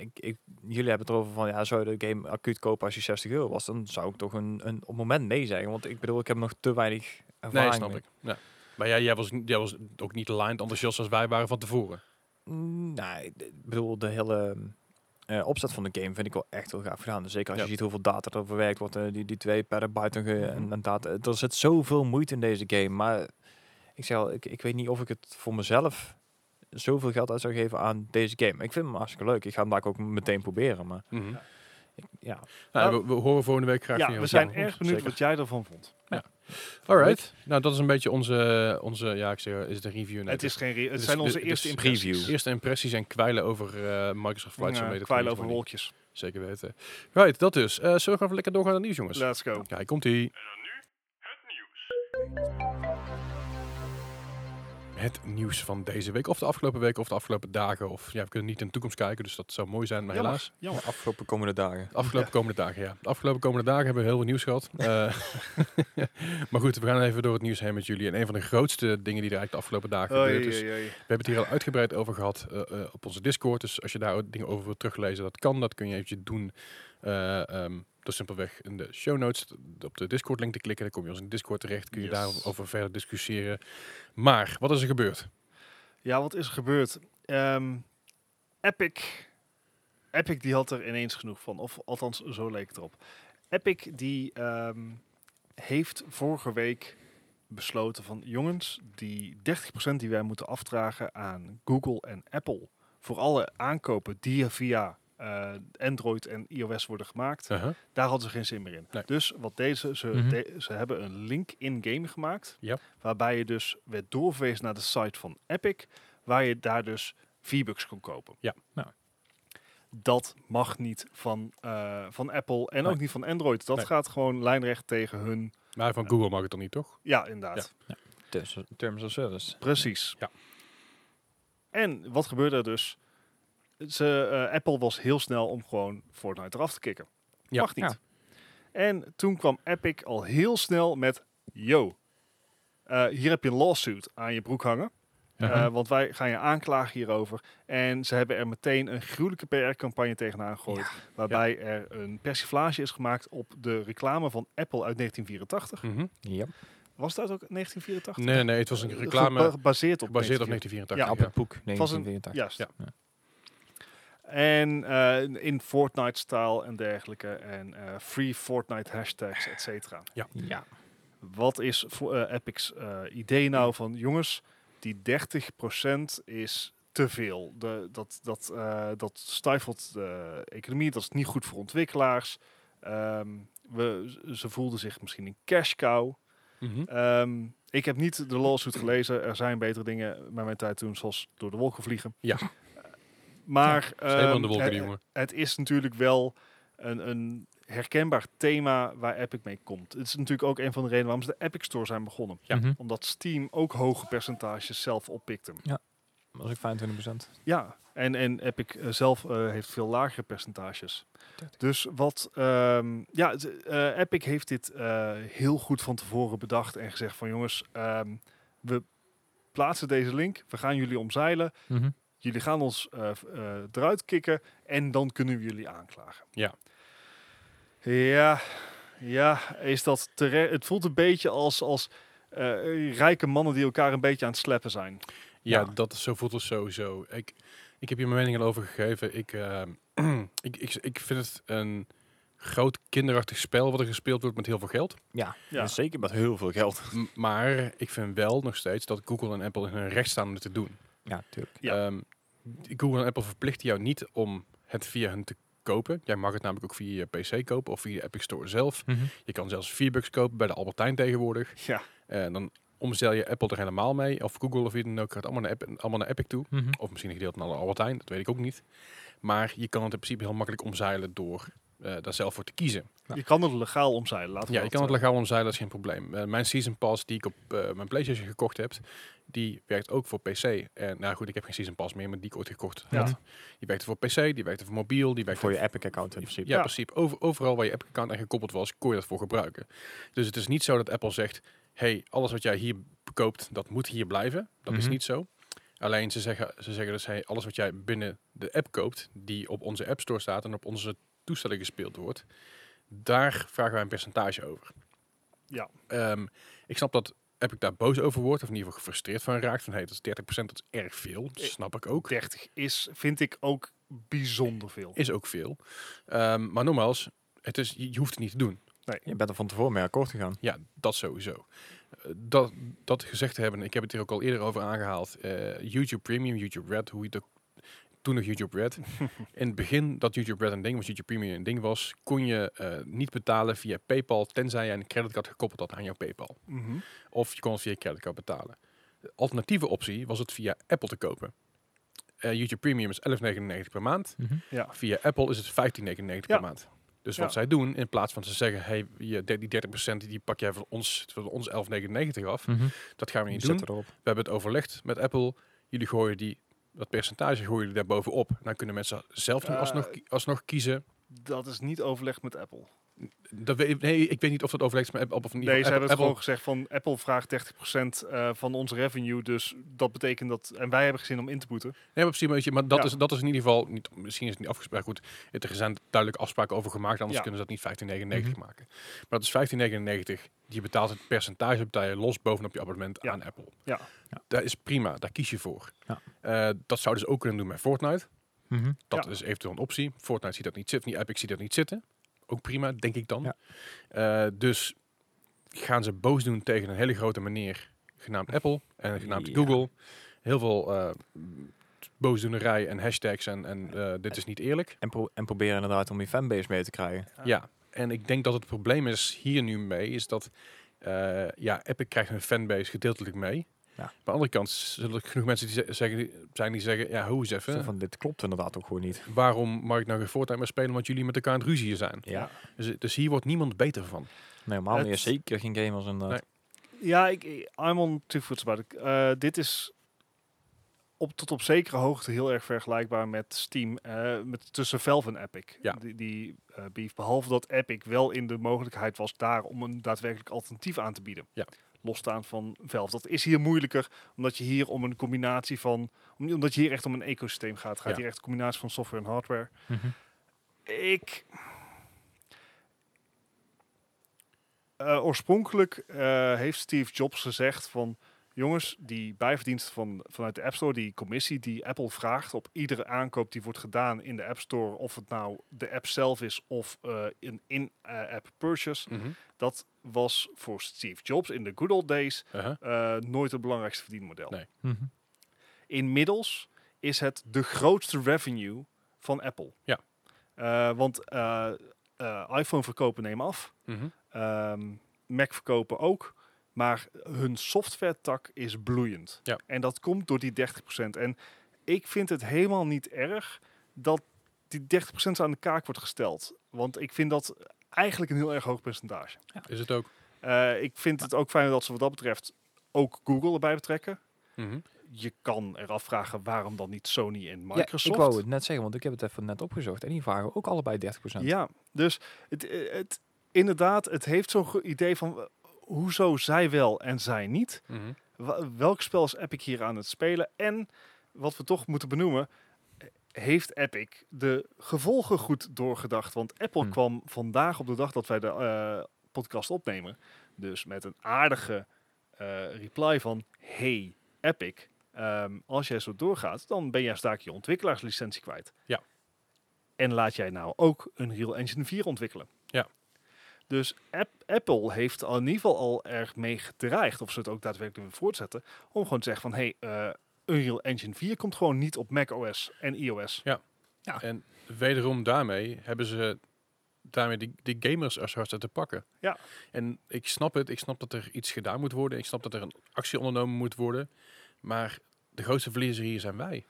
Speaker 2: ik, ik, jullie hebben het erover van, ja, zou je de game acuut kopen als je 60 euro was? Dan zou ik toch een, een op het moment nee zeggen, want ik bedoel, ik heb nog te weinig ervaring.
Speaker 1: nee, snap
Speaker 2: mee.
Speaker 1: ik. Ja. Maar jij, jij, was, jij was ook niet lined enthousiast als wij waren van tevoren.
Speaker 2: Mm, Nou, ik ik bedoel, de hele eh, opzet van de game vind ik wel echt heel gaaf gedaan. Dus zeker als
Speaker 1: Ja.
Speaker 2: je ziet hoeveel data er verwerkt wordt, eh, die, die 2 petabyte en, ge-
Speaker 1: Mhm.
Speaker 2: en, en data. Er zit zoveel moeite in deze game. Maar ik zeg al, ik, ik weet niet of ik het voor mezelf zoveel geld uit zou geven aan deze game. Ik vind hem hartstikke leuk. Ik ga hem daar ook meteen proberen. Maar
Speaker 1: Mhm.
Speaker 2: ja,
Speaker 1: Nou, we, we horen volgende week graag
Speaker 3: ja,
Speaker 1: van jou.
Speaker 3: we zijn
Speaker 1: Ja,
Speaker 3: erg benieuwd
Speaker 1: zeker.
Speaker 3: wat jij ervan vond.
Speaker 1: Alright. Nou, dat is een beetje onze, onze ja, ik zeg, is het een review? Nee,
Speaker 3: het, is geen re- het
Speaker 1: is-
Speaker 3: zijn onze
Speaker 1: dit is
Speaker 3: eerste
Speaker 1: een
Speaker 3: impressies.
Speaker 2: preview.
Speaker 1: eerste impressies en kwijlen over eh, Microsoft Flight
Speaker 3: Ja,
Speaker 1: Simulator.
Speaker 3: kwijlen over
Speaker 1: 2020.
Speaker 3: wolkjes.
Speaker 1: Zeker weten. Right, dat dus. Eh zullen we gewoon even lekker doorgaan naar het nieuws, jongens?
Speaker 3: Let's go.
Speaker 1: Kijk, komt ie. Het nieuws van deze week, of de afgelopen week, of de afgelopen dagen. Of ja, we kunnen niet in de toekomst kijken, dus dat zou mooi zijn, maar
Speaker 3: Jammer,
Speaker 1: helaas.
Speaker 3: jammer.
Speaker 2: de afgelopen komende dagen.
Speaker 1: De afgelopen komende dagen, ja. De afgelopen komende dagen hebben we heel veel nieuws gehad. Eh, maar goed, we gaan even door het nieuws heen met jullie. En een van de grootste dingen die er eigenlijk de afgelopen dagen
Speaker 3: Oei,
Speaker 1: gebeurd dus- is.
Speaker 3: oei, oei.
Speaker 1: We hebben het hier al uitgebreid over gehad eh, eh, op onze Discord. Dus als je daar ook dingen over wilt teruglezen, dat kan. Dat kun je eventjes doen eh, ehm, door simpelweg in de show notes t- op de Discord link te klikken. Dan kom je ons in Discord terecht. Kun je
Speaker 3: Yes.
Speaker 1: daarover verder discussiëren. Maar, wat is er gebeurd?
Speaker 3: Ja, wat is er gebeurd? Ehm, Epic. Epic die had er ineens genoeg van. Of althans, zo leek het erop. Epic die ehm, heeft vorige week besloten van... jongens, die 30% die wij moeten afdragen aan Google en Apple... voor alle aankopen die er via eh, Android en iOS worden gemaakt...
Speaker 1: Uh-huh.
Speaker 3: Daar hadden ze geen zin meer in.
Speaker 1: Nee.
Speaker 3: Dus wat deze, ze,
Speaker 2: Mhm.
Speaker 3: de- ze hebben een link in-game gemaakt.
Speaker 1: Ja.
Speaker 3: Waarbij je dus werd doorverwezen naar de site van Epic. Waar je daar dus V-Bucks kon kopen.
Speaker 1: Ja. nou.
Speaker 2: Ja.
Speaker 3: Dat mag niet van, eh, van Apple en
Speaker 1: Nee.
Speaker 3: ook niet van Android. Dat
Speaker 1: Nee.
Speaker 3: gaat gewoon lijnrecht tegen hun.
Speaker 1: Maar van Google mag het dan niet, toch?
Speaker 3: Ja, inderdaad.
Speaker 2: Terms, terms of service.
Speaker 3: Precies.
Speaker 1: Ja.
Speaker 3: En wat gebeurde er dus? Ze, eh, Apple was heel snel om gewoon Fortnite eraf te kicken.
Speaker 1: Ja.
Speaker 3: Mag niet. En toen kwam Epic al heel snel met: Yo, eh, hier heb je een lawsuit aan je broek hangen. Eh, want wij gaan je aanklagen hierover. En ze hebben er meteen een gruwelijke PR-campagne tegenaan gegooid. Waarbij er een persiflage is gemaakt op de reclame van Apple uit 1984.
Speaker 1: Mhm.
Speaker 2: Ja.
Speaker 3: Was dat ook 1984?
Speaker 1: Nee, nee, het was
Speaker 3: Eh,
Speaker 1: een reclame
Speaker 3: Gebaseerd op,
Speaker 1: gebaseerd op
Speaker 3: 1984.
Speaker 1: 1984.
Speaker 3: Ja,
Speaker 1: Ja,
Speaker 3: op
Speaker 2: Poek,
Speaker 3: was een-
Speaker 2: 1984.
Speaker 3: Juist.
Speaker 1: Ja.
Speaker 2: Ja.
Speaker 3: En eh, in Fortnite-staal en dergelijke. En eh, free Fortnite hashtags, et cetera.
Speaker 2: Ja.
Speaker 3: Wat is voor, eh, Epic's eh, idee nou van jongens, die 30% is te veel. De, dat, dat, eh dat stifelt de economie, dat is niet goed voor ontwikkelaars. Ehm, we, ze voelden zich misschien een cash cow.
Speaker 1: Mhm.
Speaker 3: Ehm, ik heb niet de lawsuit gelezen. Er zijn betere dingen met mijn tijd toen, zoals door de wolken vliegen.
Speaker 1: Ja.
Speaker 3: Eh, maar
Speaker 1: Is helemaal in de
Speaker 3: ehm,
Speaker 1: wolken,
Speaker 3: het-
Speaker 1: die jongen.
Speaker 3: het is natuurlijk wel een, een herkenbaar thema waar Epic mee komt. Het is natuurlijk ook een van de redenen waarom ze de Epic Store zijn begonnen.
Speaker 1: Ja.
Speaker 2: Mhm.
Speaker 3: Omdat Steam ook hoge percentages zelf oppikte.
Speaker 2: Dat was ook 25%.
Speaker 3: Ja, en, en Epic eh, zelf eh, heeft veel lagere percentages. Dus wat, ehm, ja, het, eh, Epic heeft dit eh, heel goed van tevoren bedacht en gezegd van jongens, ehm, we plaatsen deze link, we gaan jullie omzeilen,
Speaker 2: Mhm.
Speaker 3: jullie gaan ons eh, v- eh, eruit kicken en dan kunnen we jullie aanklagen.
Speaker 1: Ja.
Speaker 3: Ja, ja is dat terecht? Het voelt een beetje als, als eh, rijke mannen die elkaar een beetje aan het sleppen zijn.
Speaker 1: Ja,
Speaker 2: Ja.
Speaker 1: dat is zo voelt het sowieso. Ik, ik heb hier mijn mening al over gegeven. Ik, eh, ik, ik, ik vind het een groot kinderachtig spel wat er gespeeld wordt met heel veel geld.
Speaker 2: Ja.
Speaker 3: Ja.
Speaker 1: Dus-
Speaker 2: zeker met heel veel geld.
Speaker 1: M- maar ik vind wel nog steeds dat Google en Apple in hun recht staan om dit te doen.
Speaker 2: Ja, tuurlijk.
Speaker 3: Ja.
Speaker 1: Ehm, Google en Apple verplichten jou niet om het via hen te kopen. Jij mag het namelijk ook via je PC kopen of via de Epic Store zelf.
Speaker 2: Mhm.
Speaker 1: Je kan zelfs V-Bucks kopen bij de Albertijn tegenwoordig.
Speaker 3: Ja,
Speaker 1: En Eh, dan omzeil je Apple er helemaal mee. Of Google of wie dan ook gaat allemaal naar, App- allemaal naar Epic toe.
Speaker 2: Mhm.
Speaker 1: Of misschien een gedeelte naar de Albert Heijn, dat weet ik ook niet. Maar je kan het in principe heel makkelijk omzeilen door eh, daar zelf voor te kiezen.
Speaker 2: Ja.
Speaker 3: je kan het legaal omzeilen. Laten we
Speaker 1: Ja, je
Speaker 3: dat,
Speaker 1: kan het
Speaker 3: eh,
Speaker 1: legaal omzeilen, dat is geen probleem. Eh, mijn Season Pass die ik op eh, mijn PlayStation gekocht heb, die werkt ook voor PC. En nou goed, ik heb geen Season Pass meer, maar die ik ooit gekocht
Speaker 3: Ja.
Speaker 1: had. Die werkte voor PC, die werkte voor mobiel, die werkte
Speaker 2: Voor je Epic-account in principe.
Speaker 1: ja,
Speaker 3: Ja.
Speaker 1: in principe. Over, overal waar je app-account aan gekoppeld was, kon je dat voor gebruiken. Dus het is niet zo dat Apple zegt, hey, alles wat jij hier koopt, dat moet hier blijven. Dat is
Speaker 2: Mhm.
Speaker 1: niet zo. Alleen ze zeggen, ze zeggen dus, hey, alles wat jij binnen de app koopt, die op onze App Store staat en op onze toestellen gespeeld wordt, daar vragen wij een percentage over.
Speaker 3: Ja.
Speaker 1: Ehm, ik snap dat Epic daar boos over wordt, of in ieder geval gefrustreerd van raakt, van hey, dat is 30%, dat is erg veel. Dat
Speaker 3: Eh,
Speaker 1: snap ik ook.
Speaker 3: 30 is, vind ik ook bijzonder veel.
Speaker 1: Is ook veel. Ehm, maar nogmaals, het is, je je hoeft het niet te doen.
Speaker 2: Je bent er van tevoren mee akkoord gegaan.
Speaker 1: Ja, dat sowieso. Eh, Dat, dat gezegd te hebben, ik heb het hier ook al eerder over aangehaald. eh, YouTube Premium, YouTube Red, hoe je het ook- toen nog YouTube Red. In het begin dat YouTube Red een ding was, YouTube Premium een ding was, kon je eh, niet betalen via PayPal, tenzij je een creditcard gekoppeld had aan jouw PayPal.
Speaker 3: Mhm.
Speaker 1: Of je kon het via je creditcard betalen. De alternatieve optie was het via Apple te kopen. Eh, YouTube Premium is 11,99 per maand.
Speaker 2: Mhm.
Speaker 3: Ja.
Speaker 1: Via Apple is het 15,99
Speaker 3: Ja.
Speaker 1: per maand. Dus
Speaker 3: Ja.
Speaker 1: wat zij doen, in plaats van ze zeggen, hey, je- die 30% die pak jij van ons, van ons 11,99 af.
Speaker 2: Hm. Mhm.
Speaker 1: Dat gaan we
Speaker 2: Je
Speaker 1: niet
Speaker 2: zet
Speaker 1: doen.
Speaker 2: erop.
Speaker 1: We hebben het overlegd met Apple. Jullie gooien die, dat percentage gooien jullie daarbovenop. Dan kunnen mensen zelf dan
Speaker 3: Eh,
Speaker 1: alsnog, ki- alsnog kiezen.
Speaker 3: Dat is niet overlegd met Apple.
Speaker 1: Dat weet, nee, ik weet niet of dat overlegd is met Apple of niet.
Speaker 3: Nee, ze
Speaker 1: Apple,
Speaker 3: hebben het gewoon
Speaker 1: Apple,
Speaker 3: gezegd van Apple vraagt 30% eh, van ons revenue. Dus dat betekent dat. En wij hebben gezin om in te boeten.
Speaker 1: nee, maar, precies, maar dat,
Speaker 3: Ja.
Speaker 1: is, dat is in ieder geval niet. Misschien is het niet afgesproken. Goed, het- er zijn duidelijk afspraken over gemaakt. Anders
Speaker 3: Ja.
Speaker 1: kunnen ze dat niet 1599
Speaker 2: Mhm.
Speaker 1: maken. Maar dat is 1599. Je betaalt het percentage betaal je los bovenop je abonnement
Speaker 3: Ja.
Speaker 1: aan Apple.
Speaker 3: Ja.
Speaker 2: Ja.
Speaker 1: Dat is prima. Daar kies je voor.
Speaker 2: Ja.
Speaker 1: Eh, dat zou dus ook kunnen doen met Fortnite.
Speaker 2: Mhm.
Speaker 1: Dat is eventueel een optie. Fortnite ziet dat niet zitten. Niet Epic ziet dat niet zitten. Ook prima, denk ik dan.
Speaker 2: Ja.
Speaker 1: Eh, dus gaan ze boos doen tegen een hele grote meneer genaamd Apple en genaamd
Speaker 2: Ja.
Speaker 1: Google. Heel veel eh, boosdoenerij en hashtags en, en eh, dit is niet eerlijk.
Speaker 2: En, pro- en proberen inderdaad om je fanbase mee te krijgen.
Speaker 3: Ja.
Speaker 1: Ja, en ik denk dat het probleem is hier nu mee, is dat eh, ja, Epic krijgt hun fanbase gedeeltelijk mee.
Speaker 2: Ja.
Speaker 1: Maar aan de andere kant zullen er genoeg mensen die ze- zeggen, zijn die zeggen, ja, hoe eens
Speaker 2: Zo
Speaker 1: even,
Speaker 2: Van, dit klopt inderdaad ook gewoon niet.
Speaker 1: waarom mag ik nou geen Fortnite meer spelen, want jullie met elkaar aan het ruzieën zijn.
Speaker 2: Ja.
Speaker 1: Dus, dus hier wordt niemand beter van.
Speaker 2: Nee, normaal
Speaker 3: Het-
Speaker 2: meer zeker geen gamers inderdaad.
Speaker 3: Ja, ik, ik- I'm on two foots about it. Eh, dit is op, tot op zekere hoogte heel erg vergelijkbaar met Steam, eh, met, tussen Valve en Epic.
Speaker 1: Ja.
Speaker 3: Die, die eh, beef, behalve dat Epic wel in de mogelijkheid was daar om een daadwerkelijk alternatief aan te bieden.
Speaker 1: Ja.
Speaker 3: losstaan van Valve. Dat is hier moeilijker, omdat je hier om een combinatie van... om- Omdat je hier echt om een ecosysteem gaat. Het gaat
Speaker 1: Ja.
Speaker 3: hier echt een combinatie van software en hardware.
Speaker 2: Mhm.
Speaker 3: Ik. Eh, oorspronkelijk eh, heeft Steve Jobs gezegd van. Jongens, die bijverdienst van, vanuit de App Store, die commissie die Apple vraagt op iedere aankoop die wordt gedaan in de App Store, of het nou de app zelf is of eh, een in-app purchase,
Speaker 1: Mhm.
Speaker 3: dat was voor Steve Jobs in de good old days
Speaker 1: Uh-huh.
Speaker 3: eh, nooit het belangrijkste verdienmodel.
Speaker 1: Nee.
Speaker 2: Mhm.
Speaker 3: Inmiddels is het de grootste revenue van Apple.
Speaker 1: Ja.
Speaker 3: Eh, want eh, eh, iPhone verkopen nemen af,
Speaker 1: Mhm.
Speaker 3: ehm, Mac verkopen ook, maar hun software tak is bloeiend.
Speaker 1: Ja.
Speaker 3: En dat komt door die 30%. En ik vind het helemaal niet erg dat die 30% aan de kaak wordt gesteld. Want ik vind dat eigenlijk een heel erg hoog percentage.
Speaker 1: Is het ook.
Speaker 3: Eh, ik vind het ook fijn dat ze wat dat betreft ook Google erbij betrekken
Speaker 1: Mhm.
Speaker 3: je kan eraf vragen waarom dan niet Sony en
Speaker 2: Microsoft.
Speaker 3: Microsoft.
Speaker 2: ik wou het net zeggen, want ik heb het even net opgezocht. En die vragen ook allebei 30%.
Speaker 3: Ja, dus het, eh, het, inderdaad, het heeft zo'n ge- idee van eh, hoezo zij wel en zij niet.
Speaker 1: Mhm.
Speaker 3: Wa- welk spel is Epic hier aan het spelen? En wat we toch moeten benoemen, eh, heeft Epic de gevolgen goed doorgedacht? Want Apple
Speaker 2: Hmm.
Speaker 3: kwam vandaag op de dag dat wij de eh, podcast opnemen, dus met een aardige eh, reply van hey Epic, ehm, als jij zo doorgaat, dan ben jij staak je ontwikkelaarslicentie kwijt.
Speaker 1: Ja.
Speaker 3: En laat jij nou ook een Real Engine 4 ontwikkelen.
Speaker 1: Ja.
Speaker 3: Dus App- Apple heeft al in ieder geval al erg mee gedreigd, of ze het ook daadwerkelijk willen voortzetten, om gewoon te zeggen van, hey, eh, Unreal Engine 4 komt gewoon niet op macOS en iOS.
Speaker 1: En wederom daarmee hebben ze daarmee die, die gamers als hard te pakken.
Speaker 3: Ja.
Speaker 1: En ik snap het. Ik snap dat er iets gedaan moet worden. Ik snap dat er een actie ondernomen moet worden. Maar de grootste verliezer hier zijn wij.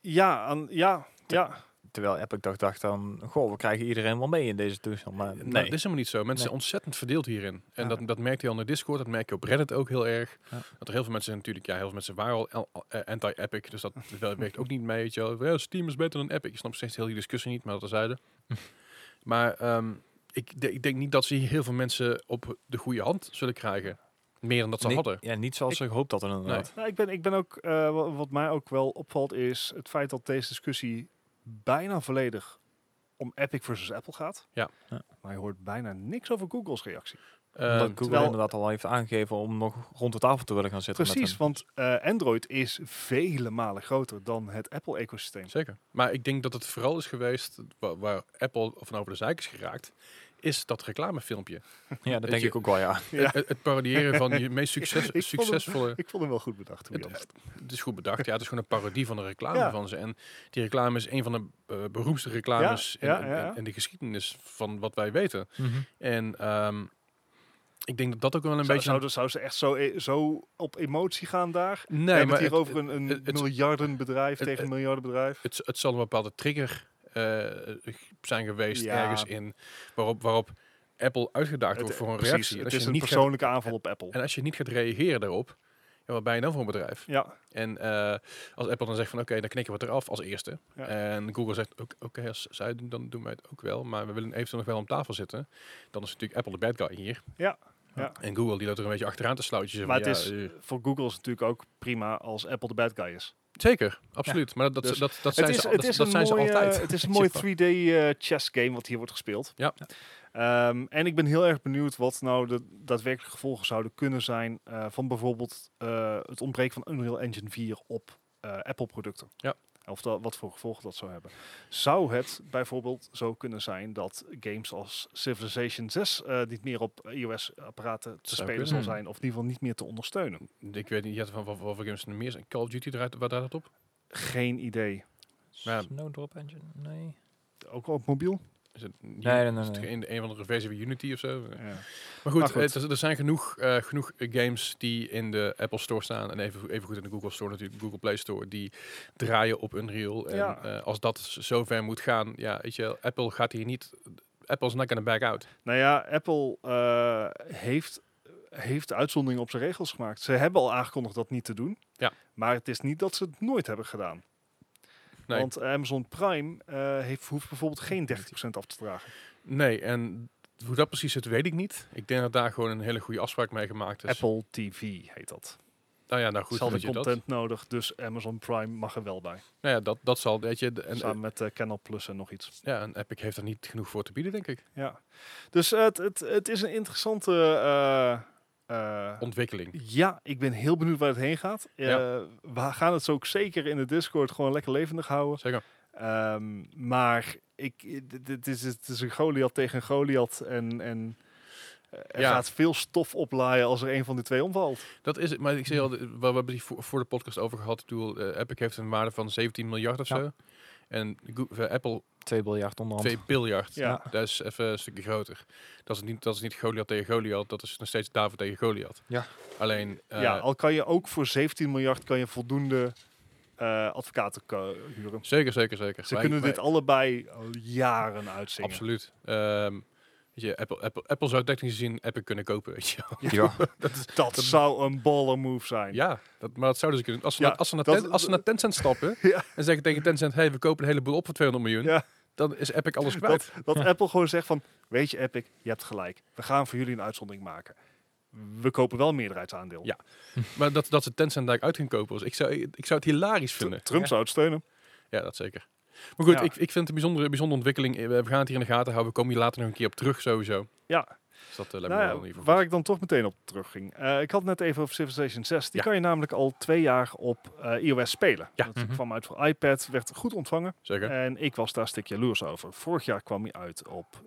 Speaker 3: Ja, aan, ja, ja.
Speaker 2: Terwijl Epic dacht, dacht dan, goh, we krijgen iedereen wel mee in deze toestand. Maar
Speaker 1: Nou,
Speaker 2: nee.
Speaker 1: dat is helemaal niet zo. Mensen
Speaker 2: Nee.
Speaker 1: zijn ontzettend verdeeld hierin. En
Speaker 2: Ja.
Speaker 1: dat, dat merkte je al in de Discord. Dat merk je op Reddit ook heel erg.
Speaker 2: Ja.
Speaker 1: Dat er heel veel mensen natuurlijk... Ja, heel veel mensen waren al el- eh, anti-Epic. Dus dat wel- werkt ook niet mee. Weet je wel. Ja, Steam is beter dan Epic. Ik snap steeds heel die discussie niet, maar dat terzijde. maar ehm, ik, de- ik denk niet dat ze hier heel veel mensen op de goede hand zullen krijgen. Meer dan dat ze
Speaker 2: Niet-
Speaker 1: hadden.
Speaker 2: Ja, niet zoals ze gehoopt hadden inderdaad.
Speaker 3: Nou, ik, ben, ik ben ook, eh, wa- wat mij ook wel opvalt, is het feit dat deze discussie bijna volledig om Epic versus Apple gaat.
Speaker 1: Ja.
Speaker 2: Ja.
Speaker 3: Maar je hoort bijna niks over Google's reactie.
Speaker 1: Ehm,
Speaker 2: Omdat Google
Speaker 3: terwijl-
Speaker 2: inderdaad al heeft aangegeven om nog rond de tafel te willen gaan zitten. met
Speaker 3: Precies,
Speaker 2: hem.
Speaker 3: want eh, Android is vele malen groter dan het Apple-ecosysteem.
Speaker 1: Zeker. Maar ik denk dat het vooral is geweest... Waar, waar Apple van over de zeik is geraakt... Is dat reclamefilmpje.
Speaker 2: Ja, dat denk
Speaker 1: je-
Speaker 2: ik ook wel, ja.
Speaker 3: Ja.
Speaker 1: Het, het parodiëren van je meest
Speaker 3: Ik
Speaker 1: succes,
Speaker 3: vond hem-
Speaker 1: succesvolle...
Speaker 3: Ik vond hem wel goed bedacht, to be
Speaker 1: Het-
Speaker 3: honest.
Speaker 1: Het is goed bedacht. Ja, het is gewoon een parodie van de reclame
Speaker 3: Ja.
Speaker 1: van ze. En die reclame is een van de eh, beroemdste reclames
Speaker 3: Ja, ja,
Speaker 1: in,
Speaker 3: ja, ja.
Speaker 1: In, in de geschiedenis van wat wij weten. En ehm, ik denk dat dat ook wel een
Speaker 3: Zou,
Speaker 1: beetje...
Speaker 3: zouden, zou ze echt zo, e- zo op emotie gaan daar?
Speaker 1: nee,
Speaker 3: We hebben
Speaker 1: maar
Speaker 3: het hier
Speaker 1: het,
Speaker 3: over een, een
Speaker 1: het- het-
Speaker 3: miljardenbedrijf
Speaker 1: het-
Speaker 3: tegen een
Speaker 1: het-
Speaker 3: miljardenbedrijf.
Speaker 1: het, het zal een bepaalde trigger eh, zijn geweest
Speaker 3: Ja.
Speaker 1: ergens in... waarop, waarop Apple uitgedaagd
Speaker 3: Het-
Speaker 1: wordt voor een
Speaker 3: precies,
Speaker 1: reactie. En
Speaker 3: Het
Speaker 1: als je
Speaker 3: is een
Speaker 1: niet gaat-
Speaker 3: persoonlijke aanval op Apple.
Speaker 1: en als je niet gaat reageren daarop... Ja, wat ben je dan voor een bedrijf?
Speaker 3: Ja,
Speaker 1: En eh, als Apple dan zegt van oké, dan knikken we het eraf als eerste.
Speaker 3: Ja.
Speaker 1: En Google zegt ook, oké, als zij doen, dan doen wij het ook wel. Maar we willen eventueel nog wel om tafel zitten. Dan is natuurlijk Apple de bad guy hier.
Speaker 3: Ja, ja.
Speaker 1: En Google die loopt er een beetje achteraan te sluitjes.
Speaker 3: maar het is voor Google is het natuurlijk ook prima als Apple de bad guy is.
Speaker 1: Zeker, absoluut. Maar dat, dat,
Speaker 3: Dus
Speaker 1: dat, dat zijn,
Speaker 3: het is,
Speaker 1: ze,
Speaker 3: het
Speaker 1: dat,
Speaker 3: is
Speaker 1: dat
Speaker 3: een
Speaker 1: zijn ze
Speaker 3: mooie,
Speaker 1: altijd.
Speaker 3: Het is een
Speaker 1: Weet
Speaker 3: mooi
Speaker 1: je wel.
Speaker 3: 3D eh, chess game wat hier wordt gespeeld.
Speaker 1: Ja.
Speaker 3: Ehm, en ik ben heel erg benieuwd wat nou de daadwerkelijke gevolgen zouden kunnen zijn eh, van bijvoorbeeld eh, het ontbreken van Unreal Engine 4 op eh, Apple-producten.
Speaker 1: Ja.
Speaker 3: Of dat, wat voor gevolgen dat zou hebben. Zou het bijvoorbeeld zo kunnen zijn dat games als Civilization 6 eh, niet meer op iOS-apparaten te
Speaker 1: Zou
Speaker 3: spelen zal
Speaker 2: kunnen.
Speaker 3: zijn? Of in ieder geval niet meer te ondersteunen?
Speaker 1: Ik weet niet ja, van wat voor games er meer zijn. Call of Duty, draait, waar draait dat op?
Speaker 3: Geen idee.
Speaker 1: Ja.
Speaker 2: Snowdrop Engine? Nee.
Speaker 3: Ook op mobiel?
Speaker 1: Is het, nee,
Speaker 2: nee, nee,
Speaker 1: Is het
Speaker 2: nee.
Speaker 1: een, een van de versie van Unity of zo?
Speaker 3: Ja.
Speaker 1: Maar goed,
Speaker 3: Maar goed.
Speaker 1: eh, er- er zijn genoeg, eh, genoeg eh, games die in de Apple Store staan en even, even goed in de Google Store natuurlijk, Google Play Store, die draaien op Unreal. En
Speaker 3: Ja.
Speaker 1: eh, als dat z- zover moet gaan, ja, weet je, wel, Apple gaat hier niet, Apple's not gonna back out.
Speaker 3: Nou ja, Apple eh, heeft, heeft uitzonderingen op zijn regels gemaakt. Ze hebben al aangekondigd dat niet te doen.
Speaker 1: Ja.
Speaker 3: Maar het is niet dat ze het nooit hebben gedaan.
Speaker 1: Nee.
Speaker 3: Want Amazon Prime eh, heeft, hoeft bijvoorbeeld geen 30% af te dragen.
Speaker 1: Nee, en hoe dat precies zit, weet ik niet. Ik denk dat daar gewoon een hele goede afspraak mee gemaakt is.
Speaker 3: Apple TV Dus heet dat.
Speaker 1: Nou ja, nou
Speaker 3: Goed,
Speaker 1: goed,
Speaker 3: Ze hadden
Speaker 1: weet je dat.
Speaker 3: content nodig, dus Amazon Prime mag er wel bij.
Speaker 1: Nou ja, dat, dat zal, weet je, de- en,
Speaker 3: Samen met eh, Canal Plus en nog iets.
Speaker 1: ja, en Epic heeft er niet genoeg voor te bieden, denk ik.
Speaker 3: Ja. Dus eh, het, het, het is een interessante... eh, eh,
Speaker 1: Ontwikkeling.
Speaker 3: Ja, ik ben heel benieuwd waar het heen gaat. Eh,
Speaker 1: Ja.
Speaker 3: We gaan het zo ook zeker in de Discord gewoon lekker levendig houden.
Speaker 1: Zeker.
Speaker 3: Ehm, maar ik, dit- dit is, het is een Goliath tegen een Goliath. En, en eh, er
Speaker 1: Ja.
Speaker 3: gaat veel stof oplaaien als er een van de twee omvalt.
Speaker 1: Dat is het, maar ik zei al, de- we we hebben het hier voor, voor de podcast over gehad. Ik bedoel, eh, Epic heeft een waarde van 17 miljard of
Speaker 2: Ja.
Speaker 1: zo. En Go- eh, Apple
Speaker 2: 2 miljard onderhand.
Speaker 1: 2 biljard.
Speaker 3: Ja.
Speaker 1: Dat is even een stukje groter. Dat is niet, dat is niet Goliath tegen Goliath, dat is nog steeds David tegen Goliath.
Speaker 2: Ja.
Speaker 1: Alleen, eh,
Speaker 3: ja, al kan je ook voor 17 miljard kan je voldoende eh, advocaten ko- huren.
Speaker 1: zeker, zeker, zeker.
Speaker 3: Ze
Speaker 1: Wij-
Speaker 3: kunnen
Speaker 1: wij-
Speaker 3: dit allebei al jaren uitzingen.
Speaker 1: Absoluut. Ehm, weet je, Apple, Apple, Apple zou technisch gezien Epic kunnen kopen, weet je wel.
Speaker 2: Ja.
Speaker 3: Dat zou een baller move zijn.
Speaker 1: Ja, dat, maar dat zouden ze kunnen. Als ze,
Speaker 3: Ja,
Speaker 1: naar, als ze, naar,
Speaker 3: dat-
Speaker 1: Ten- als ze naar Tencent stappen
Speaker 3: Ja.
Speaker 1: en zeggen tegen Tencent, hey, we kopen een heleboel op voor 200 miljoen,
Speaker 3: Ja.
Speaker 1: dan is Epic alles kwijt.
Speaker 3: Dat, dat Apple gewoon zegt van, weet je Epic, je hebt gelijk. We gaan voor jullie een uitzondering maken. We kopen wel een meerderheidsaandeel.
Speaker 1: Ja, Maar dat, dat ze Tencent daar uit gaan kopen, was, ik, zou, ik zou het hilarisch
Speaker 3: Tr-
Speaker 1: vinden.
Speaker 3: Trump zou het steunen.
Speaker 1: Ja, dat zeker. Maar goed,
Speaker 3: Ja.
Speaker 1: ik, ik vind het een bijzondere, bijzondere ontwikkeling. Eh, We gaan het hier in de gaten houden. We komen hier later nog een keer op terug, sowieso.
Speaker 3: Ja,
Speaker 1: Dus dat eh, lijkt
Speaker 3: nou
Speaker 1: me
Speaker 3: ja,
Speaker 1: wel in ieder geval
Speaker 3: waar ik dan toch meteen op terugging. Eh ik had net even over Civilization 6. Die
Speaker 1: Ja.
Speaker 3: kan je namelijk al twee jaar op eh, iOS spelen.
Speaker 1: Ja.
Speaker 3: Dat
Speaker 2: Mhm.
Speaker 3: kwam uit voor iPad, werd goed ontvangen.
Speaker 1: goed. Zeker.
Speaker 3: En ik eh, was daar een stuk jaloers over. Vorig jaar kwam hij uit op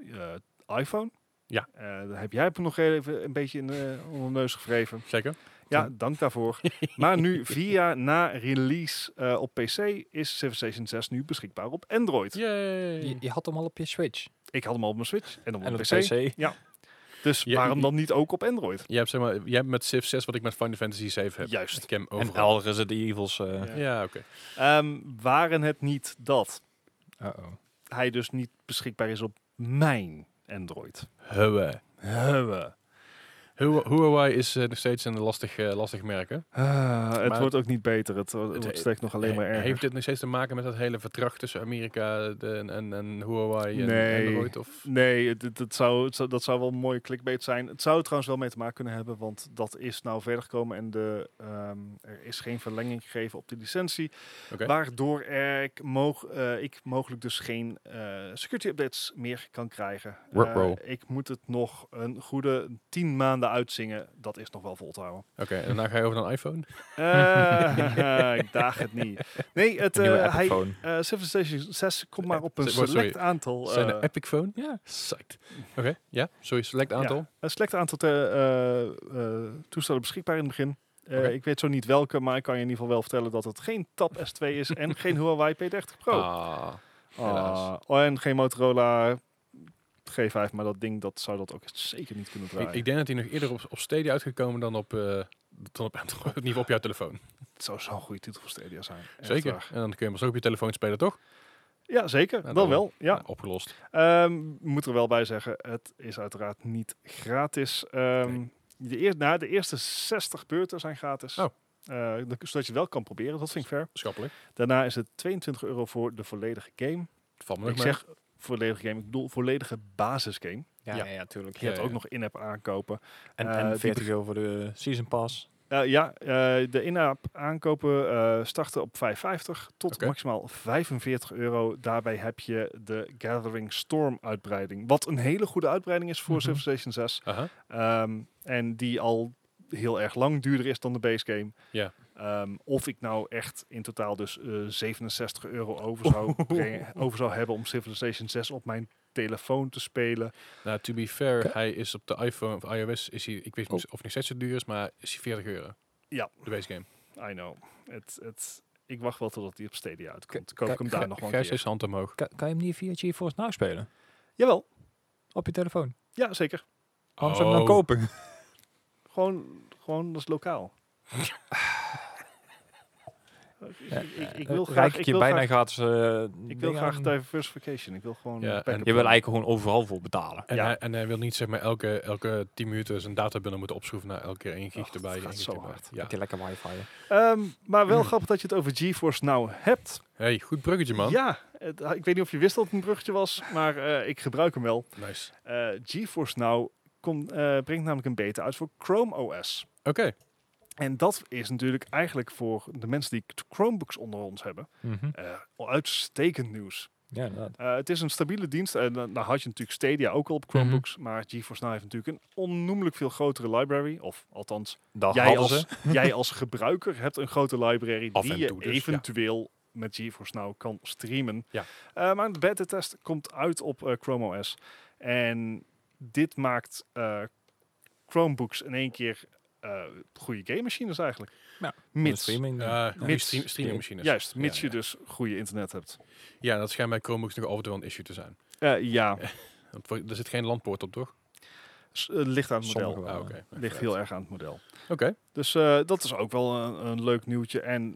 Speaker 3: eh, iPhone.
Speaker 1: Ja.
Speaker 3: Eh, daar heb jij hem nog even een beetje in, eh, onder de neus gewreven.
Speaker 1: Zeker.
Speaker 3: Ja, dank daarvoor. maar nu, vier jaar na release eh, op PC, is Civilization 6 nu beschikbaar op Android.
Speaker 1: Yay.
Speaker 2: Je, je had hem al op je Switch.
Speaker 3: Ik had hem al op mijn Switch en op
Speaker 2: En
Speaker 3: mijn
Speaker 2: op
Speaker 3: PC.
Speaker 2: de PC.
Speaker 3: Dus
Speaker 1: Ja,
Speaker 3: waarom
Speaker 1: i-
Speaker 3: dan niet ook op Android?
Speaker 1: Je hebt, zeg maar, je hebt met Civ 6 wat ik met Final Fantasy 7 heb.
Speaker 3: Juist.
Speaker 1: Ik heb hem
Speaker 2: En
Speaker 1: overal.
Speaker 2: Elder is het Evils. eh
Speaker 3: Ja.
Speaker 1: Ja, oké.
Speaker 3: Ehm, waren het niet dat
Speaker 2: Uh-oh.
Speaker 3: hij dus niet beschikbaar is op mijn Android?
Speaker 1: Huawei.
Speaker 3: Huwe.
Speaker 1: Hua- Huawei is eh, nog steeds een lastig, eh, lastig merk, hè?
Speaker 3: Ah, het
Speaker 1: Maar-
Speaker 3: wordt ook niet beter. Het, wo- het
Speaker 1: Het-
Speaker 3: wordt steeds nog alleen maar
Speaker 1: He-
Speaker 3: erger.
Speaker 1: Heeft dit nog steeds te maken met dat hele verdrag tussen Amerika de- en, en, en Huawei en
Speaker 3: Nee.
Speaker 1: Android? Of?
Speaker 3: Nee, het- het- het zou, het zou- dat zou wel een mooie clickbait zijn. Het zou er trouwens wel mee te maken kunnen hebben, want dat is nou verder gekomen en de, ehm, er is geen verlenging gegeven op de licentie.
Speaker 1: Oké.
Speaker 3: Waardoor er ik, moog- eh, ik mogelijk dus geen eh, security updates meer kan krijgen.
Speaker 1: Ruh-roh.
Speaker 3: Eh, ik moet het nog een goede tien maanden uitzingen. Dat is nog wel vol te houden.
Speaker 1: Oké, en daarna ga je over naar een iPhone?
Speaker 3: Eh, ik daag het niet. Nee, het, eh,
Speaker 2: Nieuwe
Speaker 3: hij,
Speaker 2: iPhone.
Speaker 3: eh Civilization 6 komt maar op een
Speaker 1: Sorry.
Speaker 3: select aantal...
Speaker 1: Zijn
Speaker 3: eh,
Speaker 1: een Epic Phone?
Speaker 2: Ja.
Speaker 1: Psyched. Oké, ja. Sorry, select aantal.
Speaker 3: Een select aantal te- eh, eh, toestellen beschikbaar in het begin. Eh,
Speaker 1: Oké.
Speaker 3: Ik weet zo niet welke, maar ik kan je in ieder geval wel vertellen dat het geen Tab S2 is en geen Huawei P30 Pro. Oh.
Speaker 1: Ah, helaas.
Speaker 3: Ah, oh, en geen Motorola G5, maar dat ding dat zou dat ook zeker niet kunnen
Speaker 2: Ah,
Speaker 3: draaien.
Speaker 1: ik, ik denk dat hij nog eerder op, op Stadia uitgekomen dan op, eh, dan op Android. In ieder geval op jouw telefoon.
Speaker 3: het zou zo'n goede titel voor Stadia zijn. Echt
Speaker 1: Zeker.
Speaker 3: waar.
Speaker 1: En dan kun je hem zo op je telefoon spelen, toch?
Speaker 3: Ja, zeker.
Speaker 1: Nou,
Speaker 3: dan
Speaker 1: dan-
Speaker 3: wel. Ja.
Speaker 1: Nou, opgelost.
Speaker 3: Ehm, moet er wel bij zeggen, het is uiteraard niet gratis. Ehm, de, eer, nou, de eerste 60 beurten zijn gratis.
Speaker 1: Oh.
Speaker 3: Eh, dan- zodat je wel kan proberen, dat vind ik fair.
Speaker 1: Schappelijk.
Speaker 3: Daarna is het 22 euro voor de volledige game.
Speaker 1: Valt me nog
Speaker 3: ik
Speaker 1: mee.
Speaker 3: zeg volledige game, ik bedoel volledige basisgame.
Speaker 2: Ja,
Speaker 1: Ja.
Speaker 2: ja. ja, tuurlijk.
Speaker 3: Je hebt
Speaker 1: ja,
Speaker 3: ook
Speaker 1: ja.
Speaker 3: nog in-app aankopen.
Speaker 2: En,
Speaker 3: Eh, die
Speaker 2: en 40 euro voor de Season Pass.
Speaker 3: Eh, ja, eh, de in-app aankopen eh, starten op 5,50 tot
Speaker 1: Oké.
Speaker 3: maximaal 45 euro. Daarbij heb je de Gathering Storm uitbreiding. Wat een hele goede uitbreiding is voor
Speaker 2: Mhm.
Speaker 3: Civilization 6.
Speaker 1: Aha.
Speaker 3: Ehm, en die al heel erg lang duurder is dan de base game.
Speaker 1: Ja.
Speaker 3: Ehm, of ik nou echt in totaal dus eh, 67 euro over zou, brengen- over zou hebben om Civilization 6 op mijn telefoon te spelen.
Speaker 1: Nou, to be fair, hij is op de iPhone of iOS, is hij, ik weet niet
Speaker 2: Oh.
Speaker 1: of het nog steeds zo duur is, maar is hij 40 euro.
Speaker 3: Ja.
Speaker 1: De base game.
Speaker 3: I know. Het, het, ik wacht wel totdat die op Stadia uitkomt.
Speaker 2: K-
Speaker 3: Koop ik
Speaker 2: kijk,
Speaker 3: hem daar nog wel een
Speaker 1: Gijs
Speaker 3: keer.
Speaker 1: is hand omhoog.
Speaker 2: Kan, kan je hem niet via GeForce Now spelen?
Speaker 3: Jawel.
Speaker 2: Op je telefoon?
Speaker 3: Ja, zeker.
Speaker 2: Waarom zou je hem
Speaker 1: Oh.
Speaker 2: dan kopen?
Speaker 3: Gewoon, gewoon dat is lokaal. Ik- ik, ik, ik wil graag...
Speaker 2: Rijk Eh, ik
Speaker 3: Ik
Speaker 2: je
Speaker 3: wil
Speaker 2: bijna
Speaker 3: graag,
Speaker 2: gratis... eh,
Speaker 3: ik wil
Speaker 2: dingen
Speaker 3: graag
Speaker 2: aan.
Speaker 3: diversification. Ik wil gewoon...
Speaker 1: Ja,
Speaker 3: een
Speaker 1: en-
Speaker 3: backup
Speaker 2: Je wil
Speaker 3: plan.
Speaker 2: eigenlijk gewoon overal voor betalen.
Speaker 1: En,
Speaker 3: Ja.
Speaker 1: hij, en hij wil niet zeg maar elke, elke 10 minuten zijn databundel moeten opschroeven naar elke keer 1 gig
Speaker 3: Och,
Speaker 1: erbij.
Speaker 3: het gaat
Speaker 1: één gig
Speaker 3: zo
Speaker 1: erbij.
Speaker 3: hard.
Speaker 1: Ja.
Speaker 2: Heb je lekker wifi.
Speaker 3: Ehm, maar wel grappig dat je het over GeForce nou hebt.
Speaker 1: Hey, goed bruggetje man.
Speaker 3: Ja, Het- ah, ik weet niet of je wist dat het een bruggetje was, maar eh, ik gebruik hem wel.
Speaker 1: Nice.
Speaker 3: Eh, GeForce Now komt, eh, brengt namelijk een beta uit voor Chrome OS.
Speaker 1: Oké.
Speaker 3: En dat is natuurlijk eigenlijk voor de mensen die Chromebooks onder ons hebben eh, uitstekend nieuws.
Speaker 2: Mhm. Ja, inderdaad.
Speaker 3: Eh, het is een stabiele dienst. En dan nou had je natuurlijk Stadia ook al op Chromebooks. Maar GeForce Now heeft natuurlijk een onnoemelijk veel grotere library. Of althans,
Speaker 2: Dat
Speaker 3: jij
Speaker 2: hadden
Speaker 3: als,
Speaker 2: ze.
Speaker 3: jij als gebruiker hebt een grote library
Speaker 1: Af
Speaker 3: die
Speaker 1: en
Speaker 3: je
Speaker 1: toe dus, ja.
Speaker 3: eventueel met GeForce Now kan streamen.
Speaker 1: Ja.
Speaker 3: Eh, maar de beta-test komt uit op eh, Chrome OS. En dit maakt eh, Chromebooks in één keer eh, goede game machines eigenlijk.
Speaker 2: Ja.
Speaker 3: Mits,
Speaker 2: Streaming.
Speaker 1: Eh, goede
Speaker 3: Mits.
Speaker 1: stream, streammachines.
Speaker 3: juist, mits
Speaker 1: Ja,
Speaker 3: je
Speaker 1: ja.
Speaker 3: dus goede internet hebt.
Speaker 1: Ja, dat schijnt bij Chromebooks nog af en toe wel een issue te zijn.
Speaker 3: Eh, ja,
Speaker 1: Want voor- Er zit geen landpoort op, toch?
Speaker 3: s- eh, ligt aan het model.
Speaker 2: Sommige wel,
Speaker 1: Ah,
Speaker 2: ja.
Speaker 1: oké.
Speaker 3: Ligt heel erg aan het model.
Speaker 1: Oké.
Speaker 3: Dus eh, dat is ook wel een, een leuk nieuwtje. En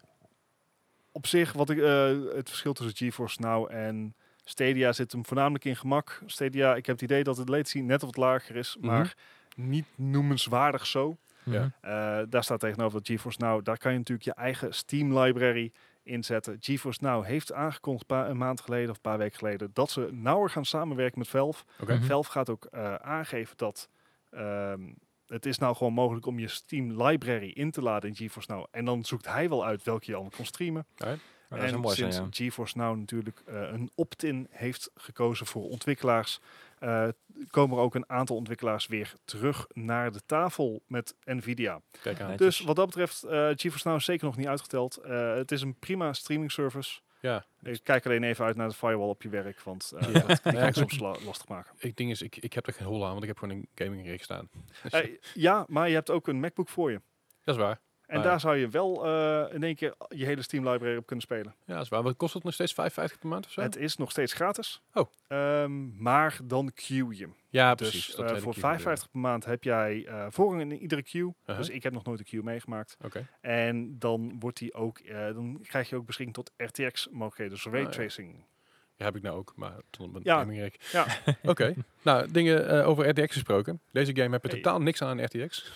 Speaker 3: op zich, wat ik, eh, het verschil tussen GeForce Now en Stadia zit hem voornamelijk in gemak. Stadia, ik heb het idee dat het latency net wat lager is,
Speaker 1: Mhm.
Speaker 3: maar niet noemenswaardig zo.
Speaker 1: Ja.
Speaker 2: Mhm.
Speaker 3: Eh, daar staat tegenover dat GeForce Now, daar kan je natuurlijk je eigen Steam library inzetten. GeForce Now heeft aangekondigd pa- een maand geleden of een paar weken geleden dat ze nauwer gaan samenwerken met Valve.
Speaker 1: Oké.
Speaker 2: Mhm.
Speaker 3: Valve gaat ook eh, aangeven dat ehm, het is nou gewoon mogelijk om je Steam library in te laden in GeForce Now. En dan zoekt hij wel uit welke je allemaal kon streamen.
Speaker 2: Ja, Oh, dat is
Speaker 3: en
Speaker 2: een mooi zijn,
Speaker 3: sinds
Speaker 2: ja.
Speaker 3: GeForce Now natuurlijk eh, een opt-in heeft gekozen voor ontwikkelaars, eh, komen er ook een aantal ontwikkelaars weer terug naar de tafel met Nvidia.
Speaker 1: Kijk aan.
Speaker 2: Nee.
Speaker 3: Dus wat dat betreft, eh GeForce Now is zeker nog niet uitgeteld. Eh, het is een prima streaming service.
Speaker 1: Ja.
Speaker 3: Ik kijk alleen even uit naar de firewall op je werk, want eh
Speaker 1: Ja.
Speaker 3: dat die
Speaker 1: Ja,
Speaker 3: kan je
Speaker 1: goed.
Speaker 3: soms la- lastig maken.
Speaker 1: Ik ding is, ik, ik heb er geen hol aan, want ik heb gewoon een gaming rig staan. Dus,
Speaker 3: Eh, ja, maar je hebt ook een MacBook voor je.
Speaker 1: dat is waar.
Speaker 3: En
Speaker 1: Ah, ja.
Speaker 3: daar zou je wel eh, in één keer je hele Steam library op kunnen spelen.
Speaker 1: Ja, dat is waar. Wat kost het nog steeds? 5,50 per maand of zo?
Speaker 3: Het is nog steeds gratis.
Speaker 1: Oh.
Speaker 3: Ehm, maar dan queue je.
Speaker 1: ja, precies.
Speaker 3: Dus
Speaker 1: dat
Speaker 3: eh,
Speaker 1: weet ik
Speaker 3: voor
Speaker 1: hier gebeurde.
Speaker 3: 55 per maand heb jij eh, voorrang in iedere queue.
Speaker 1: Uh-huh.
Speaker 3: Dus ik heb nog nooit een queue meegemaakt.
Speaker 1: Oké.
Speaker 3: En dan wordt die ook, eh, dan krijg je ook beschikking tot RTX mogelijkheden, dus
Speaker 1: Ah, ja.
Speaker 3: raytracing.
Speaker 1: Ja, heb ik nou ook, maar tot op mijn
Speaker 3: Ja.
Speaker 1: gaming rig.
Speaker 3: Ja.
Speaker 1: Oké. Nou, dingen eh, over RTX gesproken. Deze game heb je
Speaker 3: Hey.
Speaker 1: totaal niks aan een RTX.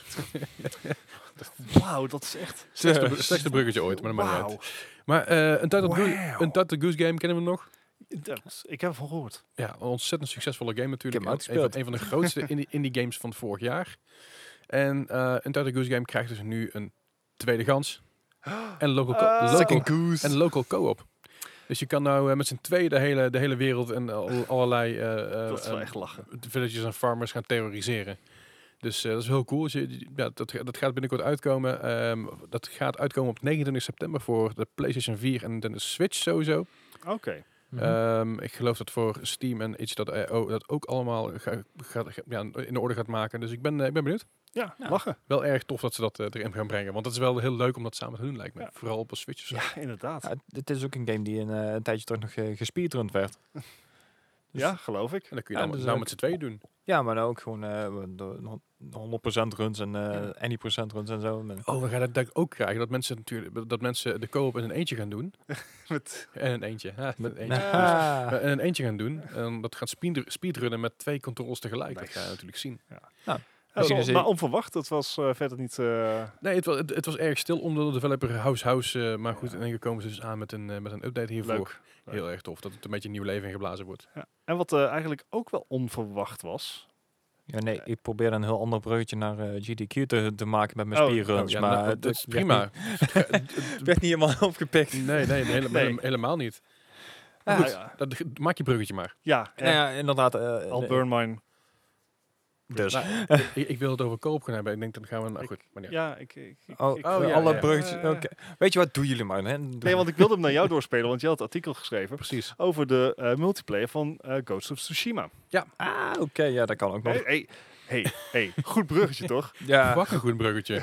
Speaker 3: Wauw, dat is echt.
Speaker 1: Slechtste br- Slechtste bruggetje ooit, maar dat maakt niet uit. Maar eh een Titled Goose-
Speaker 3: Wauw.
Speaker 1: een Titled Goose game kennen we nog?
Speaker 3: Dat- Ik heb ervan gehoord.
Speaker 1: Ja, een ontzettend succesvolle game natuurlijk.
Speaker 2: Ik heb hem
Speaker 1: Een- een,
Speaker 2: uitgespeeld.
Speaker 1: van, een van de grootste indie, indie games van vorig jaar. En eh een Title Goose game krijgt dus nu een tweede gans. En local, co-
Speaker 3: Ah.
Speaker 1: local,
Speaker 2: goose.
Speaker 1: en local co-op. Dus je kan nou eh, met z'n tweeën de hele, de hele wereld en al- allerlei eh, eh,
Speaker 3: dat is wel
Speaker 1: eh,
Speaker 3: echt lachen.
Speaker 1: villages en farmers gaan terroriseren. Dus eh, dat is heel cool. Dus je- ja, dat, dat gaat binnenkort uitkomen. Ehm, dat gaat uitkomen op 29 september voor de PlayStation 4 en de Switch sowieso.
Speaker 3: Oké.
Speaker 2: Mhm.
Speaker 1: Ehm, ik geloof dat voor Steam en itch.io dat ook allemaal ga- gaat- ga- ja, in orde gaat maken. Dus ik ben, eh, ik ben benieuwd.
Speaker 3: Ja,
Speaker 2: Nou.
Speaker 3: lachen.
Speaker 1: Wel erg tof dat ze dat eh, erin gaan brengen. Want dat is wel heel leuk om dat samen te doen, lijkt me.
Speaker 3: Ja.
Speaker 1: Vooral op een Switch. of zo.
Speaker 3: Ja, inderdaad.
Speaker 2: Ja, dit is ook een game die een, eh, een tijdje terug nog eh, gespeedrund werd. Dus-
Speaker 3: ja, geloof ik.
Speaker 1: En dan kun je
Speaker 2: Ja,
Speaker 1: nou,
Speaker 2: dus
Speaker 1: nou
Speaker 2: ook-
Speaker 1: met z'n tweeën doen.
Speaker 2: Ja, maar dan ook gewoon eh, de- de 100% runs en eh any percent runs en zo. Met-
Speaker 1: Oh, we gaan dat denk ik ook krijgen. Dat mensen, natuurlijk, dat mensen de co-op in een eentje gaan doen.
Speaker 3: Met,
Speaker 1: En een eentje. Ja, een eentje.
Speaker 2: Ah.
Speaker 1: Eh, En een eentje gaan doen. En dat gaat speed- speedrunnen met twee controls tegelijk. Dat
Speaker 3: Nice.
Speaker 1: ga je natuurlijk zien.
Speaker 3: dat is wel-
Speaker 2: Misschien is het-
Speaker 3: Oh, maar onverwacht, dat was eh, verder niet. eh,
Speaker 1: Nee, het was, het, het was erg stil onder de developer House House. eh, maar goed,
Speaker 3: Ja.
Speaker 1: in één keer komen ze dus aan met een, eh, met een update hiervoor.
Speaker 3: Leuk. Leuk.
Speaker 1: Heel erg tof. Dat het een beetje nieuw leven ingeblazen wordt.
Speaker 3: En wat eh, eigenlijk ook wel onverwacht was.
Speaker 2: Ja, nee,
Speaker 1: Eh.
Speaker 2: ik probeer een heel ander bruggetje naar eh, GDQ te, te maken met mijn
Speaker 3: Oh,
Speaker 2: speedruns.
Speaker 1: Oh, ja,
Speaker 2: dus maar eh,
Speaker 1: nou,
Speaker 2: het-
Speaker 1: dat is
Speaker 2: het werd
Speaker 1: prima.
Speaker 2: niet- werd niet helemaal opgepikt.
Speaker 1: Nee, nee, hele-
Speaker 3: Nee.
Speaker 1: hele- helemaal niet.
Speaker 2: Ja,
Speaker 3: Goed.
Speaker 1: Goed,
Speaker 3: ja.
Speaker 1: dat, g- maak je bruggetje maar.
Speaker 3: eh,
Speaker 2: Nou ja, inderdaad. eh,
Speaker 3: Al
Speaker 2: eh,
Speaker 3: burn mine.
Speaker 2: Dus.
Speaker 1: Nou, ik- ik, wil het over koop gaan hebben. Ik denk, dan gaan we... Nou goed, maar ja.
Speaker 3: Ja, ik. ik, ik-
Speaker 2: Oh,
Speaker 3: ik-
Speaker 1: oh, ja,
Speaker 2: alle
Speaker 1: ja.
Speaker 2: bruggetjes.
Speaker 3: Eh,
Speaker 2: oké. Weet je wat, doen jullie maar. Hè? Doe-
Speaker 3: Nee, want ik wilde hem naar jou doorspelen, want jij had het artikel geschreven
Speaker 1: Precies.
Speaker 3: over de eh, multiplayer van eh, Ghost of Tsushima.
Speaker 2: Ah, oké, ja, dat kan ook nog.
Speaker 3: Hey, hey, hey, hey, goed bruggetje toch?
Speaker 2: Ja,
Speaker 1: Wakker goed bruggetje.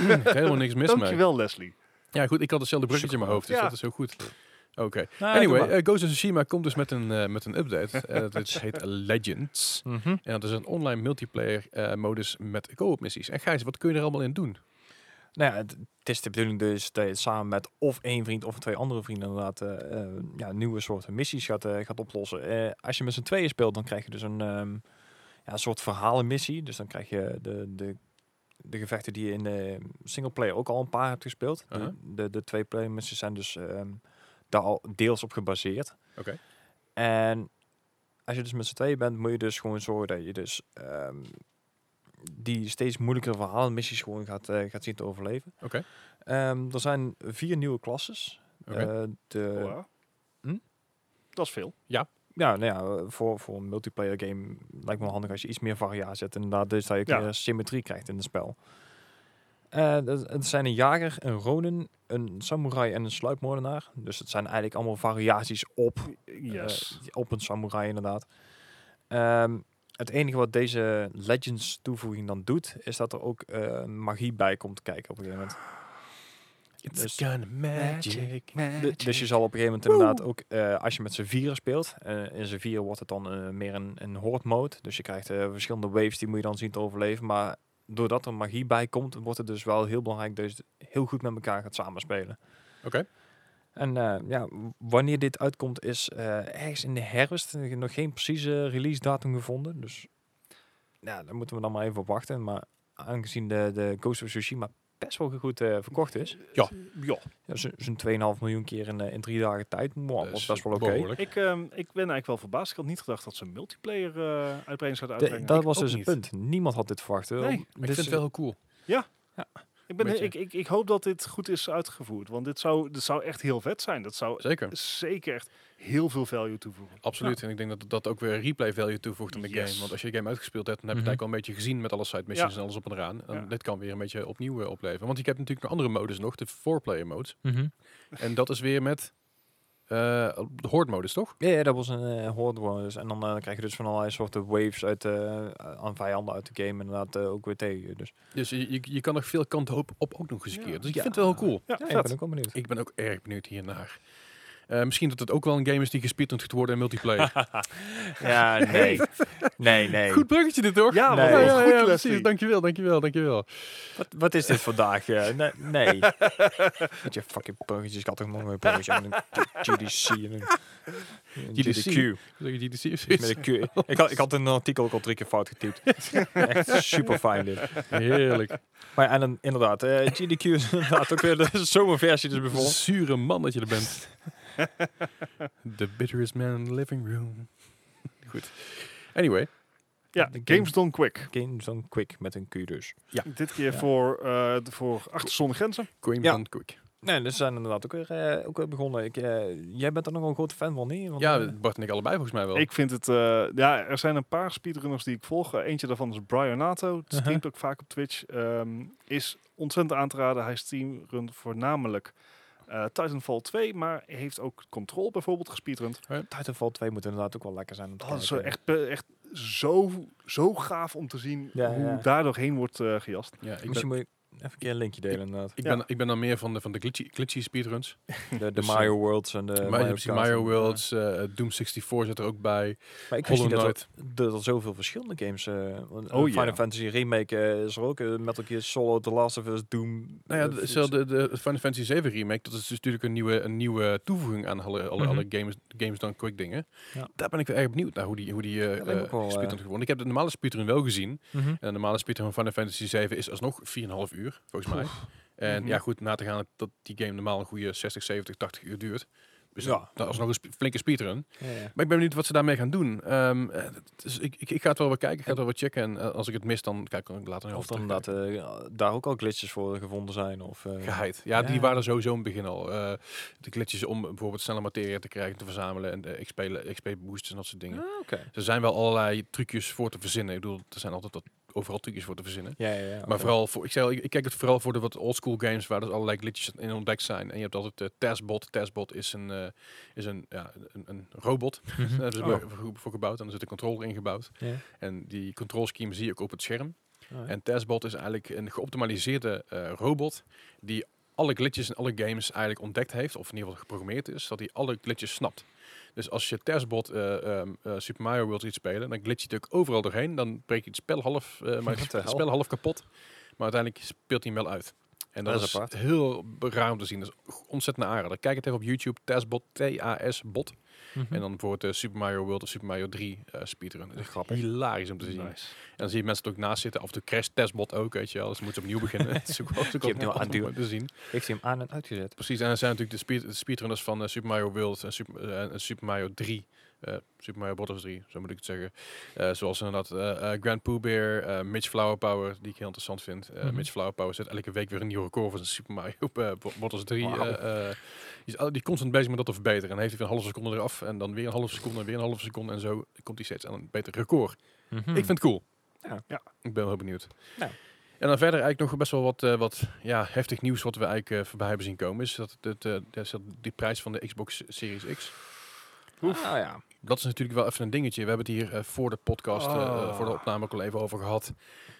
Speaker 1: Mm, er is helemaal niks mis mee.
Speaker 3: Dankjewel, Leslie.
Speaker 1: Ja goed, ik had hetzelfde bruggetje in mijn hoofd. Dus
Speaker 3: Ja.
Speaker 1: dat is heel goed. Oké.
Speaker 2: Nou, ja,
Speaker 1: Anyway,
Speaker 2: doe maar.
Speaker 1: eh, Ghost of Tsushima komt dus met een, eh, met een update. Eh, dat is- heet Legends.
Speaker 2: Mhm.
Speaker 1: En dat is een online multiplayer eh, modus met co-op missies. En Gijs, wat kun je er allemaal in doen?
Speaker 2: Nou ja, het, het is de bedoeling dus dat je samen met of één vriend of twee andere vrienden inderdaad eh, eh, ja, nieuwe soorten missies gaat, eh, gaat oplossen. Eh, als je met z'n tweeën speelt, dan krijg je dus een ehm, ja, een soort verhalenmissie. Dus dan krijg je de, de, de gevechten die je in de singleplayer ook al een paar hebt gespeeld.
Speaker 1: Uh-huh.
Speaker 2: de, de, de twee player missies zijn dus ehm, daar al deels op gebaseerd.
Speaker 1: Oké.
Speaker 2: En als je dus met z'n tweeën bent, moet je dus gewoon zorgen dat je dus ehm, die steeds moeilijkere verhalen missies gewoon gaat, eh, gaat zien te overleven.
Speaker 1: Oké.
Speaker 2: Ehm, er zijn vier nieuwe klasses.
Speaker 1: Oké.
Speaker 2: Eh, de,
Speaker 3: Oh, ja.
Speaker 2: hm?
Speaker 3: Dat is veel.
Speaker 2: Ja, nou ja, voor, voor een multiplayer game lijkt me wel handig als je iets meer variatie hebt. Inderdaad, dus dat je ook
Speaker 3: Ja.
Speaker 2: meer symmetrie krijgt in het spel. Eh, dat- het zijn een jager, een ronin, een samurai en een sluipmoordenaar. Dus het zijn eigenlijk allemaal variaties op, eh,
Speaker 3: Yes.
Speaker 2: op een samurai inderdaad. Ehm, het enige wat deze Legends toevoeging dan doet, is dat er ook eh, magie bij komt kijken op een gegeven moment. Dus-
Speaker 1: magic.
Speaker 2: Du- dus je zal op een gegeven moment inderdaad ook, eh, als je met z'n vieren speelt, eh, in z'n vieren wordt het dan eh, meer een, een horde mode. Dus je krijgt eh, verschillende waves, die moet je dan zien te overleven. Maar doordat er magie bij komt, wordt het dus wel heel belangrijk dat je het heel goed met elkaar gaat samenspelen.
Speaker 1: Oké.
Speaker 2: En eh, ja, w- wanneer dit uitkomt is eh, ergens in de herfst. Ik heb nog geen precieze release datum gevonden. Dus ja, daar moeten we dan maar even op wachten. Maar aangezien de, de Ghost of Tsushima best wel goed eh, verkocht is.
Speaker 1: Ja.
Speaker 3: Ja,
Speaker 2: Ja, zo- Zo'n 2,5 miljoen keer in, eh, in drie dagen tijd. Mwah,
Speaker 1: Dat
Speaker 2: was
Speaker 1: is
Speaker 2: Oh, best wel oké.
Speaker 1: behoorlijk.
Speaker 3: ik, ehm, ik ben eigenlijk wel verbaasd. Ik had niet gedacht dat ze een multiplayer eh uitbreiding zouden
Speaker 2: De-
Speaker 3: uitbrengen.
Speaker 2: dat
Speaker 3: Ik
Speaker 2: was
Speaker 3: ook
Speaker 2: dus
Speaker 3: niet.
Speaker 2: het punt. Niemand had dit verwacht.
Speaker 3: Nee, maar ik
Speaker 1: Maar ik
Speaker 2: dus-
Speaker 1: vind het wel heel cool.
Speaker 3: Ik, ben,
Speaker 1: Beetje.
Speaker 3: ik, ik, ik hoop dat dit goed is uitgevoerd. Want dit zou, dit zou echt heel vet zijn. Dat zou
Speaker 1: Zeker.
Speaker 3: zeker echt heel veel value toevoegen.
Speaker 1: Absoluut. En ik denk dat dat ook weer replay value toevoegt aan de
Speaker 3: Yes.
Speaker 1: game. Want als je de game uitgespeeld hebt, dan heb je
Speaker 2: Mhm.
Speaker 1: het eigenlijk al een beetje gezien met alle side missions en alles op en eraan. En
Speaker 3: Ja.
Speaker 1: Dit kan weer een beetje opnieuw eh, opleveren. Want ik heb natuurlijk nog andere modes nog, de four-player modes.
Speaker 3: Mhm.
Speaker 1: en dat is weer met eh de horde modus, toch?
Speaker 2: Ja, ja, dat was een eh horde war dus. En dan eh, krijg je dus van allerlei soorten waves uit, eh, aan vijanden uit de game. Inderdaad, eh, ook weer tegen je. Dus
Speaker 1: Dus je, je, je kan nog veel kanten op, op ook nog eens een
Speaker 3: Ja.
Speaker 1: keer. Dus ik
Speaker 2: Ja.
Speaker 1: vind het wel heel cool.
Speaker 3: Ja,
Speaker 2: ja, ik
Speaker 3: vet.
Speaker 2: ben ook wel benieuwd.
Speaker 1: Ik ben ook erg benieuwd hiernaar. Eh, misschien dat het ook wel een game is die gespeedrund gaat worden in multiplayer.
Speaker 2: ja, nee. nee, nee.
Speaker 1: Goed bruggetje dit, toch?
Speaker 3: Ja,
Speaker 2: Nee.
Speaker 3: maar
Speaker 2: Ja,
Speaker 3: goed, Leslie.
Speaker 1: precies. Dankjewel, dankjewel, dankjewel.
Speaker 2: Wat, wat is dit vandaag? eh? nee. nee. Met je fucking bruggetjes. Ik had toch nog een bruggetje aan een GDC. en een- een
Speaker 1: GDC.
Speaker 2: GDQ.
Speaker 1: Zeg je GDC of
Speaker 2: Iets
Speaker 1: zoiets?
Speaker 2: met een Q. Ik had, ik had een artikel ook al drie keer fout getypt. Echt super fijn dit.
Speaker 1: Heerlijk.
Speaker 2: Maar ja, en dan, inderdaad, eh, GDQ is inderdaad ook weer de zomerversie dus bijvoorbeeld.
Speaker 1: Zure man dat je er bent. the bitterest man in the living room. Goed. Anyway,
Speaker 3: Ja,
Speaker 2: de
Speaker 3: Games Done Quick.
Speaker 2: Games Done Quick met een Q dus.
Speaker 3: Dit keer
Speaker 2: Ja.
Speaker 3: voor, eh, de- voor achter zonder grenzen.
Speaker 1: Queen
Speaker 2: Ja.
Speaker 1: van Quick.
Speaker 2: Nee, dus ze zijn inderdaad ook weer, eh, ook weer begonnen. Ik, eh, jij bent er nog wel een grote fan van, niet? Want,
Speaker 1: Ja,
Speaker 2: eh,
Speaker 1: Bart en ik allebei volgens mij wel.
Speaker 3: Ik vind het... eh, ja, er zijn een paar speedrunners die ik volg. Eh, Eentje daarvan is Brian Nato. Het streamt ook vaak op Twitch. Ehm, is ontzettend aan te raden. Hij streamt voornamelijk eh, Titanfall 2. Maar heeft ook Control bijvoorbeeld gespeedrund.
Speaker 2: Titanfall 2 moet inderdaad ook wel lekker zijn. om te
Speaker 3: Oh, Dat is
Speaker 2: kijken.
Speaker 3: echt, pe- echt zo, zo gaaf om te zien
Speaker 2: Ja,
Speaker 3: hoe
Speaker 2: ja.
Speaker 3: daar doorheen wordt eh, gejast.
Speaker 1: ja, ik, ben,
Speaker 2: Misschien moet je even een keer een linkje delen inderdaad.
Speaker 1: ik,
Speaker 3: ja.
Speaker 1: ben, ik ben dan meer van de, van de glitchy, glitchy speedruns.
Speaker 2: De, de
Speaker 1: Dus, eh,
Speaker 2: Mario Worlds en de
Speaker 1: maar je hebt
Speaker 2: Kart en,
Speaker 1: Mario
Speaker 2: eh,
Speaker 1: Worlds, eh, Doom 64 zit er ook bij.
Speaker 2: Maar ik wist
Speaker 1: Hollow
Speaker 2: niet dat,
Speaker 1: Knight.
Speaker 2: er- dat er zoveel verschillende games... eh want, eh,
Speaker 3: Oh,
Speaker 2: Final
Speaker 3: ja.
Speaker 2: Fantasy Remake eh, is er ook. eh, Metal Gear Solid, The Last of Us, Doom.
Speaker 1: Nou ja,
Speaker 2: eh,
Speaker 1: de, zo de, de Final Fantasy 7 remake, dat is dus natuurlijk een nieuwe, een nieuwe toevoeging aan alle, alle,
Speaker 2: Mhm.
Speaker 1: alle games, games dan quick dingen.
Speaker 2: Ja.
Speaker 1: Daar ben ik wel erg benieuwd naar hoe die, hoe die eh
Speaker 2: Ja, lijkt me ook wel, eh,
Speaker 1: speedrun geworden. Ik heb de normale speedrun wel gezien.
Speaker 2: Mhm.
Speaker 1: En de normale speedrun van Final Fantasy 7 is alsnog 4,5 uur, volgens mij. En
Speaker 3: Mhm.
Speaker 1: ja, goed, na te gaan dat die game normaal een goede 60, 70, 80 uur duurt. Dus
Speaker 2: Ja.
Speaker 1: ja. dat is nog een sp- flinke speedrun.
Speaker 2: Ja, ja.
Speaker 1: Maar ik ben benieuwd wat ze daarmee gaan doen. Ehm, eh, het is- ik, ik, ik ga het wel weer kijken, ik ga het wel weer checken. En eh, als ik het mis, dan kijk ik later nog
Speaker 2: Of
Speaker 1: even
Speaker 2: dan dat eh, daar ook al glitches voor gevonden zijn. Of, eh,
Speaker 1: Geheid. Ja, die
Speaker 2: Ja.
Speaker 1: waren er sowieso in het begin al. Eh, de glitches om bijvoorbeeld snelle materie te krijgen, te verzamelen. En de XP, le- XP boosters en dat soort dingen.
Speaker 2: Ah, oké.
Speaker 1: Er zijn wel allerlei trucjes voor te verzinnen. Ik bedoel, er zijn altijd wat, overal trucjes voor te verzinnen.
Speaker 2: Ja, ja, ja.
Speaker 1: Maar
Speaker 2: oké.
Speaker 1: vooral voor, ik, zei, al, ik ik kijk het vooral voor de wat oldschool games waar dus allerlei glitches in ontdekt zijn. En je hebt altijd de testbot. Testbot is een, eh, is een, ja, een, een robot. Daar hebben ze
Speaker 3: Oh.
Speaker 1: voor- voor, voor gebouwd en er zit een controller in gebouwd.
Speaker 2: Ja.
Speaker 1: En die control scheme zie je ook op het scherm.
Speaker 2: Ah, ja.
Speaker 1: En testbot is eigenlijk een geoptimaliseerde eh, robot die alle glitches in alle games eigenlijk ontdekt heeft, of in ieder geval geprogrammeerd is, dat hij alle glitches snapt. Dus als je testbot eh, ehm, eh, Super Mario World ziet spelen, dan glitch je natuurlijk overal doorheen. Dan breek je het spel half, eh, maar
Speaker 2: Wat
Speaker 1: het
Speaker 2: de hel?
Speaker 1: spel half kapot. Maar uiteindelijk speelt hij hem wel uit. En dat,
Speaker 2: Dat is
Speaker 1: is,
Speaker 2: apart.
Speaker 1: heel raar om te zien. Dat is ontzettend naar aanrader. Kijk het even op YouTube. Testbot, T-A-S-bot.
Speaker 2: Mhm.
Speaker 1: En dan bijvoorbeeld eh, Super Mario World of Super Mario 3 eh speedrun. Dat is grappig. Hilarisch om te zien.
Speaker 3: Nice.
Speaker 1: En dan zie je mensen er ook naast zitten. Af en toe crash testbot ook, weet je wel. Dus dan moeten ze opnieuw beginnen. Het is ook wel- het is ook wel
Speaker 2: Je hebt nu al
Speaker 1: grappig om
Speaker 2: aan
Speaker 1: te zien.
Speaker 2: Heeft hij hem aan en uitgezet?
Speaker 1: Precies, en er zijn natuurlijk de, speed, de speedrunners van eh, Super Mario World en Super, eh, en Super Mario 3. eh, Super Mario Bros. 3, zo moet ik het zeggen. Eh, zoals inderdaad eh, eh, Grand Pooh Bear, eh, Mitch Flowerpower, die ik heel interessant vind. Eh,
Speaker 2: Mhm.
Speaker 1: Mitch Flowerpower zet elke week weer een nieuw record voor zijn Super Mario eh, Bo- Bros. 3. eh,
Speaker 2: Wauw.
Speaker 1: eh, die is al- die is constant bezig met dat te verbeteren. En dan heeft hij weer een halve seconde eraf en dan weer een halve seconde en weer een halve seconde. En zo komt hij steeds aan een beter record. Mhm.
Speaker 2: Mhm. Hmm.
Speaker 1: Ik vind het cool.
Speaker 2: Ja.
Speaker 3: Ja.
Speaker 1: Ik ben wel heel benieuwd.
Speaker 2: Nou.
Speaker 1: En dan verder eigenlijk nog best wel wat, eh, wat ja, heftig nieuws wat we eigenlijk eh, voorbij hebben zien komen. Is dat, dat, eh, dat is dat die prijs van de Xbox Series X.
Speaker 2: Oef. Nou ja.
Speaker 1: Dat is natuurlijk wel even een dingetje. We hebben het hier eh, voor de podcast, eh, eh, voor de
Speaker 3: Ah.
Speaker 1: opname ook al even over gehad.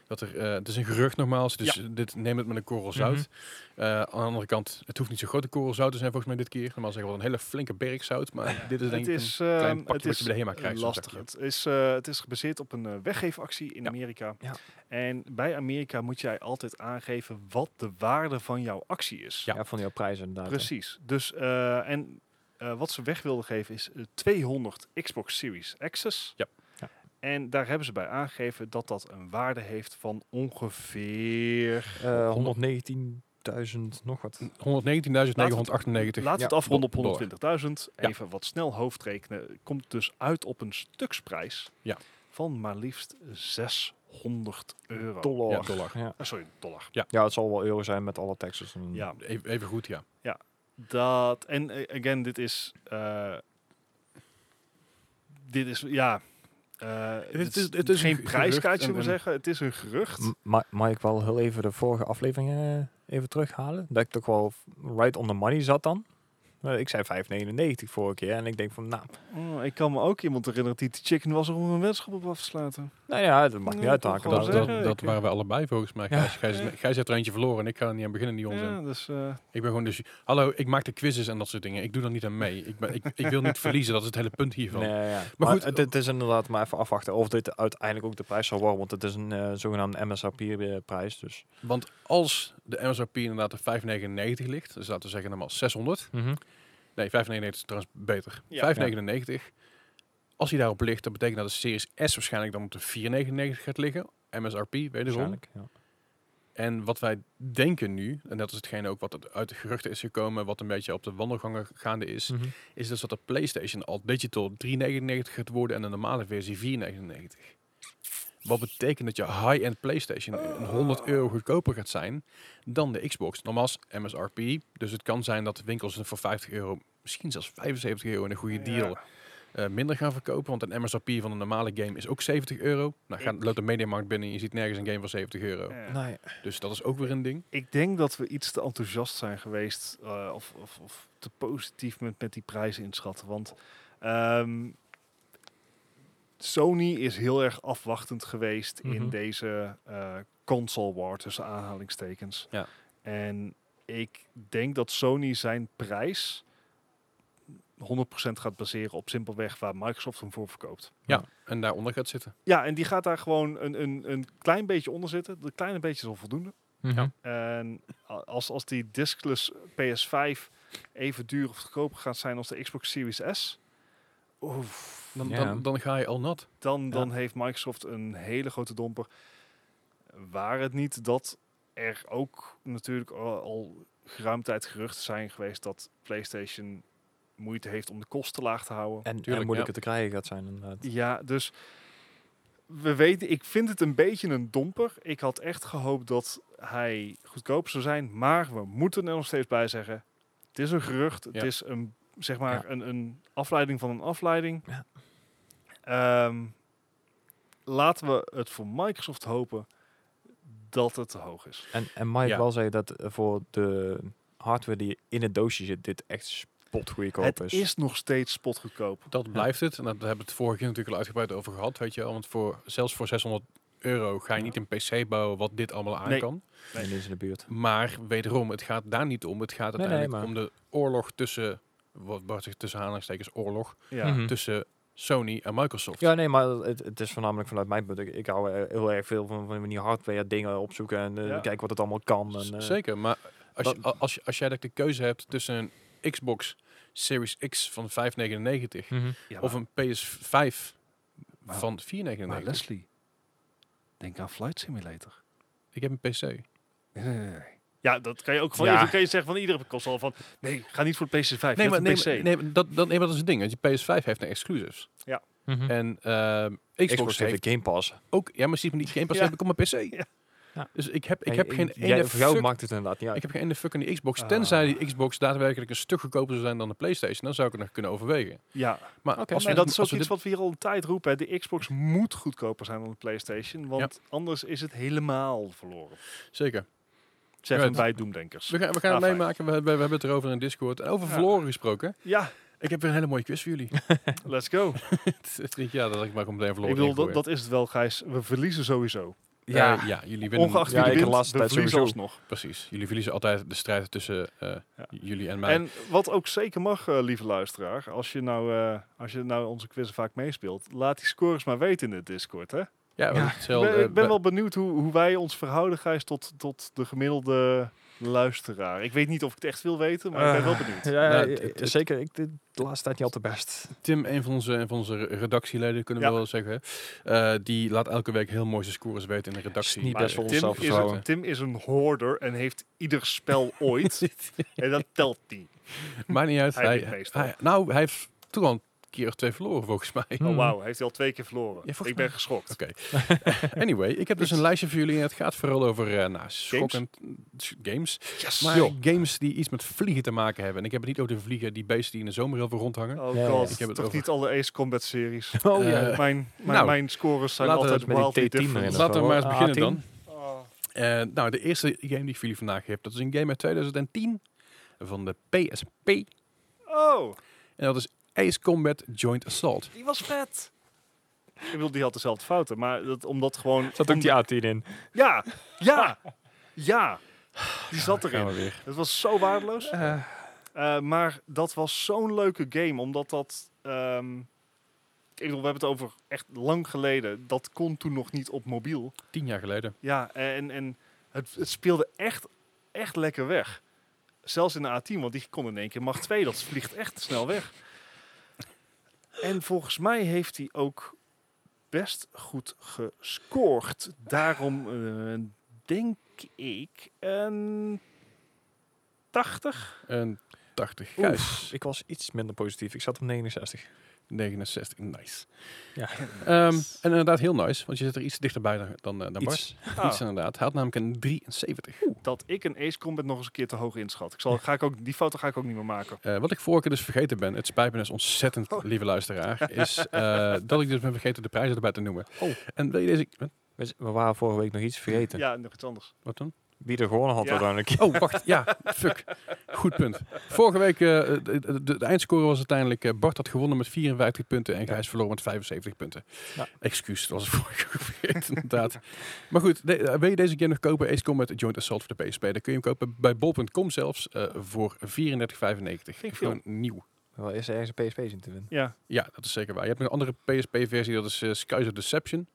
Speaker 1: Dat er, eh, het is een gerucht nogmaals, dus dit neem het met een korrel zout. Eh, aan de andere kant, het hoeft niet zo'n grote korrel zout te zijn volgens mij dit keer. Normaal zeggen we wel een hele flinke berg zout, maar dit is Dus denk
Speaker 3: Het
Speaker 1: ik
Speaker 3: is,
Speaker 1: een klein
Speaker 3: ehm,
Speaker 1: pakje
Speaker 3: het
Speaker 1: wat
Speaker 3: is
Speaker 1: je bij de HEMA krijgt. zo'n
Speaker 3: lastig.
Speaker 1: zakje.
Speaker 3: Het is, eh, het is gebaseerd op een eh, weggeefactie in
Speaker 1: Ja.
Speaker 3: Amerika.
Speaker 2: Ja.
Speaker 3: En bij Amerika moet jij altijd aangeven wat de waarde van jouw actie is.
Speaker 1: Ja.
Speaker 2: ja, van jouw prijs inderdaad. hè.
Speaker 3: Precies. Dus, eh, en eh, wat ze weg wilden geven is eh, 200 Xbox Series X's.
Speaker 1: Ja.
Speaker 2: Ja.
Speaker 3: En daar hebben ze bij aangegeven dat dat een waarde heeft van ongeveer...
Speaker 2: Eh, 119.000 nog wat.
Speaker 1: 119.998.
Speaker 3: Laat het
Speaker 2: Ja,
Speaker 3: afronden
Speaker 1: do-
Speaker 3: op 120.000.
Speaker 1: Ja.
Speaker 3: Even wat snel hoofdrekenen. Komt dus uit op een stuksprijs
Speaker 1: Ja.
Speaker 3: van maar liefst 600 euro.
Speaker 2: Dollar.
Speaker 1: Ja, dollar.
Speaker 2: Ja.
Speaker 3: Ah, sorry, dollar.
Speaker 2: ja, het zal wel euro zijn met alle taxes. En
Speaker 1: Hmm.
Speaker 3: Ja,
Speaker 1: Even, even goed, ja.
Speaker 3: dat... En eh, again, dit is... eh, dit is, ja... eh,
Speaker 1: is-
Speaker 3: dit is,
Speaker 1: het is een ge-
Speaker 3: geen
Speaker 1: gerucht, Hmm.
Speaker 3: prijskaartje, zullen we
Speaker 1: een-
Speaker 3: zeggen. Het is een gerucht.
Speaker 2: M- ma- mag ik wel heel even de vorige aflevering eh, even terughalen? Dat ik toch wel f- right on the money zat dan. Eh, ik zei 5,99 vorige keer. En ik denk van, nou,
Speaker 3: Oh, ik kan me ook iemand herinneren die te chicken was om een weddenschap op af te slaten.
Speaker 2: nou ja, dat mag niet
Speaker 3: Ja,
Speaker 2: uit.
Speaker 3: toch
Speaker 2: haken.
Speaker 3: wel
Speaker 1: Dat,
Speaker 2: Dat,
Speaker 3: zeggen.
Speaker 1: dat,
Speaker 3: ik,
Speaker 1: dat
Speaker 3: eh,
Speaker 1: waren we allebei volgens mij.
Speaker 2: Ja.
Speaker 1: Gijs, Gijs, Gijs heeft er eentje verloren en ik ga er niet aan beginnen, die onzin.
Speaker 3: Ja, dus... eh,
Speaker 1: Ik ben gewoon dus... Hallo, ik maak de quizzes en dat soort dingen. Ik doe daar niet aan mee. Ik, ben, ik, ik wil niet verliezen, dat is het hele punt hiervan.
Speaker 2: nee, ja. Maar,
Speaker 1: goed,
Speaker 2: goed, het, het is inderdaad maar even afwachten of dit uiteindelijk ook de prijs zal worden. Want het is een eh, zogenaamde MSRP-prijs. Dus.
Speaker 1: Want als de MSRP inderdaad op 5,99 ligt, dus laten we zeggen normaal 600. Nee, 5,99 is trouwens beter.
Speaker 3: Ja.
Speaker 1: 5,99. Als hij daarop ligt, dat betekent dat de Series S waarschijnlijk dan op de 4,99 gaat liggen. MSRP, wederom.
Speaker 2: Waarschijnlijk, ja.
Speaker 1: En wat wij denken nu, en dat is hetgene ook wat er uit de geruchten is gekomen, wat een beetje op de wandelgangen gaande is,
Speaker 2: Mhm.
Speaker 1: is dus dat de PlayStation al digital 3,99 gaat worden en de normale versie 4,99. Wat betekent dat je high-end PlayStation een 100 euro goedkoper gaat zijn dan de Xbox. Normaal is MSRP, dus het kan zijn dat de winkels het voor 50 euro, misschien zelfs 75 euro in een goede deal
Speaker 3: Ja.
Speaker 1: eh, minder gaan verkopen. Want een MSRP van een normale game is ook 70 euro. Nou, gaat, loopt de mediamarkt binnen en je ziet nergens een game voor 70 euro.
Speaker 3: ja.
Speaker 2: Nee.
Speaker 1: Dus dat is ook weer een ding.
Speaker 3: Ik denk dat we iets te enthousiast zijn geweest eh, of, of, of te positief met, met die prijzen inschatten. Want ehm, Sony is heel erg afwachtend geweest
Speaker 2: Mhm.
Speaker 3: in deze eh, console war tussen aanhalingstekens.
Speaker 1: Ja.
Speaker 3: En ik denk dat Sony zijn prijs 100% gaat baseren op simpelweg waar Microsoft hem voor verkoopt.
Speaker 1: Ja, en daaronder gaat zitten.
Speaker 3: Ja, en die gaat daar gewoon een, een, een klein beetje onder zitten. Dat kleine beetje is al voldoende.
Speaker 2: Ja.
Speaker 3: En a- als, als die diskless PS5 even duur of goedkoper gaat zijn als de Xbox Series S, oef,
Speaker 1: Dan,
Speaker 2: Ja.
Speaker 1: dan, dan ga je al nat.
Speaker 3: dan, dan heeft Microsoft een hele grote domper. Waar het niet dat er ook natuurlijk al, al geruime tijd geruchten zijn geweest dat PlayStation moeite heeft om de kosten laag te houden.
Speaker 2: En,
Speaker 1: Tuurlijk,
Speaker 2: en moeilijker
Speaker 1: ja.
Speaker 2: te krijgen gaat zijn inderdaad.
Speaker 3: Ja, dus we weten, ik vind het een beetje een domper. Ik had echt gehoopt dat hij goedkoop zou zijn, maar we moeten er nog steeds bij zeggen: het is een gerucht, het
Speaker 1: Ja.
Speaker 3: is een, zeg maar,
Speaker 2: Ja.
Speaker 3: een, een afleiding van een afleiding.
Speaker 2: Ja.
Speaker 3: Ehm, laten we het voor Microsoft hopen dat het te hoog is.
Speaker 2: En, en mag ik
Speaker 1: Ja.
Speaker 2: wel zeggen dat eh, voor de hardware die in het doosje zit, dit echt spotgoedkoop
Speaker 3: het
Speaker 2: is.
Speaker 3: is nog steeds spotgoedkoop.
Speaker 1: Dat blijft het. En daar hebben we het vorige keer natuurlijk al uitgebreid over gehad. Weet je wel. Want voor, zelfs voor 600 euro ga je
Speaker 3: Ja.
Speaker 1: niet een PC bouwen wat dit allemaal aan
Speaker 3: Nee.
Speaker 1: kan.
Speaker 2: En dit is in de buurt.
Speaker 1: Maar wederom, het gaat daar niet om. Het gaat
Speaker 2: Nee, nee,
Speaker 1: uiteindelijk om de oorlog tussen, wat Bart zegt tussen aanhalingstekens oorlog,
Speaker 3: Ja.
Speaker 2: Mhm.
Speaker 1: tussen Sony en Microsoft.
Speaker 2: Ja, nee, maar het, het is voornamelijk vanuit mijn punt. Ik, ik hou eh, heel erg veel van, van die hardware dingen opzoeken en eh,
Speaker 3: Ja.
Speaker 2: kijken wat het allemaal kan.
Speaker 1: Z-
Speaker 2: En, eh,
Speaker 1: Zeker, maar als,
Speaker 2: dat-
Speaker 1: je, als, je- als jij dat de keuze hebt tussen een Xbox Series X van 5,99
Speaker 2: Mhm.
Speaker 3: Ja,
Speaker 1: of
Speaker 3: maar-
Speaker 1: een PS5
Speaker 3: Maar-
Speaker 1: van 4,99.
Speaker 3: maar Leslie, denk aan Flight Simulator.
Speaker 1: Ik heb een PC.
Speaker 3: Nee, nee, nee, nee. Ja, dat kan je ook van.
Speaker 2: Ja.
Speaker 3: Dan kan je zeggen van iedere console van. Nee, ga niet voor de PS5.
Speaker 1: Nee, maar, nee,
Speaker 3: PC.
Speaker 1: maar- nee, maar dat, dat, nee, maar dat is het ding. Want je PS5 heeft een exclusives.
Speaker 2: Mhm.
Speaker 1: En ehm, Xbox,
Speaker 2: Xbox
Speaker 1: heeft
Speaker 2: heeft de Game Pass.
Speaker 1: ook... Ja, maar zie je niet Game Pass
Speaker 3: Ja.
Speaker 1: heb ik op mijn PC.
Speaker 2: Ja.
Speaker 1: Dus ik heb, ik
Speaker 2: En-
Speaker 1: heb
Speaker 2: en
Speaker 1: geen
Speaker 2: jij-
Speaker 1: ene
Speaker 2: Voor jou
Speaker 1: fuck-
Speaker 2: maakt het inderdaad niet uit.
Speaker 1: Ik heb geen ene fuck aan die Xbox.
Speaker 3: Ah.
Speaker 1: Tenzij die Xbox daadwerkelijk een stuk goedkoper zou zijn dan de PlayStation. Dan zou ik het nog kunnen overwegen.
Speaker 3: Ja,
Speaker 1: Maar
Speaker 2: Oké,
Speaker 1: als
Speaker 3: en
Speaker 1: we,
Speaker 3: dat is ook
Speaker 1: als we
Speaker 3: iets
Speaker 1: dit-
Speaker 3: wat we hier al een tijd roepen. hè. De Xbox moet goedkoper zijn dan de PlayStation. Want anders is het helemaal verloren.
Speaker 1: Zeker.
Speaker 3: Zeggen
Speaker 1: Right.
Speaker 3: wij Doemdenkers.
Speaker 1: We gaan, we gaan
Speaker 3: Ah,
Speaker 1: het
Speaker 3: fijn.
Speaker 1: meemaken. We, hebben- we hebben het erover in Discord. En over
Speaker 3: Ja.
Speaker 1: verloren gesproken.
Speaker 3: Ja,
Speaker 1: Ik heb weer een hele mooie quiz voor jullie.
Speaker 3: let's go.
Speaker 1: ja, dat had ik maar gewoon meteen
Speaker 3: Ik
Speaker 1: verloren.
Speaker 3: bedoel, dat,
Speaker 1: ingooien.
Speaker 3: dat is het wel, Gijs. We verliezen sowieso.
Speaker 1: ja. ja, jullie winnen.
Speaker 3: Ongeacht
Speaker 1: ja,
Speaker 3: wie
Speaker 1: ik-
Speaker 3: de
Speaker 2: wint.
Speaker 3: wint,
Speaker 2: las
Speaker 3: we
Speaker 2: dat
Speaker 3: verliezen
Speaker 2: sowieso.
Speaker 3: alsnog.
Speaker 1: Precies. Jullie verliezen altijd de strijd tussen eh,
Speaker 3: Ja.
Speaker 1: jullie en mij.
Speaker 3: En wat ook zeker mag, eh, lieve luisteraar. Als je, nou, eh, als je nou onze quizzen vaak meespeelt. Laat die scores maar weten in de Discord, hè.
Speaker 1: ja, want
Speaker 2: Ja.
Speaker 1: hetzelfde,
Speaker 3: ik ben,
Speaker 1: eh,
Speaker 3: ik ben wel benieuwd hoe, hoe wij ons verhouden, Gijs, tot, tot de gemiddelde luisteraar. Ik weet niet of ik het echt wil weten, maar ik ben wel benieuwd.
Speaker 2: Ah. Ja,
Speaker 1: Nou,
Speaker 2: ja,
Speaker 1: het- het-
Speaker 2: zeker. Ik, de, de laatste tijd niet al te best.
Speaker 1: Tim, een van onze, een van onze redactieleden, kunnen we
Speaker 3: Ja.
Speaker 1: wel zeggen. eh, die laat elke week heel mooi zijn scores weten in de redactie.
Speaker 2: niet
Speaker 1: Maar
Speaker 2: best wel
Speaker 1: Tim-
Speaker 2: ons
Speaker 3: Tim is,
Speaker 2: zelfvertrouwen.
Speaker 3: een, Tim is een hoorder en heeft ieder spel ooit. en dat telt niet.
Speaker 1: Maakt niet uit.
Speaker 3: Hij
Speaker 1: Hij,
Speaker 3: wint meestal.
Speaker 1: hij- nou, hij heeft toch al een keer of twee verloren, volgens mij.
Speaker 2: Hmm.
Speaker 3: Oh, wauw, hij heeft al twee keer verloren.
Speaker 1: Ja, volgens
Speaker 3: ik ben geschokt.
Speaker 1: Oké. anyway, ik heb dus een lijstje voor jullie en het gaat vooral over eh nou, schokkend games.
Speaker 3: Yes!
Speaker 1: Maar
Speaker 3: joh.
Speaker 1: games die iets met vliegen te maken hebben. En ik heb het niet over de vliegen, die beesten die in de zomer heel veel rondhangen.
Speaker 3: Oh
Speaker 2: Ja,
Speaker 3: god,
Speaker 1: ik heb het
Speaker 3: toch
Speaker 1: over-
Speaker 3: niet alle Ace Combat series.
Speaker 1: Oh
Speaker 2: ja.
Speaker 3: mijn, mijn,
Speaker 1: nou,
Speaker 3: mijn scores zijn
Speaker 1: laten we
Speaker 3: altijd
Speaker 2: Met
Speaker 3: wildly
Speaker 2: die T10 erin.
Speaker 3: different.
Speaker 2: of
Speaker 1: Laten
Speaker 2: zo.
Speaker 1: we maar eens
Speaker 2: Ah,
Speaker 1: beginnen
Speaker 2: A10.
Speaker 1: dan.
Speaker 3: Oh,
Speaker 1: Eh, nou, de eerste game die ik voor jullie vandaag heb, dat is een game uit 2010 van de PSP.
Speaker 3: Oh,
Speaker 1: En dat is Ace Combat Joint Assault.
Speaker 3: die was vet. Ik bedoel, die had dezelfde fouten, maar dat, omdat gewoon...
Speaker 2: Zat ook
Speaker 3: om-
Speaker 2: die A10 in.
Speaker 3: Ja, ja, ja. Die zat
Speaker 1: Gaan
Speaker 3: erin.
Speaker 1: we weer.
Speaker 3: Het was zo waardeloos. Eh, maar dat was zo'n leuke game, omdat dat... ehm, ik bedoel, we hebben het over echt lang geleden. Dat kon toen nog niet op mobiel.
Speaker 1: Tien jaar geleden.
Speaker 3: Ja, en, en het, het speelde echt, echt lekker weg. Zelfs in de A10, want die kon in één keer macht 2. Dat vliegt echt snel weg. En volgens mij heeft hij ook best goed gescoord. Daarom eh, denk ik een 80.
Speaker 1: En 80.
Speaker 2: Oef,
Speaker 1: Gijs,
Speaker 2: Ik was iets minder positief. Ik zat op 69.
Speaker 1: 69. Nice.
Speaker 2: Ja.
Speaker 1: Ehm, en inderdaad heel nice, want je zit er iets dichterbij dan, dan, eh, dan Bart.
Speaker 2: Iets.
Speaker 3: Ah,
Speaker 1: Iets inderdaad. Hij had namelijk een 73.
Speaker 3: dat ik een Ace Combat nog eens een keer te hoog inschat. Ik zal, ga ik ook, die foto ga ik ook niet meer maken.
Speaker 1: Eh, wat ik vorige keer dus vergeten ben, het spijt me dus ontzettend,
Speaker 3: Oh.
Speaker 1: lieve luisteraar, is eh, dat ik dus ben vergeten de prijzen erbij te noemen.
Speaker 2: Oh.
Speaker 1: En wil je deze... wat-
Speaker 2: We we waren vorige week nog iets vergeten.
Speaker 3: Ja, nog iets anders.
Speaker 1: Wat dan?
Speaker 2: Wie er gewonnen had
Speaker 3: Ja.
Speaker 2: uiteindelijk.
Speaker 1: Oh, wacht. Ja, fuck. Goed punt. Vorige week, eh, de, de- de eindscore was uiteindelijk... eh, Bart had gewonnen met 54 punten en Gijs verloren met 75 punten.
Speaker 2: Ja.
Speaker 1: Excuus, dat was het vorige keer inderdaad. Maar goed, de- eh, wil je deze game nog kopen? Ace Combat Joint Assault voor de PSP. Dan kun je hem kopen bij bol.com zelfs eh, voor 34,95.
Speaker 3: veel.
Speaker 1: Gewoon nieuw.
Speaker 2: Wel is er ergens een PSP in te winnen.
Speaker 3: Ja,
Speaker 1: Ja, dat is zeker waar. Je hebt nog een andere PSP-versie, dat is eh, Skies of Deception.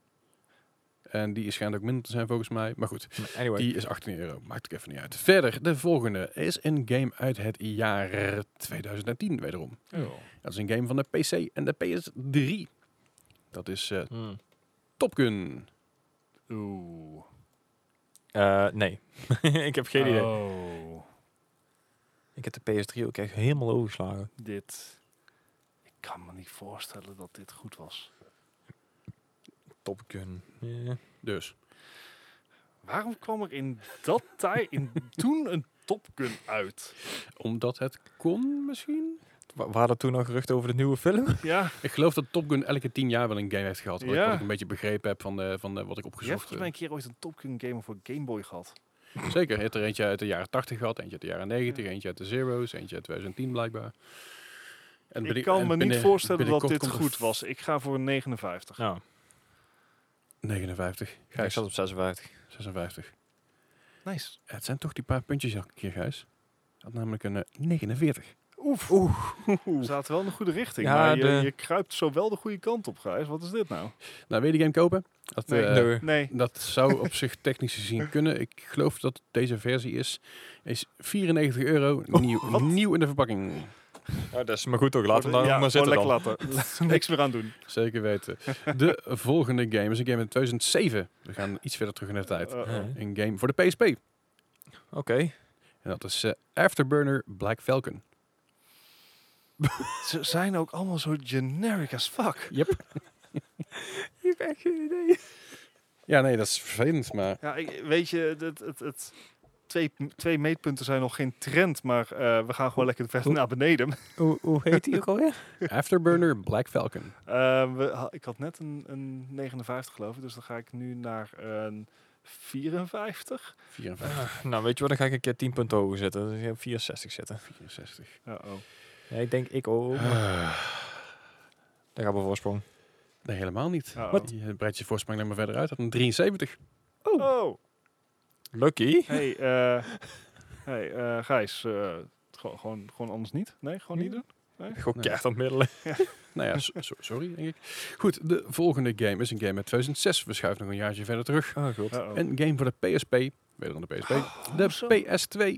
Speaker 1: En die schijnt ook minder te zijn volgens mij. Maar goed,
Speaker 2: Maar Anyway.
Speaker 1: die is 18 euro. Maakt ook even niet uit. Verder, de volgende is een game uit het jaar 2010 wederom.
Speaker 2: Hmm.
Speaker 1: Dat is een game van de PC en de PS3. Dat is eh
Speaker 2: Hmm.
Speaker 1: Top Gun.
Speaker 3: Oeh.
Speaker 2: Eh, nee. ik heb geen idee.
Speaker 3: Oh,
Speaker 2: Ik heb de PS3 ook echt helemaal overgeslagen.
Speaker 3: dit. Ik kan me niet voorstellen dat dit goed was.
Speaker 2: Top Gun.
Speaker 1: Dus,
Speaker 3: Waarom kwam er in dat tijd, in toen een Top Gun uit?
Speaker 1: omdat het kon misschien?
Speaker 2: Wa- Waren er toen al geruchten over de nieuwe film?
Speaker 3: Ja,
Speaker 1: Ik geloof dat Top Gun elke 10 jaar wel een game heeft gehad. Wat, ik-
Speaker 3: Ja.
Speaker 1: wat ik een beetje begrepen heb van, de, van de, wat ik
Speaker 3: je hebt
Speaker 1: opgezocht eh,
Speaker 3: volgens mij een keer ooit een Top Gun game voor Game Boy gehad.
Speaker 1: Zeker, je hebt er eentje uit de jaren 80 gehad, eentje uit de jaren 90, eentje uit de zeros, eentje uit 2010 blijkbaar. En
Speaker 3: ik
Speaker 1: binnen-
Speaker 3: kan
Speaker 1: en
Speaker 3: me
Speaker 1: binnen-
Speaker 3: niet voorstellen dat
Speaker 1: binnenkort
Speaker 3: dit
Speaker 1: komt er
Speaker 3: goed was. Ik ga voor een 59.
Speaker 2: Nou,
Speaker 1: 59,
Speaker 2: ik
Speaker 1: Gijs
Speaker 2: zat op 56.
Speaker 1: 56.
Speaker 3: Nice.
Speaker 1: Ja, het zijn toch die paar puntjes elke keer, Gijs. Ik Had namelijk een eh, 49.
Speaker 3: Oef. Oeh. We zaten wel in de goede richting,
Speaker 2: Ja,
Speaker 3: maar je,
Speaker 2: de-
Speaker 3: je kruipt zowel de goede kant op, Gijs. Wat is dit nou?
Speaker 1: Nou, wil je die game kopen? Dat,
Speaker 3: Nee.
Speaker 1: eh,
Speaker 2: Nee.
Speaker 3: Nee.
Speaker 1: dat zou op zich technisch gezien kunnen. Ik geloof dat deze versie is, is 94 euro, nieuw,
Speaker 3: wat?
Speaker 1: nieuw in de verpakking.
Speaker 2: Ja, dat is maar goed toch. Laat hem dan
Speaker 3: ja,
Speaker 2: maar
Speaker 3: gewoon
Speaker 2: zitten
Speaker 3: lekker
Speaker 2: dan.
Speaker 3: laten. Niks meer aan doen.
Speaker 1: Zeker weten. De volgende game is een game in 2007. We gaan iets verder terug in de tijd.
Speaker 3: Eh, eh,
Speaker 1: Een game voor de PSP. En
Speaker 2: Oké.
Speaker 1: dat is eh, Afterburner Black Falcon.
Speaker 3: Ze zijn ook allemaal zo generic as fuck.
Speaker 2: Je hebt echt geen idee.
Speaker 1: Ja, nee, dat is vervelend, maar...
Speaker 3: Ja, ik- weet je, het, het, het, twee, twee meetpunten zijn nog geen trend, maar eh, we gaan gewoon lekker verder naar beneden.
Speaker 2: Hoe, hoe heet die ook alweer?
Speaker 1: Afterburner Black Falcon.
Speaker 3: Eh, we, ha- ik had net een, een 59 geloof ik, dus dan ga ik nu naar een 54.
Speaker 1: 54,
Speaker 2: nou, weet je wat? Dan ga ik een keer 10 punten hoger zetten. Dus ik heb 64 zetten.
Speaker 1: 64.
Speaker 3: Uh-oh.
Speaker 2: Ja, ik denk ik ook.
Speaker 1: Ah,
Speaker 2: Daar gaat mijn voorsprong.
Speaker 1: nee, helemaal niet.
Speaker 3: Uh-oh.
Speaker 1: Wat? Oh, Je breidt je voorsprong alleen maar verder uit. Dat een 73.
Speaker 3: Oh,
Speaker 2: Lucky.
Speaker 3: hey, eh, hey eh, Gijs, eh, gewoon, gewoon, gewoon anders niet? Nee, gewoon niet doen?
Speaker 2: Gewoon
Speaker 1: Nee.
Speaker 2: keihard op middelen.
Speaker 1: Nou ja, so- so- sorry, denk ik. Goed, de volgende game is een game uit 2006. We schuiven nog een jaartje verder terug.
Speaker 2: Oh, goed.
Speaker 3: Uh-oh.
Speaker 1: Een game voor de PSP. Weder dan de PSP. De
Speaker 3: Oh, zo.
Speaker 1: PS2.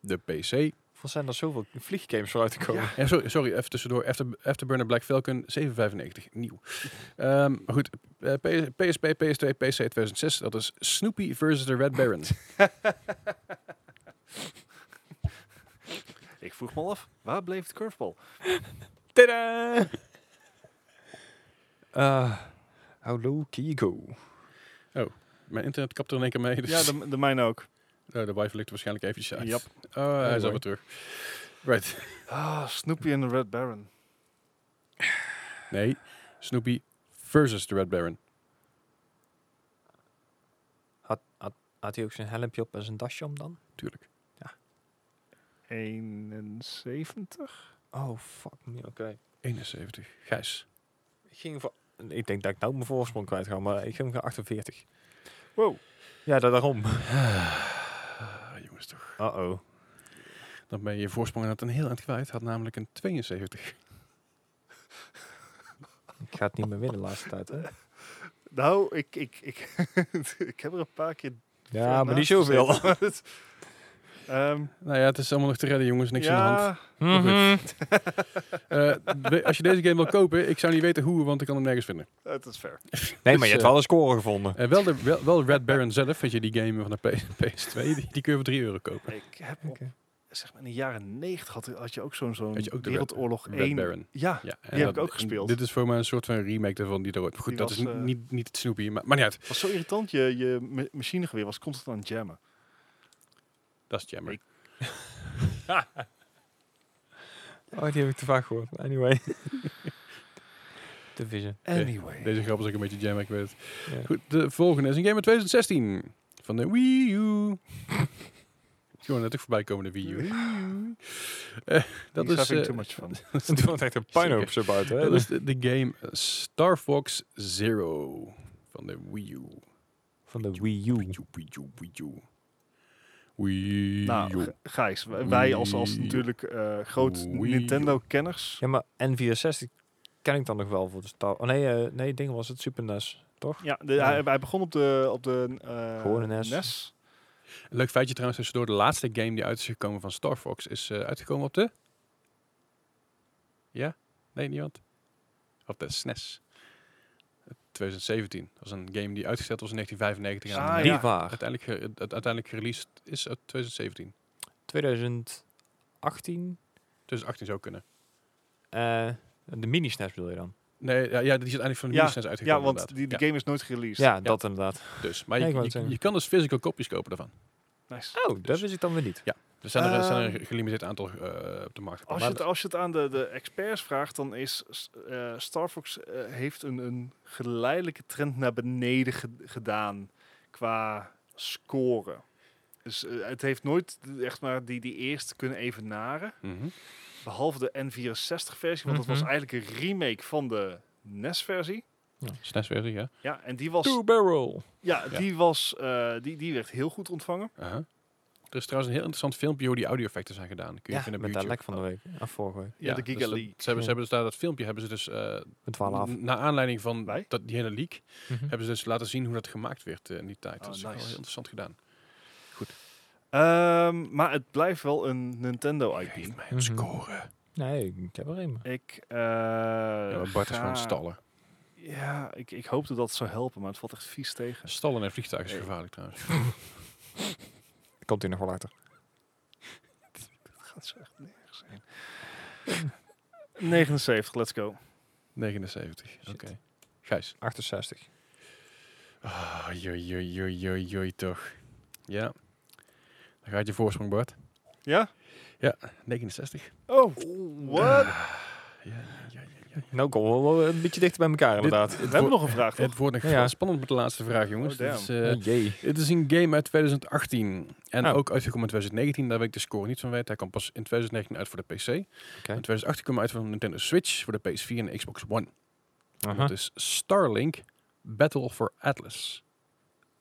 Speaker 1: De PC.
Speaker 2: Wat zijn er zoveel vlieggames vooruit te komen?
Speaker 1: Ja, sorry, sorry, even tussendoor. After, Afterburner Black Falcon 795, nieuw. Ehm, maar goed, eh, P- PSP, PS2, PC 2006. Dat is Snoopy versus de Red Baron.
Speaker 3: Ik vroeg me al af, waar bleef de curveball?
Speaker 2: Tadaa! Eh, Hallo Kigo.
Speaker 1: Mijn internet kapt er in één keer mee. Dus
Speaker 3: Ja, de, de mijne ook.
Speaker 1: eh, de wifi ligt er waarschijnlijk eventjes uit.
Speaker 3: Yep.
Speaker 1: Oh, hij is
Speaker 2: boy.
Speaker 1: alweer terug. Right.
Speaker 3: Ah, Snoopy en de Red Baron.
Speaker 1: Nee, Snoopy versus de Red Baron.
Speaker 2: Had, had, had hij ook zijn helmpje op en zijn dasje om dan?
Speaker 1: Tuurlijk.
Speaker 3: 71?
Speaker 2: Oh, fuck me. Oké.
Speaker 1: 71. Gijs.
Speaker 2: Ik ging voor... Ik denk dat ik nou mijn voorsprong kwijt ga, maar ik ging voor 48.
Speaker 3: Wow.
Speaker 2: Ja, da- daarom.
Speaker 1: Ah, jongens toch.
Speaker 2: Uh-oh.
Speaker 1: Dan ben je je voorsprong net een heel eind kwijt. Had namelijk een 72.
Speaker 2: Ik ga het niet meer winnen de laatste tijd, hè?
Speaker 3: Nou, ik, ik, ik, ik heb er een paar keer
Speaker 2: Ja, maar niet
Speaker 3: naast
Speaker 2: zoveel.
Speaker 3: gezeten, maar het- Ehm,
Speaker 1: Nou ja, het is allemaal nog te redden, jongens. Niks aan de hand.
Speaker 3: ja,
Speaker 2: Mhm.
Speaker 1: Eh, we- als je deze game wil kopen, ik zou niet weten hoe, want ik kan hem nergens vinden.
Speaker 3: het is fair.
Speaker 2: Nee, maar
Speaker 1: Dus,
Speaker 2: je hebt
Speaker 1: eh,
Speaker 2: wel een score gevonden.
Speaker 1: Eh, wel, de, wel, wel Red Baron zelf, weet je, die game van de P- PS2, die, die kun je voor 3 euro kopen.
Speaker 3: Ik heb op, zeg maar in de jaren 90 had, had je ook zo'n zo'n
Speaker 1: Had je ook de
Speaker 3: wereldoorlog
Speaker 1: Red
Speaker 3: 1.
Speaker 1: Baron.
Speaker 3: Ja,
Speaker 1: Ja, en
Speaker 3: heb
Speaker 1: dat-
Speaker 3: ik ook
Speaker 1: en
Speaker 3: gespeeld.
Speaker 1: Dit is voor mij een soort van remake daarvan die er ooit... Goed,
Speaker 3: Die
Speaker 1: dat
Speaker 3: was,
Speaker 1: is ni-
Speaker 3: eh,
Speaker 1: niet, niet het Snoopy, maar, maar niet uit.
Speaker 3: was zo irritant. Je, je ma- machinegeweer was constant aan het jammen.
Speaker 1: Dat is jammer.
Speaker 3: Ik-
Speaker 2: Oh, die heb ik te vaak gehoord. Anyway. Division.
Speaker 3: Anyway.
Speaker 1: Deze grap is ook een beetje jam, ik weet het.
Speaker 2: Ja.
Speaker 1: Goed, de volgende is een game uit 2016. Van de Wii U. Gewoon net ook voorbij komen, de Wii U. Eh, dat is...
Speaker 3: He's having
Speaker 1: eh,
Speaker 3: too much fun.
Speaker 2: Het wordt echt een puinhoop zo buiten, hè?
Speaker 1: Dat is de, de game Star Fox Zero van de Wii U.
Speaker 2: Van de Wii U.
Speaker 1: Wii U, Wii U, Wii U. Wii U.
Speaker 3: Nou, G- Gijs, w- wij als, als
Speaker 1: Wii.
Speaker 3: natuurlijk eh, groot
Speaker 1: Wii.
Speaker 3: Nintendo-kenners.
Speaker 2: Ja, maar N64 ken ik dan nog wel voor de Star... Oh, nee, eh, nee, ding was het Super E NES, toch?
Speaker 3: Ja, de,
Speaker 2: Ja.
Speaker 3: Hij, hij begon op de, op de eh,
Speaker 2: Gewone E NES.
Speaker 1: Leuk feitje trouwens, tussendoor de laatste game die uit is gekomen van Star Fox is eh, uitgekomen op de... Ja? Nee, niemand? Op de E SNES. 2017. Eh, Dat was een game die uitgesteld was in 1995. en
Speaker 3: Ah,
Speaker 1: uiteindelijk-
Speaker 2: Die
Speaker 3: ja.
Speaker 2: waar.
Speaker 1: uiteindelijk, ge- het- het uiteindelijk gereleased is uit 2017.
Speaker 2: 2018.
Speaker 1: 2018 zou kunnen.
Speaker 2: eh, de mini-SNES bedoel je dan?
Speaker 1: Nee, ja, ja die is uiteindelijk van de
Speaker 3: Ja,
Speaker 1: SNES E uitgekomen.
Speaker 3: Ja, want
Speaker 1: inderdaad.
Speaker 3: die, die game is nooit gereleased.
Speaker 2: Ja, dat inderdaad.
Speaker 1: Dus, maar
Speaker 2: Ja, ik
Speaker 1: je,
Speaker 2: wou
Speaker 1: je,
Speaker 2: het zeggen.
Speaker 1: je kan dus physical kopies kopen daarvan.
Speaker 3: Nice.
Speaker 2: Oh, dat wist ik dan weer niet.
Speaker 1: Er zijn er, er zijn er
Speaker 3: Ehm,
Speaker 1: een gelimiteerd aantal eh, op de markt.
Speaker 3: Als je,
Speaker 1: Maar
Speaker 3: het, als je het aan de, de experts vraagt, dan is s- eh, Star Fox eh, heeft een, een geleidelijke trend naar beneden ge- gedaan qua scoren. Dus eh, het heeft nooit echt maar die, die eerste kunnen evenaren.
Speaker 1: Mhm.
Speaker 3: Behalve de N64-versie, want dat was
Speaker 2: Mhm.
Speaker 3: eigenlijk een remake van de NES-versie.
Speaker 1: SNES-versie, E ja.
Speaker 3: Ja, en die was,
Speaker 2: Two Barrel.
Speaker 3: ja,
Speaker 1: Ja.
Speaker 3: die, was eh, die, die werd heel goed ontvangen.
Speaker 1: Aha. Er is trouwens een heel interessant filmpje hoe die audio-effecten zijn gedaan. Kun je
Speaker 2: Ja,
Speaker 1: vinden op
Speaker 2: met dat
Speaker 1: YouTube.
Speaker 2: lek van de week. Af vorige week.
Speaker 3: Ja, de
Speaker 1: dus
Speaker 3: Giga
Speaker 1: dat-
Speaker 3: League.
Speaker 1: ze hebben,
Speaker 2: Ja.
Speaker 1: ze hebben dus daar dat filmpje hebben ze dus eh
Speaker 2: Met 12
Speaker 1: n- naar aanleiding van
Speaker 3: Wij?
Speaker 1: dat, die hele leak
Speaker 2: Mhm.
Speaker 1: hebben ze dus laten zien hoe dat gemaakt werd eh, in die tijd.
Speaker 3: Oh,
Speaker 1: dat is wel
Speaker 3: nice.
Speaker 1: heel interessant gedaan.
Speaker 3: Ehm, maar het blijft wel een Nintendo-IP.
Speaker 1: mij
Speaker 2: Mhm.
Speaker 1: scoren.
Speaker 2: Nee, ik heb er een.
Speaker 3: Ik, eh,
Speaker 1: Ja, maar Bart is
Speaker 3: ga-
Speaker 1: gewoon stallen.
Speaker 3: Ja, ik, ik hoopte dat het zou helpen, maar het valt echt vies tegen.
Speaker 1: Stallen en vliegtuigen is
Speaker 3: Nee.
Speaker 1: gevaarlijk trouwens.
Speaker 2: Komt hier nog wel later.
Speaker 3: Dat gaat zo echt nergens heen. 79, let's go.
Speaker 1: 79. Oké. Gijs.
Speaker 2: 68.
Speaker 1: Ah, joi, joi, joi, joi, joi, toch. Ja. Dan gaat je voorsprong, Bart.
Speaker 3: Ja?
Speaker 1: 69.
Speaker 3: Oh, what?
Speaker 1: Ah, Ja, ja, ja, ja.
Speaker 2: Nou komen we wel een beetje dichter bij elkaar inderdaad.
Speaker 3: We hebben nog een vraag, toch?
Speaker 1: Het wordt nog
Speaker 2: Ja,
Speaker 1: wel
Speaker 2: ja.
Speaker 1: spannend met de laatste vraag, jongens.
Speaker 3: Oh,
Speaker 1: Dit
Speaker 3: damn.
Speaker 1: is, eh,
Speaker 2: Oh, jee.
Speaker 1: Het is een game uit 2018 en
Speaker 2: Oh.
Speaker 1: ook uitgekomen in 2019. Daar weet ik de score niet van weten. Hij kwam pas in 2019 uit voor de PC. In 2018 kwam hij uit voor de Nintendo Switch, voor de PS4 en de Xbox One. En
Speaker 2: Aha.
Speaker 1: Dat is Starlink Battle for Atlas.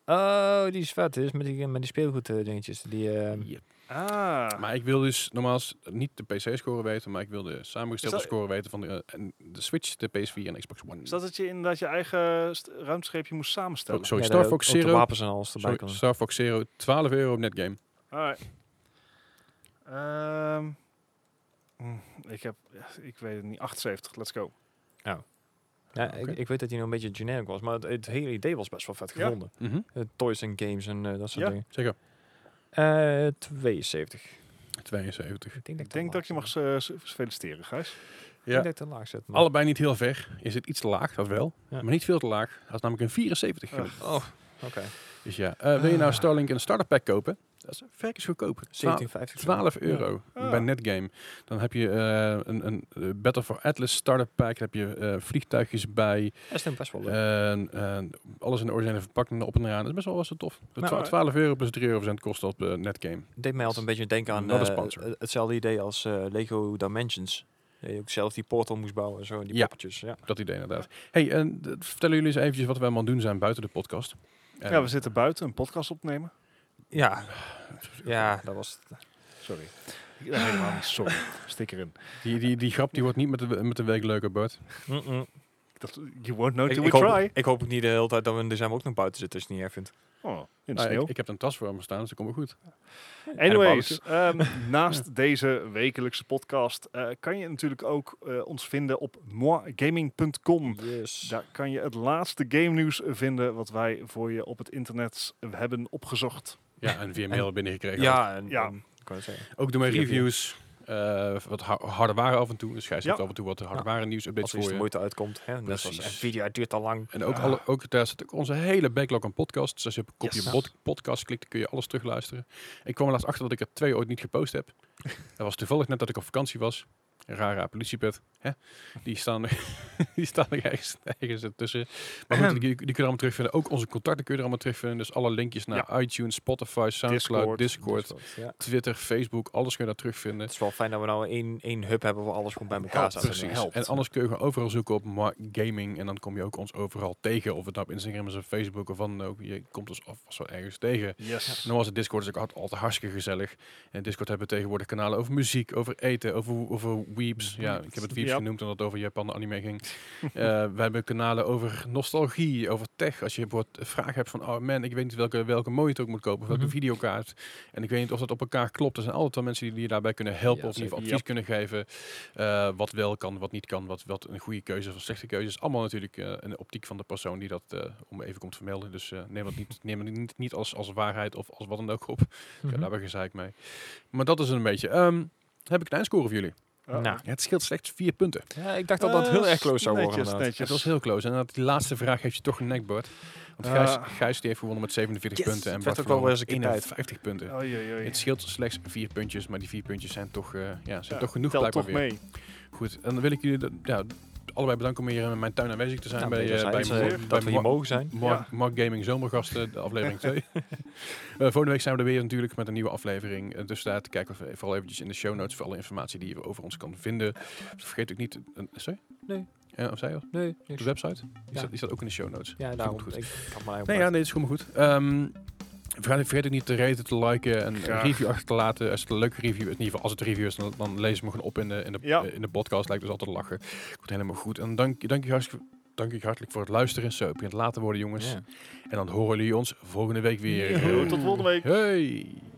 Speaker 2: Oh, die is vet. Die is met die, met die speelgoed eh, dingetjes. Die, eh,
Speaker 1: Yep.
Speaker 3: Ah,
Speaker 1: Maar ik wil dus normaal s- niet de PC-score weten, maar ik wil de samengestelde
Speaker 3: Is dat-
Speaker 1: score weten van de, eh, en de Switch, de PS4 en Xbox One.
Speaker 3: is dat dat je inderdaad je eigen st- ruimtescheepje moest samenstellen?
Speaker 1: Oh, sorry,
Speaker 2: ja,
Speaker 1: Star
Speaker 2: de-
Speaker 1: Fox
Speaker 2: ook de
Speaker 1: Zero.
Speaker 2: wapens en alles erbij
Speaker 1: Sorry,
Speaker 2: komen.
Speaker 1: Star Fox Zero, 12 euro op netgame.
Speaker 3: Alright. Ehm, mm, ik heb, ik weet het niet, 78, let's go.
Speaker 2: Ja,
Speaker 1: Oké.
Speaker 2: ik, ik weet dat die nog een beetje generic was, maar het, het hele idee was best wel vet
Speaker 3: Ja.
Speaker 2: gevonden.
Speaker 1: Mhm,
Speaker 2: Eh, toys en games en eh, dat soort
Speaker 3: Ja.
Speaker 2: dingen.
Speaker 1: Zeker,
Speaker 2: Eh 72.
Speaker 1: 72.
Speaker 2: Ik denk dat
Speaker 3: Ik denk dat ik je mag eh, s- feliciteren, Gijs.
Speaker 2: Ja.
Speaker 1: Ja.
Speaker 2: Ik denk dat ik te laag zit. maar-
Speaker 1: Allebei niet heel ver. Is het iets te laag, dat wel.
Speaker 2: Ja.
Speaker 1: Maar niet veel te laag. Dat is namelijk een 74.
Speaker 3: Ugh.
Speaker 2: Oh, oké.
Speaker 1: Dus ja, eh, wil je nou Starlink een starter pack kopen? Dat is verkens goedkoop.
Speaker 2: 1750.
Speaker 1: 12 euro
Speaker 3: Ah.
Speaker 1: bij Netgame. Dan heb je eh, een, een eh, Battle for Atlas starter pack. Dan heb je eh, vliegtuigjes bij.
Speaker 2: Dat is dan best wel leuk.
Speaker 1: En, en alles in de originele verpakking op en eraan. Dat is best wel, was het tof. De
Speaker 2: Nou,
Speaker 1: twa-
Speaker 3: eh.
Speaker 1: 12 euro plus 3 euro cent kost dat eh, Netgame.
Speaker 2: deed mij altijd een beetje denken aan
Speaker 1: Not a
Speaker 2: eh,
Speaker 1: sponsor.
Speaker 2: het- hetzelfde idee als eh, Lego Dimensions. Dat je ook zelf die portal moest bouwen en zo, en die
Speaker 1: Ja.
Speaker 2: poppetjes. Ja.
Speaker 1: Dat idee inderdaad. Hey, en d- vertellen jullie eens eventjes wat we allemaal doen zijn buiten de podcast. En-
Speaker 3: Ja, we zitten buiten een podcast opnemen.
Speaker 2: ja. Ja, dat was het.
Speaker 3: Sorry. Ja, helemaal niet, sorry. Stik erin.
Speaker 1: die, die, die grap die wordt niet met de, met de week leuker, Bart.
Speaker 2: Mm-mm.
Speaker 3: Dat, you won't know
Speaker 2: Ik,
Speaker 3: till
Speaker 2: ik
Speaker 3: we
Speaker 2: hoop,
Speaker 3: try.
Speaker 2: ik hoop ook niet de hele tijd dat we in december ook nog buiten zitten als je het niet erg vindt.
Speaker 3: Oh, in de
Speaker 1: Nou,
Speaker 3: sneeuw.
Speaker 1: ik, ik heb een tas voor hem staan, dus dat komt wel goed.
Speaker 3: Anyways, ehm, naast deze wekelijkse podcast eh, kan je natuurlijk ook eh, ons vinden op moigaming.com.
Speaker 2: Yes.
Speaker 3: Daar kan je het laatste game nieuws vinden wat wij voor je op het internet hebben opgezocht.
Speaker 1: Ja, en via mail binnengekregen.
Speaker 2: ja, en,
Speaker 3: Ja.
Speaker 2: en- ik wou het zeggen.
Speaker 1: Ook doen wij
Speaker 2: Via
Speaker 1: reviews. eh, wat ha- harde waren af en toe. Dus Gijs
Speaker 3: Ja.
Speaker 1: heeft af en toe wat harde
Speaker 2: Ja.
Speaker 1: waren nieuwsupdates
Speaker 2: als er iets
Speaker 1: voor
Speaker 2: de
Speaker 1: je.
Speaker 2: moeite uitkomt. Hè? Net zoals
Speaker 1: Precies.
Speaker 2: Nvidia, het duurt al lang.
Speaker 1: En ook,
Speaker 3: Ah.
Speaker 1: alle, ook daar zit ook onze hele backlog aan podcasts. Dus als je op een kopje
Speaker 3: Yes.
Speaker 1: bod- podcast klikt, dan kun je alles terugluisteren. Ik kwam er laatst achter dat ik er twee ooit niet gepost heb. dat was toevallig net dat ik op vakantie was. Een rare politiepet. Hè? Die staan die staan er ergens, ergens tussen. Maar goed, die, die kun je er allemaal terugvinden. Ook onze contacten kun je er allemaal terugvinden. Dus alle linkjes naar iTunes, Spotify, Soundcloud,
Speaker 3: Discord.
Speaker 1: Discord,
Speaker 2: Dus dat, ja.
Speaker 1: Twitter, Facebook. Alles kun je daar terugvinden.
Speaker 2: Het is wel fijn dat we nou één, één hub hebben waar alles gewoon bij elkaar
Speaker 3: Helpt,
Speaker 2: staat.
Speaker 3: precies.
Speaker 2: inderdaad.
Speaker 3: helpt.
Speaker 1: En anders kun je gewoon overal zoeken op Ma- gaming. En dan kom je ook ons overal tegen. Of het nou op Instagram is of Facebook of wat dan ook. Je komt ons af vast wel ergens tegen.
Speaker 3: Yes.
Speaker 1: En dan was het Discord dus ook altijd, altijd hartstikke gezellig. En Discord hebben we tegenwoordig kanalen over muziek, over eten, over, over weeps. Ja, ik heb het weeps
Speaker 3: Ja.
Speaker 1: genoemd omdat het over Japan anime ging. Eh, we hebben kanalen over nostalgie, over tech. Als je bijvoorbeeld vragen hebt van, oh man, ik weet niet welke, welke monitor ik moet kopen, of welke
Speaker 2: Mhm.
Speaker 1: videokaart. En ik weet niet of dat op elkaar klopt. Er zijn altijd wel mensen die je daarbij kunnen helpen
Speaker 2: Ja,
Speaker 1: of in ieder geval
Speaker 3: zeker.
Speaker 1: advies kunnen geven. Eh, wat wel kan, wat niet kan, wat, wat een goede keuze of een slechte keuze is. Allemaal natuurlijk eh, een optiek van de persoon die dat eh, om even komt vermelden. Dus eh, neem dat niet, neem het niet, niet als, als waarheid of als wat dan ook op. Ja,
Speaker 2: Mhm.
Speaker 1: daar ben ik gezeik mee. Maar dat is het een beetje. Ehm, heb ik een eindscore voor jullie?
Speaker 3: Oh.
Speaker 2: Nou,
Speaker 1: Het scheelt slechts vier punten.
Speaker 2: Ja, ik dacht dat dat heel
Speaker 3: Eh,
Speaker 2: erg close zou worden.
Speaker 3: netjes,
Speaker 2: inderdaad.
Speaker 1: Het
Speaker 3: netjes.
Speaker 1: was heel close. En dat die laatste vraag heeft je toch een nekbord. Want
Speaker 3: Eh.
Speaker 1: Gijs, Gijs die heeft gewonnen met 47
Speaker 2: Yes,
Speaker 1: punten. En
Speaker 2: het werd
Speaker 1: Bart
Speaker 2: ook wel
Speaker 1: verloor
Speaker 2: eens een keer tijd. Oh,
Speaker 1: 51 punten.
Speaker 3: Oei, oei, oei.
Speaker 1: Het scheelt slechts vier puntjes, maar die vier puntjes zijn toch, eh, ja, zijn
Speaker 3: Ja,
Speaker 1: toch genoeg
Speaker 3: Tel
Speaker 1: blijkbaar
Speaker 3: toch
Speaker 1: weer.
Speaker 3: mee.
Speaker 1: Goed, en dan wil ik jullie de- ja, allebei bedanken om hier eh, in mijn tuin aanwezig te zijn
Speaker 2: Nou,
Speaker 1: bij, eh, bij,
Speaker 2: wederzijds,
Speaker 1: Mo-
Speaker 2: eh,
Speaker 1: bij
Speaker 2: dat we hier
Speaker 1: Mo-
Speaker 2: mogen zijn.
Speaker 1: Mark, Mark Gaming Zomergasten, de aflevering 2. Eh volgende week zijn we er weer natuurlijk met een nieuwe aflevering. Eh, dus daar kijken we vooral eventjes in de show notes voor alle informatie die je over ons kan vinden. Vergeet ook niet... eh, sorry?
Speaker 2: Nee.
Speaker 1: Eh, of zei je al?
Speaker 2: Nee,
Speaker 1: De website? Die,
Speaker 2: Ja.
Speaker 1: staat, die staat ook in de show notes.
Speaker 2: Ja, daarom.
Speaker 1: goed.
Speaker 2: Ik had maar
Speaker 1: Nee, ja, nee, dat is gewoon maar goed. Ehm, vergeet, vergeet ook niet te raten, te liken en een
Speaker 3: Graag.
Speaker 1: review achter te laten. Als het een leuke review is, in ieder geval als het een review is, dan, dan lees ik hem gewoon op in de, in de,
Speaker 3: Ja.
Speaker 1: eh, in de podcast. Lijkt dus altijd lachen. Komt helemaal goed. En dank, dank, je, hartstikke, dank je hartelijk voor het luisteren. Zo, het begint later worden, jongens. En dan horen jullie ons volgende week weer.
Speaker 3: Tot volgende week.
Speaker 1: Hey!